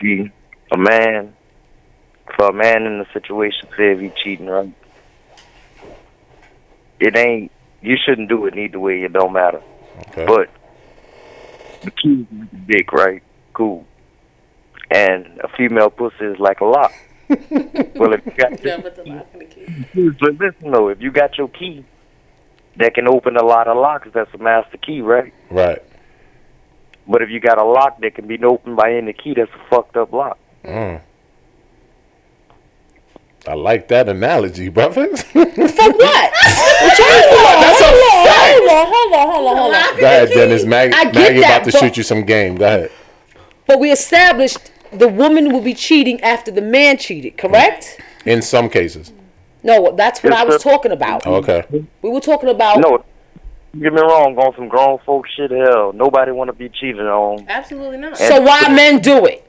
S11: See, a man, for a man in the situation, say if he cheating, right? It ain't. You shouldn't do it either way. It don't matter.
S5: Okay.
S11: But the key is like a dick, right? Cool. And a female pussy is like a lock. well, if you got
S6: Done with the lock and the key.
S11: But listen though, if you got your key that can open a lot of locks, that's a master key, right?
S5: Right.
S11: But if you got a lock that can be opened by any key, that's a fucked up lock.
S5: Mm. I like that analogy, brother.
S7: For what? What y'all for?
S5: That's a
S7: hold on, hold on, hold on, hold on, hold on.
S5: Go ahead, Dennis. Mag-
S7: I get
S5: Maggie
S7: that,
S5: about to
S7: but-
S5: shoot you some game. Go ahead.
S7: But we established the woman will be cheating after the man cheated, correct?
S5: In some cases.
S7: No, that's what I was talking about.
S5: Oh, Okay.
S7: We were talking about
S11: No, don't get me wrong, on some grown folk shit, hell, nobody want to be cheated on.
S6: Absolutely not.
S7: so why men do it.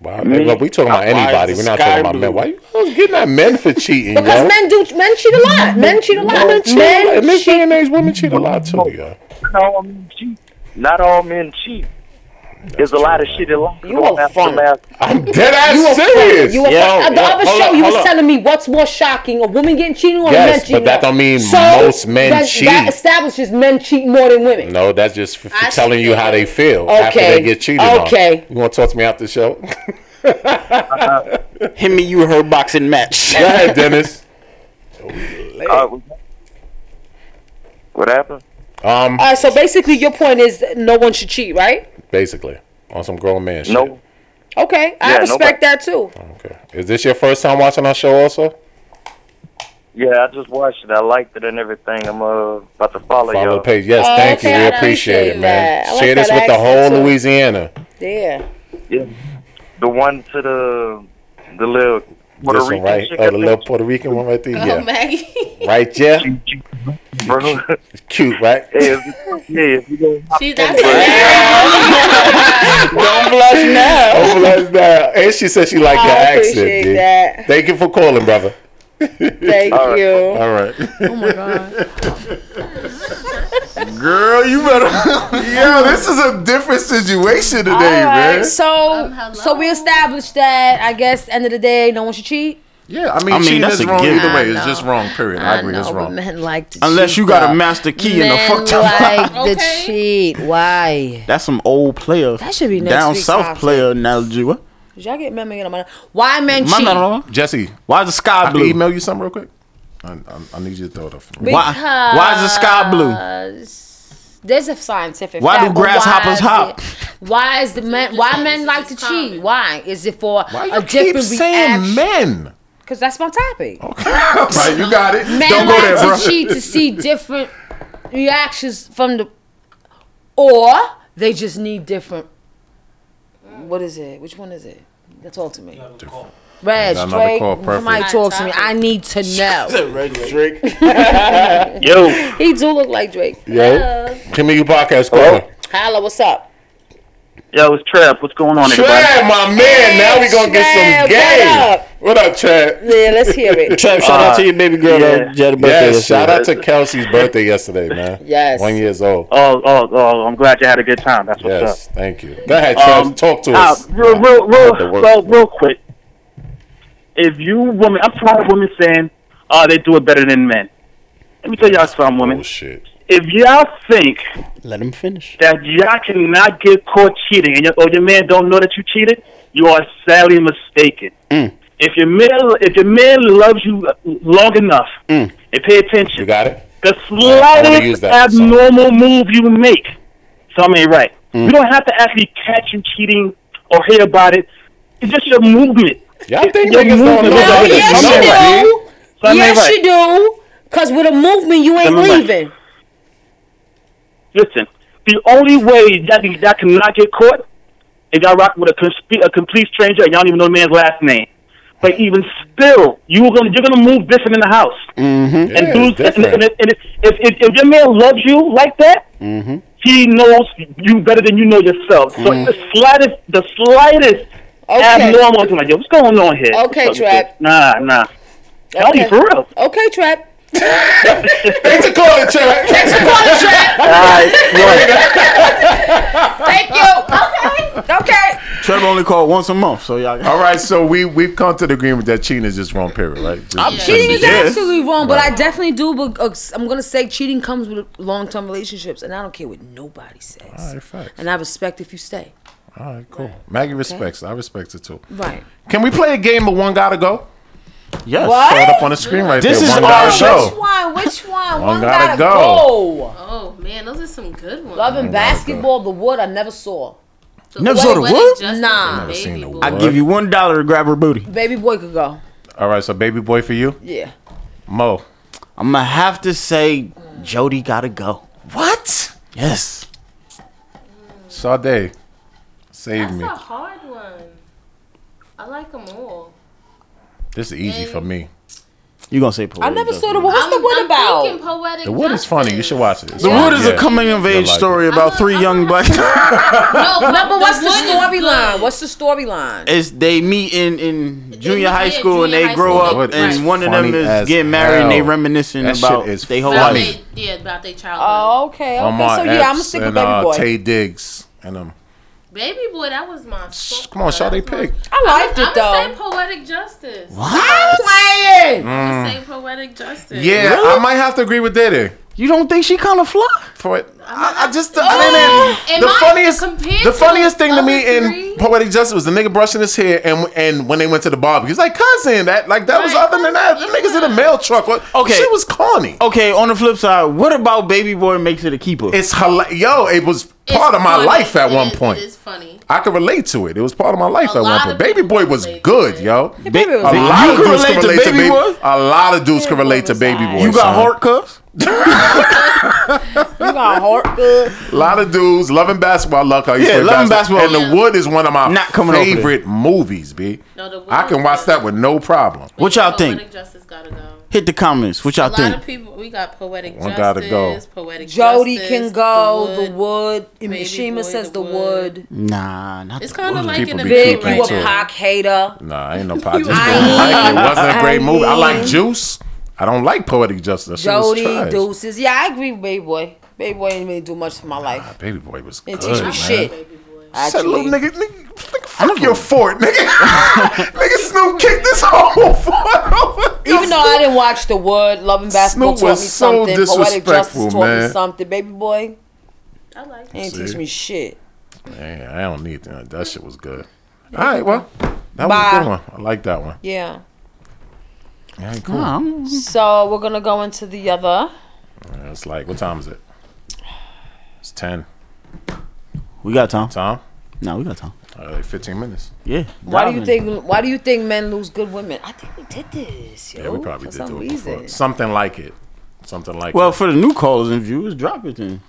S5: Wow. Hey, look, we talking about
S4: Why is
S5: anybody.
S4: the
S5: We're not
S4: sky
S5: talking about
S4: blue?
S5: men. Why you always getting at men for cheating,
S7: Because
S5: yo?
S7: men do men cheat a lot. Men cheat a lot.
S5: Women
S7: Men,
S5: cheat. in this day and age, women cheat a lot too, yo.
S11: Not all men cheat. Not all men cheat. There's a lot of shit in life.
S7: You a
S11: after
S7: fuck.
S11: master.
S5: I'm dead ass
S7: cheat.
S5: serious.
S7: You were
S5: Yo,
S7: at the
S5: yo,
S7: other
S5: hold
S7: show.
S5: up,
S7: you
S5: hold
S7: was
S5: up.
S7: telling me what's more shocking: a woman getting cheated on, a man
S5: Yes,
S7: cheating
S5: but that
S7: on.
S5: don't mean most men
S7: that, That
S5: cheat.
S7: establishes men cheat more than women.
S5: No, that's just for
S6: I
S5: telling you how they feel after
S7: Okay.
S5: they get cheated
S7: Okay.
S5: on. You want to talk to me after the show? Go
S4: Hit me. You her boxing match.
S5: ahead, Dennis.
S11: Uh, what happened?
S5: Um,
S7: All right. So basically, your point is that no one should cheat, right?
S5: basically, on some grown man shit.
S11: No.
S7: Okay, I
S11: Yeah, nobody-
S7: respect that too.
S5: Okay. Is this your first time watching our show? Also,
S11: Yeah, I just watched it. I liked it and everything. I'm uh, about to follow,
S5: Follow
S11: y'all.
S5: the page. Yes,
S7: Oh,
S5: thank
S7: okay,
S5: you.
S7: I
S5: We appreciate
S7: appreciate
S5: it, man.
S7: that. I like
S5: Share this
S7: that
S5: with the whole
S7: accent, too.
S5: Louisiana.
S7: Yeah.
S11: Yeah. The one to the the little Puerto
S5: this
S11: Rican
S5: one, right?
S11: chick, I
S5: Oh, the
S11: think.
S5: little Puerto Rican one right there.
S6: Oh,
S5: Yeah.
S6: Maggie.
S5: Right, yeah. It's cute, right?
S11: yeah,
S6: She's that's
S5: Don't blush now. Don't blush now. And she said she liked
S7: I
S5: your
S7: appreciate
S5: accent, dude.
S7: that.
S5: Thank you for calling, brother.
S7: Thank you.
S5: All right.
S7: Oh my god.
S5: Girl, you better. Yo, this is a different situation today, man.
S7: So so we established that I guess end of the day, no one should cheat.
S5: Yeah, I mean, cheating is wrong either way. It's just wrong, period.
S7: I
S5: I, agree. it's
S7: know, but
S5: wrong.
S7: Men like to
S4: Unless
S7: cheat,
S4: you got
S7: though.
S4: a master key in the
S7: Men
S4: fuck
S7: like to cheat. Why?
S4: That's some old player.
S7: That should be next
S4: down
S7: week's
S4: south
S7: topic.
S4: player analogy. What?
S7: Did y'all get memory on my? Why men
S4: My
S7: cheat?
S4: not-
S5: Jesse,
S4: why is the sky
S5: I can
S4: blue?
S5: email you something real quick. I, I, I need you to throw it up. for me.
S4: Why? Why is the sky blue?
S7: Because There's a scientific.
S5: Why
S7: fact,
S5: do
S7: but
S5: grasshoppers
S7: is
S5: hop?
S7: it- why is the men? Why men like to cheat? Why is it for
S5: Why
S7: a
S5: you keep
S7: different reaction?
S5: saying men?
S7: Because that's my topic.
S5: right, you got it.
S7: Men
S5: Don't go
S7: like
S5: there, bro.
S7: to cheat to see different reactions from the, or they just need different. What is it? Which one is it? That's all to me. Reg,
S5: Got another
S7: Drake,
S5: call, preference.
S7: somebody talk to me. I need to know.
S4: Drake.
S5: Yo.
S7: He do look like Drake.
S5: Yo. Kimmy, you podcast caller.
S7: Hello, what's up?
S12: Yo, it's Trev. What's going on,
S5: Trav, my man. now we gonna get
S7: Trav,
S5: some
S7: what
S5: game.
S7: up?
S5: What up, Trav?
S7: Yeah, let's hear it.
S5: Trev, shout out to your
S4: baby
S5: girl.
S12: yeah.
S5: Yeah,
S12: birthday yesterday.
S5: shout out to Kelsey's birthday yesterday, man.
S12: Yes.
S5: One years old.
S12: Oh, oh, oh! I'm glad you had a good time. That's what's
S5: Yes,
S12: up.
S5: thank you. Go ahead, Trev. Talk to
S12: uh,
S5: us.
S12: Real, real,
S5: The
S12: real,
S5: work.
S12: so, real quick. If you women, I'm tired of women saying, "Oh, they do it better than men." Let me tell y'all something,
S5: Oh,
S12: women. If y'all think
S4: Let him finish.
S12: that y'all cannot get caught cheating and your, or your man don't know that you cheated, you are sadly mistaken.
S7: Mm,
S12: If your man, if your man loves you long enough, and pay attention. You
S5: got it.
S12: The
S5: I'm gonna
S12: slightest
S5: use that,
S12: abnormal move you make, something ain't right. You don't have to actually catch you cheating or hear about it. It's just your movement.
S5: Y'all
S7: think niggas don't know that they Yes, you do. yes, you do. Cause with a movement, you ain't
S12: Something right.
S7: leaving.
S12: Listen, the only way that that cannot get caught is y'all rock with a, consp- a complete stranger and y'all don't even know the man's last name. But even still, you were gonna you're gonna move different in the house.
S13: Mm-hmm.
S12: and dudes, and, and, and, and if, if if your man loves you like that,
S13: mm-hmm.
S12: he knows you better than you know yourself. So
S13: Mhm.
S12: the slightest, the slightest
S7: Mm-hmm. Okay.
S12: abnormal thing like, yo, what's going on here?
S7: Okay,
S12: What's up,
S7: Trap.
S12: dude? Nah, nah. I'll be for real.
S7: Okay, Trap.
S5: Thanks for calling, Trap.
S7: Thanks for calling, Trap.
S12: All right,
S7: Thank you. Okay. Okay.
S5: Trev only called once a month, so y'all. All right, so we we've come to the agreement that cheating is just wrong, period, right? Just-
S7: I'm
S5: just
S7: cheating is
S5: shouldn't be-
S7: absolutely wrong, but I definitely do. But uh, I'm gonna say cheating comes with long-term relationships, and I don't care what nobody says.
S5: All right, facts.
S7: And I respect if you stay.
S5: All right, cool. Maggie respects. I respect it too.
S7: Right.
S5: Can we play a game of one gotta go? Yes.
S7: What?
S5: Throw it up on the screen right
S4: This
S5: there.
S4: is
S5: one
S4: our
S5: gotta
S4: show.
S5: go.
S7: One, which one?
S5: One gotta go.
S6: Oh man, those are some good ones.
S7: Love and
S6: One gotta
S7: basketball, the wood I never saw.
S4: Never saw the wood?
S7: Nah,
S4: I give you one dollar to grab her booty.
S7: baby boy could go.
S5: All right, so baby boy for you,
S7: Yeah.
S5: Mo.
S4: I'm gonna have to say Jody gotta go.
S5: What?
S4: Yes.
S5: Sade, save
S6: That's
S5: me.
S6: a hard one. I like them all.
S5: This is easy for me.
S4: You gonna say
S7: I
S4: poetic?
S7: never saw the wood. What's the
S6: I'm-
S7: wood
S6: I'm
S7: about?
S6: thinking poetic
S5: The wood is funny. You should watch it. It's
S4: The
S5: funny.
S4: Wood is a
S5: Yeah.
S4: coming of age
S5: You'll like
S4: story about three young black.
S7: No, but what's the
S6: wood is
S7: storyline? What's the storyline?
S4: It's they meet in, in junior
S7: meet
S4: high
S7: in
S4: school and
S7: junior
S4: they
S7: high
S4: grow
S7: school.
S4: up
S5: Wood is
S4: and one of them
S5: funny
S4: is
S5: as
S4: getting married and they
S5: hell.
S4: reminiscing
S5: That shit
S4: about
S5: is
S4: they whole
S6: About
S4: life.
S6: they, yeah, about their childhood.
S7: Oh, okay. Okay.
S5: Omar
S7: so yeah, I'm gonna
S5: Epps
S7: stick with
S5: and,
S7: baby
S5: uh,
S7: boy.
S5: Tay Diggs and um.
S6: Baby boy, that was my. Sh-
S5: Come on, Sade, pick.
S7: I liked it
S6: I'm gonna
S7: though.
S6: say poetic justice.
S5: What?
S7: I'm playing.
S6: I'm gonna
S5: Mm.
S6: say poetic justice.
S5: Yeah, I might have to agree with Diddy.
S4: You don't think she kind of fly?
S5: For it, I, I just I
S4: Oh,
S5: didn't. The funniest, the funniest thing to me in Poetic Justice was the nigga brushing his hair, and and when they went to the barbecue, he's like, cousin, that like that was other than that, the niggas in the mail truck. What, okay, shit was corny.
S4: Okay, on the flip side, what about Baby Boy makes it a keeper?
S5: It's hila- yo, it was part of my life at one point.
S6: It's funny.
S5: I could relate to it. It was part of my life at one point. Baby Boy was good, yo.
S4: Baby
S5: a
S4: Boy was
S5: lot
S4: good. You
S5: of
S4: could
S5: dudes
S4: relate
S5: can
S4: to
S5: relate to
S4: Baby
S5: Baby
S4: Boy?
S5: A lot of dudes can relate to Baby Boy.
S4: You got
S5: son.
S4: heart cuffs?
S7: You got heart good.
S5: A lot of dudes loving basketball. Love how you
S4: Yeah,
S5: play
S4: loving basketball.
S5: And The Wood is one of my
S4: Not coming over there.
S5: favorite movies, b. I can watch that with no problem.
S4: What y'all think?
S6: Justice gotta go.
S4: Hit the comments. What y'all
S6: a lot
S4: think?
S6: of people. We got poetic
S5: One
S6: justice.
S5: gotta go.
S6: Poetic
S7: Jody
S6: justice,
S7: can go. The wood. Mishima says the wood.
S4: Nah, not
S6: It's
S4: the
S6: kinda
S4: wood.
S6: like People in the be
S7: Big,
S5: creeping
S7: you a
S5: too.
S7: cock hater.
S5: Nah, I ain't no pot.
S7: You-
S5: It wasn't a great
S7: I
S5: movie. I like
S7: mean-
S5: Juice. I don't like Poetic Justice. That shit was
S7: Jody
S5: trash.
S7: deuces. Yeah, I agree with Baby Boy. Baby Boy didn't really do much for my life.
S5: Baby Boy was
S7: Didn't
S5: good.
S7: teach me
S5: man.
S7: shit.
S5: Said
S7: Actually.
S5: little nigga, nigga, nigga fuck your fort, nigga. nigga Snoop kicked this whole fort over. Yo,
S7: Even though I didn't watch The Wood, Loving Basketball
S5: Snoop
S7: taught me
S5: was so
S7: something. Poetic
S5: disrespectful,
S7: Justice taught me
S5: man.
S7: something. Baby Boy. I
S6: like
S7: He didn't
S5: See?
S7: teach me shit.
S5: Man, I don't need that. That shit was good. All right, well, that was
S7: Bye.
S5: a good one. I like that one.
S7: Yeah.
S5: All right, cool.
S7: So we're gonna go into the other.
S5: Yeah, It's like, what time is it? It's 10.
S4: We got time.
S5: Time?
S4: No, we got time.
S5: All right, 15 minutes.
S4: Yeah.
S7: Why do you
S5: Robin.
S7: think? Why do you think men lose good women? I think we did this, yo.
S5: Yeah, we probably
S7: Oh, for some
S5: did do it
S7: reason.
S5: before. Something like it. Something like
S4: Well,
S5: it.
S4: for the new callers and viewers, drop it then.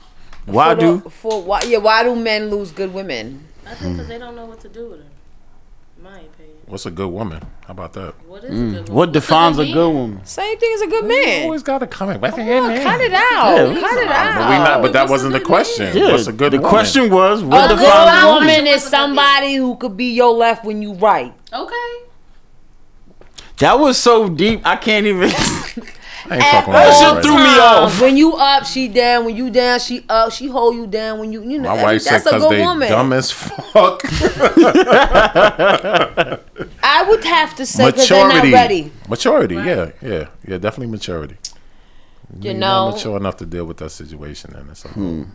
S4: Why
S7: for
S4: do?
S7: The, for why? Yeah, why do men lose good women?
S6: I think because they don't know what to do with it. In my opinion.
S5: What's a good woman? How about that?
S6: What
S7: is
S4: a Mm. good What woman? defines a good woman?
S7: Same thing as a good man.
S5: always got to come in. Come
S7: on, cut it out.
S4: Yeah.
S7: cut it out.
S5: But we not. But that wasn't the question.
S4: Yeah,
S5: What's a good
S4: the
S5: woman?
S4: question was,
S7: A
S4: what
S7: good
S4: defines a woman?
S7: woman is somebody who could be your left when you right.
S6: Okay.
S4: That was so deep, I can't even.
S5: I ain't fucking
S4: That
S5: with you
S4: shit
S5: right
S4: threw
S5: now.
S4: me off.
S7: Uh, When you up, she down. When you down, she up. She hold you down. When you, you know,
S5: My wife said
S7: that's a
S5: because
S7: good
S5: they
S7: woman.
S5: dumb as fuck.
S7: I would have to say because they're not
S5: maturity.
S7: ready.
S5: Maturity. Yeah, yeah, yeah. Definitely maturity.
S7: You
S5: You're
S7: know,
S5: not mature enough to deal with that situation, and it's a
S4: Hmm.
S5: whole,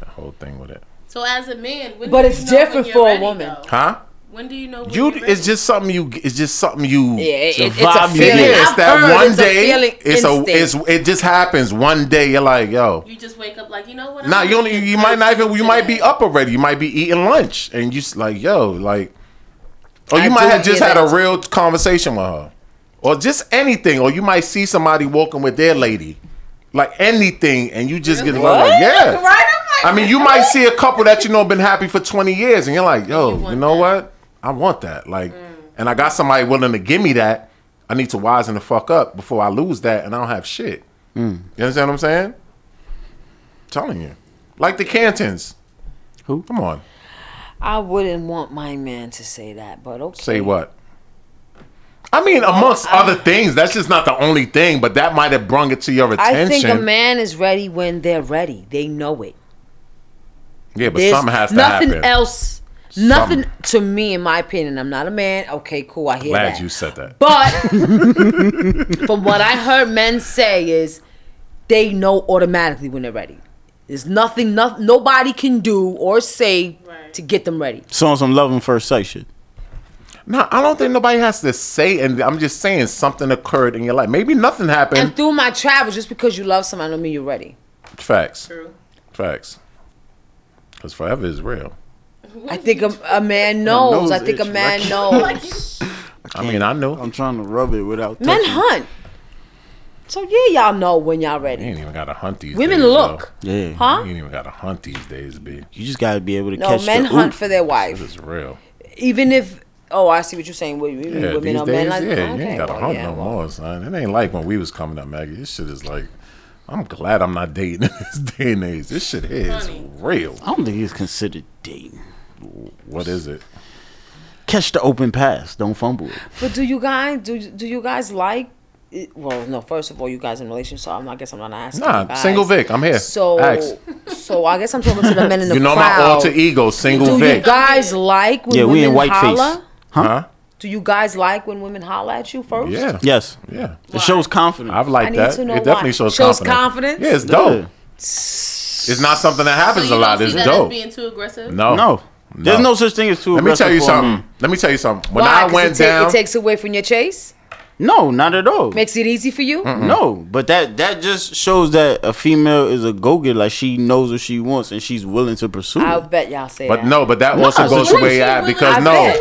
S5: that whole thing with it.
S6: So as a man, when
S7: But
S6: do
S7: it's
S6: you know when
S7: different
S6: you're
S7: for a
S6: ready,
S7: woman.
S6: though?
S5: Huh?
S6: When do you know? When
S5: You.
S6: you're
S5: It's just something you. It's just something you.
S7: Yeah, it-
S5: the
S7: it's a feeling.
S5: Yeah, it's
S7: I've heard
S5: that one
S7: it's a
S5: day.
S7: feeling
S5: it's a.
S7: instinct.
S5: It's. It just happens. One day you're like, yo.
S6: You just wake up like you know what?
S5: Nah,
S6: I'm
S5: you
S6: ready.
S5: only you might not even you might be up already. You might be eating lunch, and you s- like yo like, or you
S13: I
S5: might
S13: do
S5: have just
S13: hear
S5: had
S13: that.
S5: a real conversation with her, or just anything, or you might see somebody walking with their lady, like anything, and you just get
S13: What?
S5: like yeah.
S13: Right?
S5: I mean, you might see a couple that you know been happy for twenty years, and you're like yo, you, know what? I want that like, and I got somebody willing to give me that. I need to wisen the fuck up before I lose that, and I don't have shit.
S4: Mm.
S5: You understand what I'm saying? telling you. Like the Cantons.
S4: Who?
S5: Come on.
S7: I wouldn't want my man to say that, but okay.
S5: Say what? I mean, amongst other things, that's just not the only thing, but that might have brung it to your attention.
S7: I think a man is ready when they're ready. They know it.
S5: yeah, but
S7: There's
S5: something has to
S7: nothing
S5: happen.
S7: else. Nothing to me, in my opinion. I'm not a man. Okay, cool. I hear
S5: Glad
S7: that.
S5: you said that.
S7: But from what I heard men say is they know automatically when they're ready. There's nothing, no, nobody can do or say to get them ready.
S4: So on some love and first sight shit.
S5: No, I don't think nobody has to say, and I'm just saying something occurred in your life. Maybe nothing happened.
S7: And through my travels, just because you love somebody, don't mean you're ready.
S5: Facts. Facts. Because forever is real.
S7: I think a, a man knows. I think a
S4: it's
S7: man
S4: right.
S7: knows.
S5: I mean, I know.
S4: I'm trying to rub it without.
S7: Men
S4: touching.
S7: hunt. So yeah, y'all know when y'all ready.
S5: You ain't even got to hunt these
S7: Women
S5: days,
S7: look.
S5: though.
S4: Yeah.
S7: Huh?
S5: You ain't even got to hunt these days, B.
S4: You just gotta be able to
S7: No,
S4: catch.
S7: men
S4: the
S7: hunt
S4: oop.
S7: for their wife.
S5: This is real.
S7: Even if oh, I see what you're saying. What you mean
S5: Yeah,
S7: women
S5: these
S7: are
S5: days,
S7: men like "Oh,
S5: yeah, you
S7: okay,
S5: ain't gotta
S7: well,
S5: hunt
S7: yeah.
S5: no more, son. It ain't like when we was coming up, Maggie. This shit is like, I'm glad I'm not dating in this day and age. This shit here is real.
S4: I don't think it's considered dating.
S5: What is it?
S4: Catch the open pass. Don't fumble it.
S7: But do you guys do do you guys like? it- Well, no. First of all, you guys in relation, so I'm, I guess I'm not asking.
S5: Nah,
S7: you guys.
S5: single Vic, I'm here.
S7: So,
S5: Ask.
S7: so I guess I'm talking to the men in the
S5: You know my
S7: crowd.
S5: alter ego, single
S7: do you
S5: Vic.
S7: guys like when
S4: yeah,
S7: women
S4: we in white
S7: holla?
S4: face. Huh?
S7: Do you guys like when women holler at you first?
S5: Yeah.
S4: Yes.
S5: Yeah.
S4: It shows confidence.
S5: I've liked that. It definitely shows,
S7: confidence.
S5: Yeah, it's dope. It's not something that happens a lot.
S6: See
S5: It's
S6: that
S5: dope.
S6: as being too aggressive.
S5: No.
S4: No. There's no such thing as too
S5: Let me
S4: aggressive
S5: tell you
S4: for a
S5: something.
S4: man.
S5: Let me tell you something. When
S7: Why?
S5: I
S7: 'Cause
S5: went
S7: it, take-
S5: down,
S7: it takes away from your chase.
S4: No, not at all.
S7: Makes it easy for you.
S4: No, but that that just shows that a female is a go getter. Like she knows what she wants and she's willing to pursue.
S7: I'll
S4: it.
S7: bet y'all say
S5: But
S7: that.
S5: no, but that also goes the way out because no.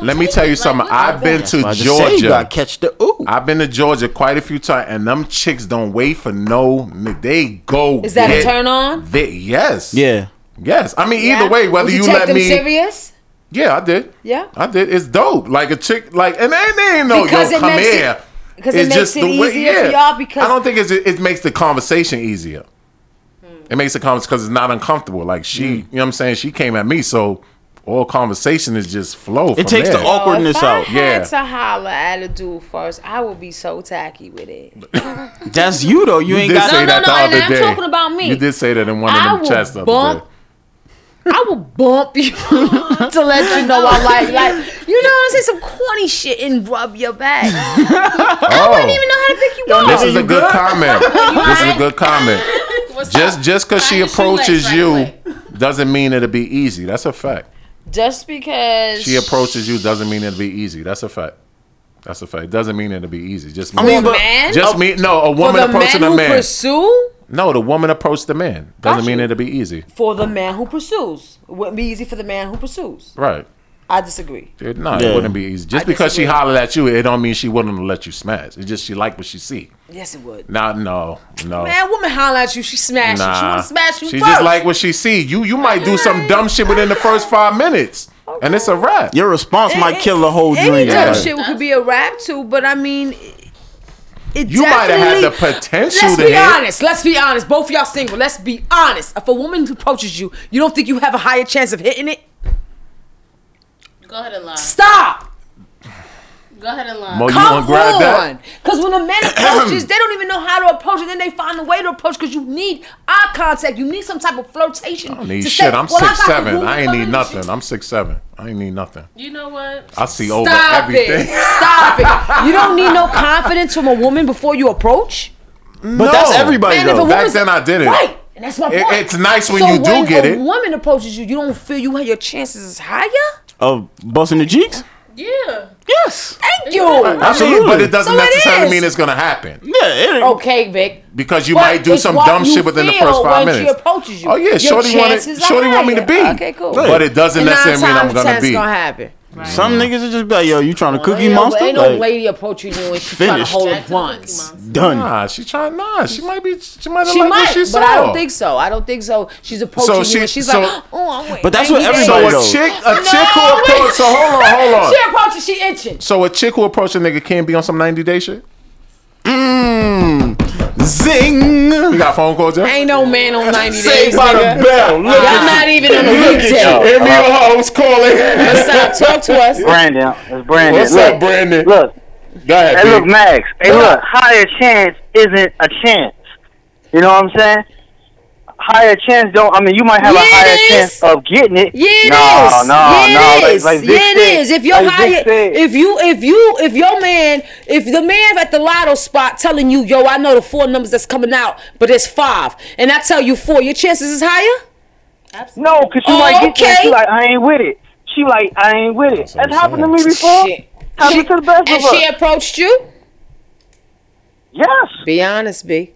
S5: Let me tell you something. I've been
S4: That's why
S5: to
S4: I just say you
S5: Georgia.
S4: gotta catch the ooh.
S5: I've been to Georgia quite a few times, and them chicks don't wait for no. nigga. They go.
S7: Is that a
S5: get
S7: turn on?
S5: They, yes.
S4: Yeah.
S5: Yes. I mean,
S7: Yeah?
S5: either way, whether
S7: Would
S5: you,
S7: take
S5: let
S7: them
S5: me.
S7: serious?
S5: Yeah, I did.
S7: Yeah.
S5: I did. It's dope. Like a chick, like, and they, they ain't know,
S7: Because
S5: yo,
S7: it
S5: come
S7: makes it-
S5: here.
S7: because it makes it easier for y'all because-
S5: I don't think it's, it makes the conversation easier. It makes the conversation because it's not uncomfortable. Like
S4: Mm.
S5: she, you know what I'm saying? She came at me, so all conversation is just flow. from
S4: takes the
S7: Oh,
S5: there.
S4: awkwardness Yo, if I out.
S7: I
S5: Yeah.
S7: had to holler at a dude first. I would be so tacky with it.
S4: That's you though. You,
S5: You
S4: ain't
S5: did
S4: got
S5: say
S7: No,
S5: that
S7: no,
S5: the
S7: no,
S5: other
S7: and I'm
S5: day.
S7: talking about me.
S5: You did say that in one
S7: I
S5: of them
S7: will
S5: chats the other
S7: bump
S5: day.
S7: I will bump you to let you know I like like you know what I'm saying some corny shit and rub your back. I wouldn't even know how to pick you up.
S5: Oh. This is a good comment. this is a good comment. Just just because she
S7: Find your shoelace
S5: approaches
S7: right
S5: you
S7: away.
S5: doesn't mean it'll be easy. That's a fact.
S7: Just because
S5: She approaches you doesn't mean it'll be easy. That's a fact. That's a fact. It doesn't mean it'll be easy. Just
S7: I
S5: means-
S7: mean, but- man? Oh,
S5: just mean no. A
S7: for
S5: woman
S7: the
S5: approaching
S7: man
S5: a
S7: who
S5: man.
S7: pursue
S5: no, the woman approached the man. Doesn't mean it'll be easy.
S7: for the man who pursues. It wouldn't be easy for the man who pursues.
S5: Right.
S7: I disagree.
S5: It, no,
S4: Yeah.
S5: it wouldn't be easy. Just
S7: I
S5: because she
S7: disagree.
S5: hollered at you, it don't mean she wouldn't let you smash. It's just she liked what she see.
S7: Yes, it would.
S5: Nah, no, no.
S7: Man, woman holler at you, she smash you. She
S5: Nah.
S7: wanna smash you
S5: She
S7: first.
S5: just like what she see. You you might do some dumb shit within the first five minutes, and it's a wrap.
S4: Your response might kill the whole
S7: Any
S4: dream.
S7: dumb shit could be a rap too, but I mean, it
S5: You might have had the
S7: definitely-
S5: potential
S7: Let's
S5: to
S7: be
S5: hit.
S7: honest. Let's be honest. Both of y'all single. Let's be honest. If a woman approaches you, you don't think you have a higher chance of hitting it?
S6: Go ahead and lie.
S7: Stop.
S6: Go ahead and lie.
S5: Mo, you
S7: Come
S5: wanna grab that?
S7: on. Because when a man approaches, they don't even know how to approach it. Then they find a way to approach because you need eye contact. You need some type of flirtation.
S5: I don't need
S7: to say,
S5: shit. I'm
S7: "Well, I got
S5: six seven.
S7: the
S5: I ain't
S7: woman coming."
S5: need nothing. I'm six seven. I ain't need nothing.
S6: You know what?
S5: I see over
S7: Stop
S5: everything.
S7: it. Stop it. You don't need no confidence from a woman before you approach.
S4: But that's everybody
S7: Man, if a
S5: though. Back
S7: woman's-
S5: then I did it.
S7: Right. And that's my
S5: It-
S7: point.
S5: it's nice when
S7: So
S5: you do
S7: when
S5: get
S7: a
S5: it.
S7: woman approaches you, you don't feel you have your chances is higher?
S4: Of busting the cheeks?
S6: Yeah.
S4: Yes.
S7: Thank you.
S5: Absolutely, but it doesn't
S7: So it
S5: necessarily
S7: is.
S5: mean it's gonna happen
S4: Yeah,
S7: Okay, Vic.
S5: because you
S7: But
S5: might do
S7: it's
S5: some
S7: what
S5: dumb
S7: you
S5: shit within the
S7: feel
S5: first five
S7: when she
S5: minutes.
S7: approaches you.
S5: Oh yeah,
S7: Your
S5: shorty wanted,
S7: chances are
S5: shorty want me to
S7: higher.
S5: be.
S7: Okay, cool.
S5: But it doesn't
S7: And nine
S5: necessarily mean I'm
S7: times
S5: gonna
S7: ten's
S5: be.
S7: gonna happen.
S4: Some
S5: Mm-hmm.
S4: niggas are just be like, yo, you trying to cookie
S7: ain't no-
S4: monster?
S7: Ain't no
S4: Like,
S7: lady approaching you and she trying to
S4: Finished.
S7: hold
S4: Back
S7: it once.
S4: done.
S5: Nah, she trying. Uh, Nah, she might be. She might have
S7: She
S5: liked
S7: might,
S5: what she
S7: but
S5: saw.
S7: I don't think so. I don't think so. She's approaching
S5: So
S7: you
S5: she-
S7: and she's
S5: so-
S7: like, oh, I'm waiting.
S4: But that's what
S7: 90 days."
S4: everybody
S5: So a
S4: knows.
S5: chick, a chick who approaches. So hold on, hold on.
S7: She approaches, she itching.
S5: So a chick who approaches a nigga can't be on some ninety day shit. Mmm.
S4: Mm, zing.
S5: You got phone calls there.
S7: Ain't no man on 90 days,
S4: Saved by the
S7: nigga.
S4: bell. Look
S7: Y'all
S4: at
S7: not even on a
S4: you.
S7: weekday.
S5: Give me your hoes calling.
S7: What's up? Talk to us.
S10: Brandon, it's Brandon.
S5: What's
S10: look,
S5: up, Brandon?
S10: Look,
S5: Go ahead.
S10: hey,
S5: B.
S10: look, Max. Hey, look, higher chance isn't a chance. You know what I'm saying? Higher chance don't. I mean, you might have
S7: Yeah,
S10: a
S7: it
S10: higher
S7: is.
S10: chance of getting it.
S7: Yeah, it
S10: no,
S7: is.
S10: no,
S7: yeah,
S10: no.
S7: It
S10: Like-
S7: is.
S10: like Vic
S7: yeah, it
S10: said-
S7: is. If your
S10: like Vic
S7: higher,
S10: said,
S7: if you, if you, if your man, if the man at the lotto spot telling you, yo, I know the four numbers that's coming out, but it's five, and I tell you four, your chances is higher.
S10: no, because you
S7: Oh,
S10: might get there. and
S7: okay.
S10: She like, I ain't with it. She like, I ain't with it. That's happened to me before.
S7: Shit.
S10: Happened to the best
S7: And
S10: of
S7: she
S10: us.
S7: approached you.
S10: Yes,
S7: Be honest, B.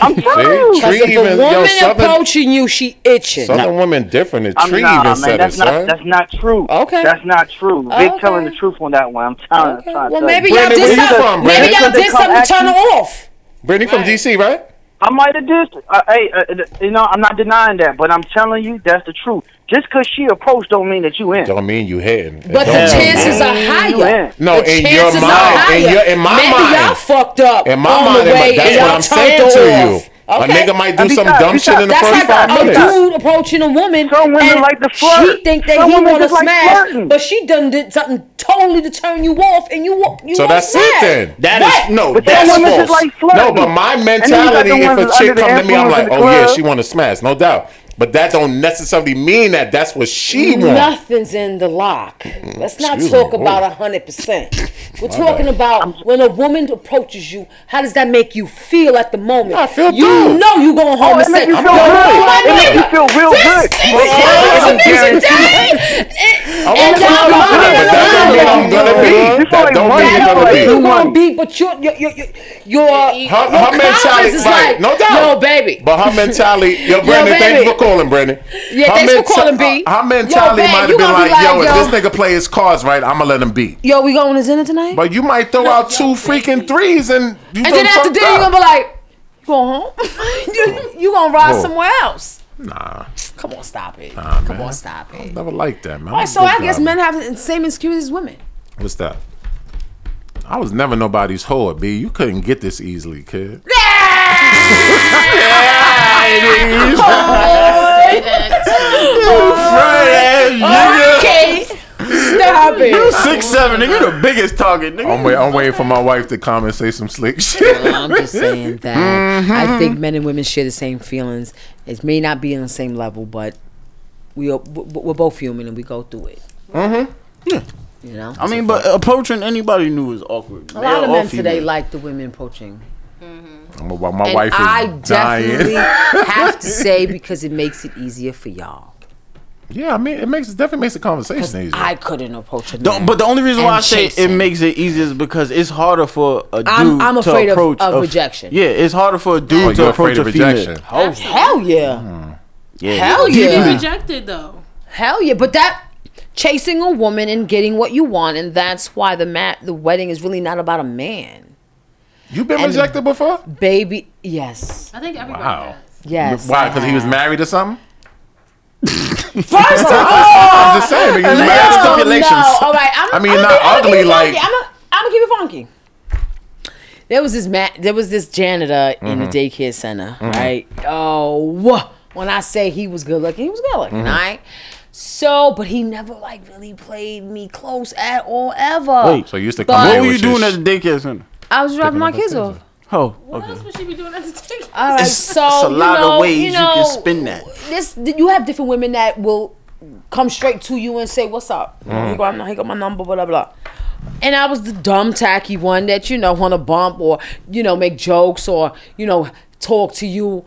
S10: I'm telling you.
S5: See,
S7: Because
S5: Tree
S7: if a
S5: even
S7: woman
S5: yo southern
S7: approaching you, she itching.
S5: southern women different. The
S10: I'm
S5: tree
S10: nah,
S5: even
S10: man,
S5: said it,
S10: that's
S5: son.
S10: not that's not true.
S7: Okay.
S10: That's not true. Vic
S7: Okay.
S10: telling the truth on that one. I'm telling
S7: Okay.
S10: I'm trying to tell you.
S7: Well, maybe y'all
S5: Brandon, where
S7: did
S5: you
S7: something.
S5: from,
S7: maybe
S5: Brandon?
S7: y'all did something to turn her
S10: Actually-
S7: off.
S5: Brittany from DC, right?
S10: I might have did. Uh, hey, uh, uh, you know, I'm not denying that, but I'm telling you that's the truth. Just 'cause she approached don't mean that you in.
S5: Don't mean you hitting.
S7: But the
S5: Don't mean-
S7: chances are
S10: You
S7: higher.
S10: in.
S5: No,
S7: the
S5: Oh, in your
S7: chances are
S5: mind, in
S7: higher.
S5: your- in my
S7: Maybe
S5: mind.
S7: y'all fucked up
S5: In my
S7: on
S5: mind,
S7: the way,
S5: that's
S7: and y'all
S5: what I'm
S7: turned
S5: saying to
S7: her
S5: you.
S7: off. Okay.
S5: A nigga might do
S10: And
S5: some
S10: because-
S5: dumb shit in the
S10: because-
S7: That's
S5: first five
S7: like a, a
S5: minutes.
S7: dude approaching a woman.
S10: Some women
S7: and
S10: like to flirt.
S7: She think that
S10: Some
S7: he
S10: women
S7: want to
S10: just like
S7: smash,
S10: flirting.
S7: but she done did something totally to turn you off, and you wa- you
S5: So
S7: won't
S5: that's
S7: smash.
S5: it then.
S4: That
S7: Right.
S4: is no.
S10: But
S4: that's
S10: them women
S4: false.
S10: just like flirting.
S5: No, but my
S10: And then you got the
S5: mentality, if
S10: ones
S5: a chick
S10: under the
S5: come to me, I'm
S10: influence
S5: like,
S10: in the
S5: oh yeah,
S10: club.
S5: she want to smash, no doubt. But that don't necessarily mean that that's what she wants. Mm,
S7: Nothing's in the lock. Let's not
S5: Excuse
S7: talk
S5: me.
S7: about a hundred percent. We're
S5: My
S7: talking
S5: bad.
S7: about when a woman approaches you. How does that make you feel at the moment? I feel you
S10: good.
S7: know you going home
S10: Oh,
S7: and
S10: it make
S7: saying,
S10: you feel
S7: "Yo,
S10: good.
S7: my
S10: It make you
S7: nigga,
S10: feel real
S7: this
S10: good.
S7: is-
S10: Well,
S7: this
S10: I don't
S7: is a
S10: guarantee.
S7: day,
S10: I
S7: and
S10: want to feel good, but that don't mean I'm
S7: y'all mama
S10: gonna
S7: love
S10: be.
S7: you."
S10: This That don't like mean you're money.
S7: That
S10: gonna
S7: don't mean
S10: be.
S7: you're gonna be, But your your your your your
S5: Her, her mentality,
S7: is like,
S5: right, no doubt.
S7: yo, baby.
S5: But her mentality, yo,
S7: Yo,
S5: Brandon, thanks
S7: baby.
S5: for calling, Brandon.
S7: Yeah, thanks for calling, B.
S5: Her
S7: Yo,
S5: mentality
S7: babe,
S5: might have
S7: you
S5: been
S7: gonna be
S5: like, yo,
S7: like,
S5: if
S7: yo-
S5: this nigga play his cards right, I'm gonna let him be.
S7: Yo, we going to dinner tonight?
S5: But you might throw out two freaking threes and you
S7: And
S5: done
S7: then after
S5: fucked
S7: dinner, you're
S5: up.
S7: gonna be like, you going home? you, you gonna ride
S5: Whoa.
S7: somewhere else?
S5: Nah.
S7: Come on, stop it.
S5: Nah,
S7: Come
S5: man.
S7: on, stop it.
S5: I never liked that, man.
S7: All right,
S5: I'm a
S7: so
S5: good
S7: I guess
S5: driver.
S7: men have the same excuses as women.
S5: What's that? I was never nobody's whore, B. You couldn't get this easily, kid.
S7: Oh,
S1: Okay.
S7: Stop it.
S4: You six seven, nigga. You the biggest target, nigga.
S5: I'm, wait, I'm waiting for my wife to come and say some slick shit.
S7: I'm just saying that I think men and women share the same feelings. It may not be on the same level, but we are, w- w- we're both human and we go through it.
S4: Mm-hmm. Yeah.
S7: You know.
S4: I mean, but approaching anybody new is awkward.
S7: A lot of men today like the women approaching.
S5: I'm about- my
S7: and
S5: wife is
S7: I
S5: dying.
S7: definitely have to say because it makes it easier for y'all.
S5: yeah, I mean, it makes it definitely makes the conversation easier.
S7: I couldn't approach a man.
S4: Don't- but the only reason why
S7: and
S4: I say
S7: chase
S4: it
S7: him.
S4: makes it easier is because it's harder for a dude
S7: I'm- I'm
S4: to
S7: afraid of-
S4: approach
S7: of
S4: a f-
S7: rejection.
S4: Yeah, it's harder for a dude
S5: Oh,
S4: to
S5: you're
S4: approach
S5: afraid
S4: a
S5: of
S4: female.
S5: rejection.
S7: Oh hell
S5: Mm-hmm.
S7: yeah,
S4: Yeah.
S7: hell
S6: You
S7: yeah.
S6: get rejected though.
S7: Hell yeah, but that chasing a woman and getting what you want, and that's why the mat the wedding is really not about a man.
S5: You been
S7: And-
S5: rejected before?
S7: Baby, yes,
S6: I think everybody.
S5: Wow.
S7: yes. Uh-huh.
S5: Why? Because he was married or something?
S7: First of all,
S5: I'm just saying, nigga, you
S7: no,
S5: married stipulations.
S7: No. All right, I'm,
S5: I mean,
S7: I'm
S5: not ugly, like-
S7: I'm gonna I'm keep it funky. There was this ma- there was this janitor in the
S5: Mm-hmm.
S13: Mhm.
S7: daycare center,
S13: Mhm.
S7: right? Oh, wha- when I say he was good looking, he was good looking,
S5: Mm-hmm.
S13: Mhm.
S7: all right. So, but he never like really played me close at all ever.
S4: Wait,
S5: so you used to
S7: But-
S4: come What were you doing at the daycare center?
S7: I was dropping
S4: Picking
S7: my
S4: up her
S7: kids
S4: kids
S7: off.
S4: Oh,
S6: What else would she be doing at the table?
S7: All right, so
S4: it's a
S7: you
S4: lot
S7: know-
S4: of ways
S7: you,
S4: you,
S7: know,
S4: can spin that.
S7: This you have different women that will come straight to you and say, "What's up?"
S4: Mhm.
S7: You got, he got my number, blah blah blah. And I was the dumb tacky one that you know want to bump or you know make jokes or you know talk to you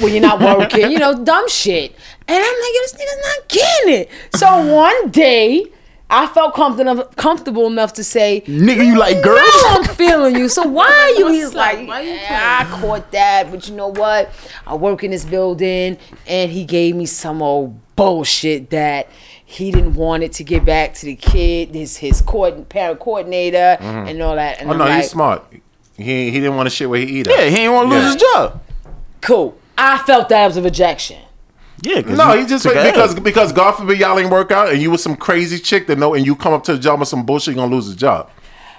S7: when you're not working, you know dumb shit. And I'm like, "Yo, this nigga's not getting it. So one day. I felt comfortable comfortable enough to say,
S4: "Nigga, you like girls?"
S7: I'm feeling you. So why are you? He's
S6: What's up?
S7: like,
S6: Why you
S7: "Yeah, I caught that, but you know what? I work in this building, and he gave me some old bullshit that he didn't want it to get back to the kid, his his court, parent coordinator,
S5: Mhm.
S7: and all that. And
S5: oh
S7: I'm
S5: no,
S7: like,
S5: he's smart. He he didn't want to shit where he either.
S7: Yeah, he ain't wanna lose his
S4: job.
S7: Cool. I felt that was a rejection.
S4: Yeah,
S5: no, he just
S4: took a
S5: because
S4: L.
S5: because God forbid y'all ain't work out and you was some crazy chick that know and you come up to the job with some bullshit, you gonna lose the job.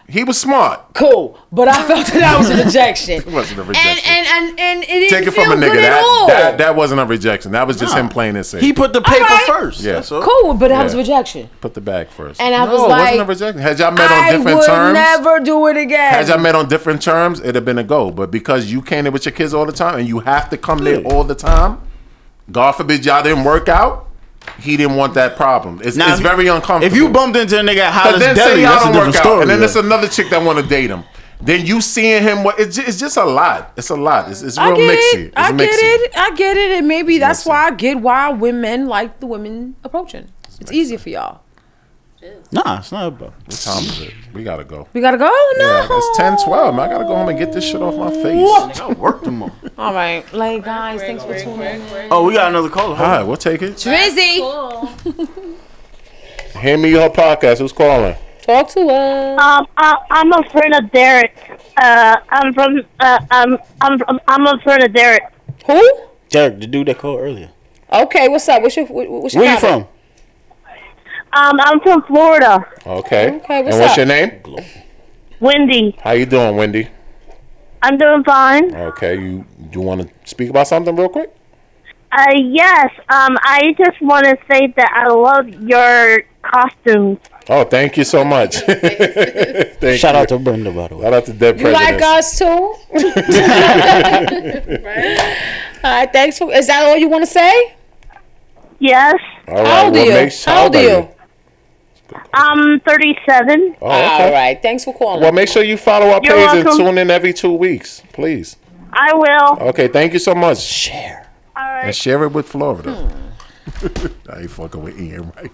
S5: He was smart.
S7: Cool, but I felt that I was a rejection.
S5: It wasn't a
S7: And
S5: rejection.
S7: and and, and it didn't
S5: Take it
S7: feel
S5: from a nigga.
S7: good at
S5: That,
S7: all.
S5: that that wasn't a rejection. That was just him playing it safe.
S4: He put the
S7: All
S4: paper
S7: right.
S4: first.
S5: Yeah.
S4: That's all.
S7: Cool, but that was a
S5: Yeah.
S7: rejection.
S5: put the bag first.
S7: And I
S5: no,
S7: was
S5: it
S7: like,
S5: wasn't a rejection. Had y'all met on
S7: I
S5: different
S7: would
S5: terms?
S7: never do it again.
S5: Had y'all met on different terms, it'd have been a go. But because you came in with your kids all the time and you have to come there all the time, God forbid y'all didn't work out, he didn't want that problem. It's,
S4: Now,
S5: it's
S4: if-
S5: very uncomfortable.
S4: if you bumped into a nigga at Hollis
S5: then
S4: Deli,
S5: say y'all
S4: that's a
S5: don't
S4: different
S5: work out,
S4: story,
S5: and then
S4: though.
S5: there's another chick that want to date him. Then you seeing him, what it's just, it's just a lot. It's a lot. It's, it's real
S7: I get it.
S5: mixy. It's
S7: I get
S5: mixy.
S7: it. I get it. And maybe that's why I get why women like the women approaching. It's easier for y'all.
S4: Nah, it's not about.
S5: What time is it? We gotta go.
S7: We gotta go. No.
S5: Yeah, it's 10, 12. man. I gotta go home and get this shit off my face. I worked tomorrow.
S7: All right, like guys, thanks for tuning. in.
S4: Oh, we got another caller. All
S5: right, we'll take it.
S7: Drizzy,
S5: Hand me your podcast. Who's calling?
S7: talk to us.
S2: Um, I, I'm a friend of Derek. Uh, I'm from. Uh, I'm. I'm. From, I'm a friend of Derek.
S7: Who?
S4: Derek, the dude that called earlier.
S7: Okay, what's up? What's your what- what's your
S4: Where you
S7: topic?
S4: from?
S2: Um, I'm from Florida.
S5: Okay.
S2: Okay, what's
S5: and what's
S2: up?
S5: your name?
S2: Wendy.
S5: How you doing, Wendy?
S2: I'm doing fine.
S5: Okay, you you want to speak about something real quick?
S2: Uh, yes. Um, I just want to say that I love your costumes.
S5: Oh, thank you so much. Thank
S4: Shout
S5: you.
S4: out to Brenda, by the way.
S5: Shout out to Dead
S7: You
S5: President.
S7: like us too? All right, thanks for. Is that all you want to say?
S2: Yes.
S13: All right.
S2: old
S13: what
S2: are you?
S13: makes
S2: How old
S13: are
S2: are you? I'm 37.
S13: Oh, okay.
S7: All right. Thanks for calling.
S13: Well, make sure you follow our
S2: You're
S13: page and
S2: welcome.
S13: tune in every two weeks, please.
S2: I will.
S13: Okay, thank you so much. Share.
S5: And share it with Florida.
S2: Hmm.
S5: I ain't fucking with Ian right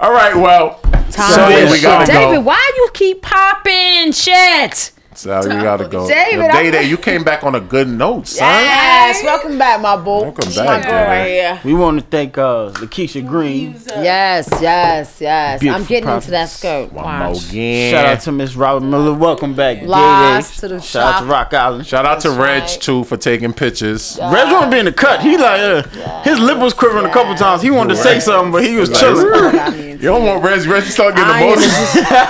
S5: All right, well, Sally, we gotta
S7: David,
S5: go.
S7: why you keep popping shit?
S5: Sally, we gotta go.
S7: David,
S5: Yo,
S7: I'm-
S5: Day Day, you came back on a good note, son.
S7: Yes, welcome back, my boo.
S5: Welcome
S7: She's
S5: back,
S7: my girl
S5: baby.
S7: right here.
S4: We want to thank uh, Lakeisha Green.
S7: Yes, yes, yes.
S4: Beautiful
S7: I'm getting
S4: properties.
S7: into that skirt. Wow.
S4: Shout out to Miss Robin Miller. Welcome back, Day Day.
S7: Lost to the
S4: Shout out to
S7: shop.
S4: Rock Island.
S5: Shout out to Reg too for taking pictures.
S4: Reg wanted to be in the cut. He like, uh, his lip was quivering a couple times. He wanted to say something, but he was
S5: Like,
S4: chilling.
S5: You don't want Reg. Reg start getting
S4: I
S5: emotional.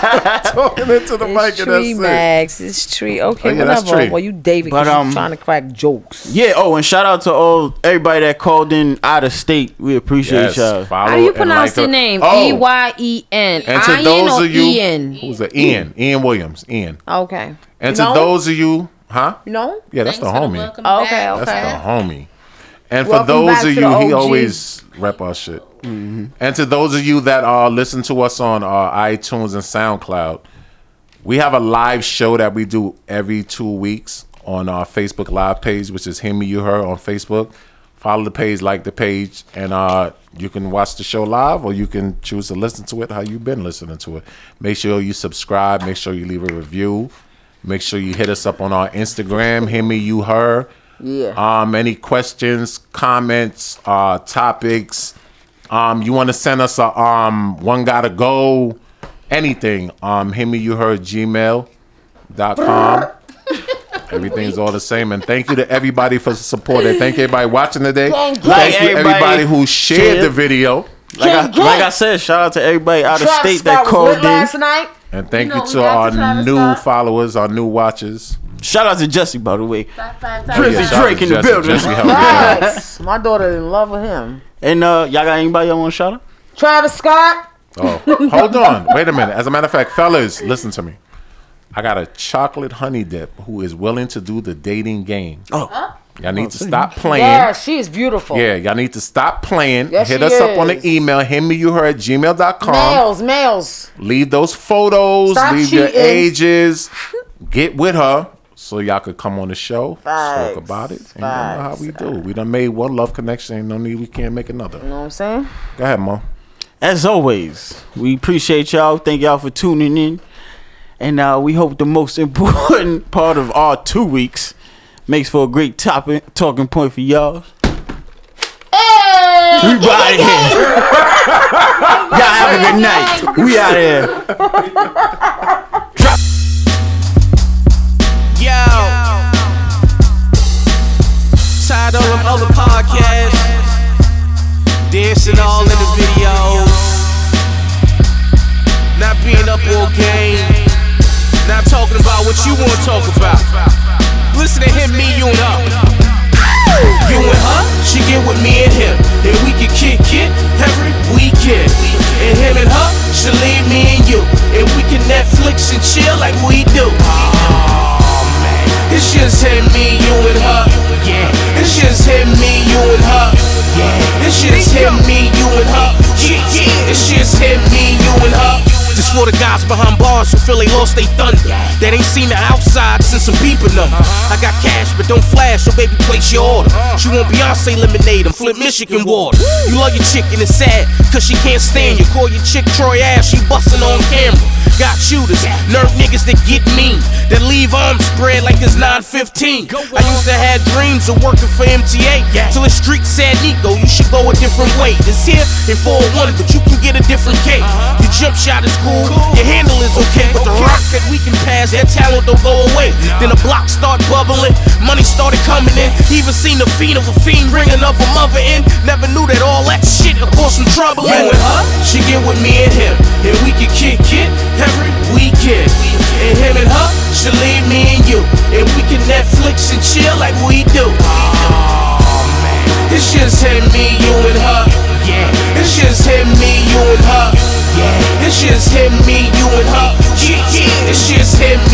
S5: Talking into the mic and that's
S7: Tree
S5: it.
S7: Max, it's tree. Okay,
S4: Oh, yeah, that's
S7: whatever.
S4: tree.
S7: Well, you David,
S4: But,
S7: but
S4: um,
S7: um, trying to crack jokes.
S4: Yeah. Oh, and shout out to all everybody that called in out of state. We appreciate
S5: Yes,
S4: y'all.
S5: follow
S7: How do you pronounce the name? E
S5: Oh.
S7: Y E N.
S5: And to
S7: Ian
S5: those
S7: or E
S5: of you,
S7: Ian?
S5: who's the Ian? Ian Williams. Ian.
S7: Okay.
S5: And
S7: No?
S5: to those of you, huh?
S7: No.
S5: Yeah, that's the homie.
S7: Okay, okay.
S5: That's the homie. And for
S7: Welcome back
S5: those of
S7: to
S5: you,
S7: the Mm-hmm.
S5: he
S7: OG.
S5: always rep our shit. And to those of you that uh, listen to us on uh, iTunes and SoundCloud, we have a live show that we do every two weeks on our Facebook live page, which is Him Me You Her on Facebook. Follow the page, like the page, and uh, you can watch the show live or you can choose to listen to it how you've been listening to it. Make sure you subscribe, make sure you leave a review, make sure you hit us up on our Instagram, Him Me You Her.
S7: Yeah.
S5: Um, any questions, comments, uh, topics? Um, you want to send us a um one gotta go, anything? Um, hit me you heard gmail.com. Everything's all the same, and thank you to everybody for supporting. Thank you everybody watching today.
S4: Gang,
S5: Thank,
S4: gang. Like
S5: you everybody,
S4: everybody
S5: who shared the
S4: shared.
S5: video,
S4: Like I, like I said, shout out to everybody out of
S7: Travis
S4: state
S7: Scott
S4: that
S7: was
S4: called
S7: lit
S4: in.
S7: last night.
S5: and
S7: You
S5: thank
S7: know,
S5: you,
S7: we
S5: to
S7: got
S5: our
S7: to Travis
S5: new
S7: Scott.
S5: followers, our new watchers.
S4: Shout out to Jesse, by the way.
S5: Oh,
S4: Drizzy
S5: shout out
S4: Drake
S5: to
S4: in the
S5: Jesse.
S4: building.
S5: Jesse helped me out.
S7: Facts. My daughter in love with him.
S4: And uh, y'all got anybody y'all want to shout out?
S7: Travis Scott.
S5: Oh, hold on. Wait a minute. As a matter of fact, fellas, listen to me. I got a chocolate honey dip who is willing to do the dating game.
S7: Oh.
S5: Y'all need to stop playing.
S7: Yeah, she is beautiful.
S5: Yeah, y'all need to stop playing.
S7: Yes,
S5: Hit
S7: she
S5: us up on the email, him me you her at gmail.com.
S7: Males, males.
S5: Leave those photos,
S7: Stop
S5: leave your
S7: cheating.
S5: ages. Get with her so y'all could come on the show,
S7: Facts,
S5: talk about it, and you know how we do. We done made one love connection, ain't no need we can't make another. You
S7: know what I'm saying?
S5: Go ahead, Mo.
S4: As always, we appreciate y'all. Thank y'all for tuning in. And uh, we hope the most important part of our two weeks makes for a great topic talking point for y'all. We out of here. Y'all have a good night. We out of here.
S1: Yo. Tired of all them other podcasts. Dancing all in the videos. Not being up all game. Not talking about what you want to talk about. Listen to him, me, you and her. You and her, she get with me and him. And we can kick it every weekend. And him and her, she leave me and you. And we can Netflix and chill like we do. Oh, man. It's just him, me, you and her. Yeah. It's just him, me, you and her. Yeah. It's just him, me, you and her. Yeah, yeah. It's just him, me, you and her.
S14: Just for the guys behind bars who feel they lost they thunder. That ain't seen the outside since some peeping them.
S1: Uh-huh.
S14: I got cash, but don't flash, so baby, place your order. She want Beyonce lemonade and flip Michigan water. You love your chicken, it's sad, cause she can't stand you. Call your chick Troy ass, she bustin' on camera. Got shooters, nerd niggas that get mean, that leave arms spread like it's 915. I used to have dreams of working for MTA, till the street said, Nico, you should go a different way. It's here in 401, but you can get a different cake. Your jump shot is Uh-huh. cool, your handle is okay, but the rock that we can pass, that talent don't go away. Then the block start bubbling, money started coming in. Even seen the feet of a fiend ringing up a mother in. Never knew that all that shit would cause some trouble.
S1: You and her, she get with me and him, and we can kick it every weekend. And him and her, she leave me and you, and we can Netflix and chill like we do. Oh man, it's just him, me, you and her. Yeah, it's just him, me, you and her. Yeah, it's just him, me, you and her. Yeah, yeah, it's just him, me,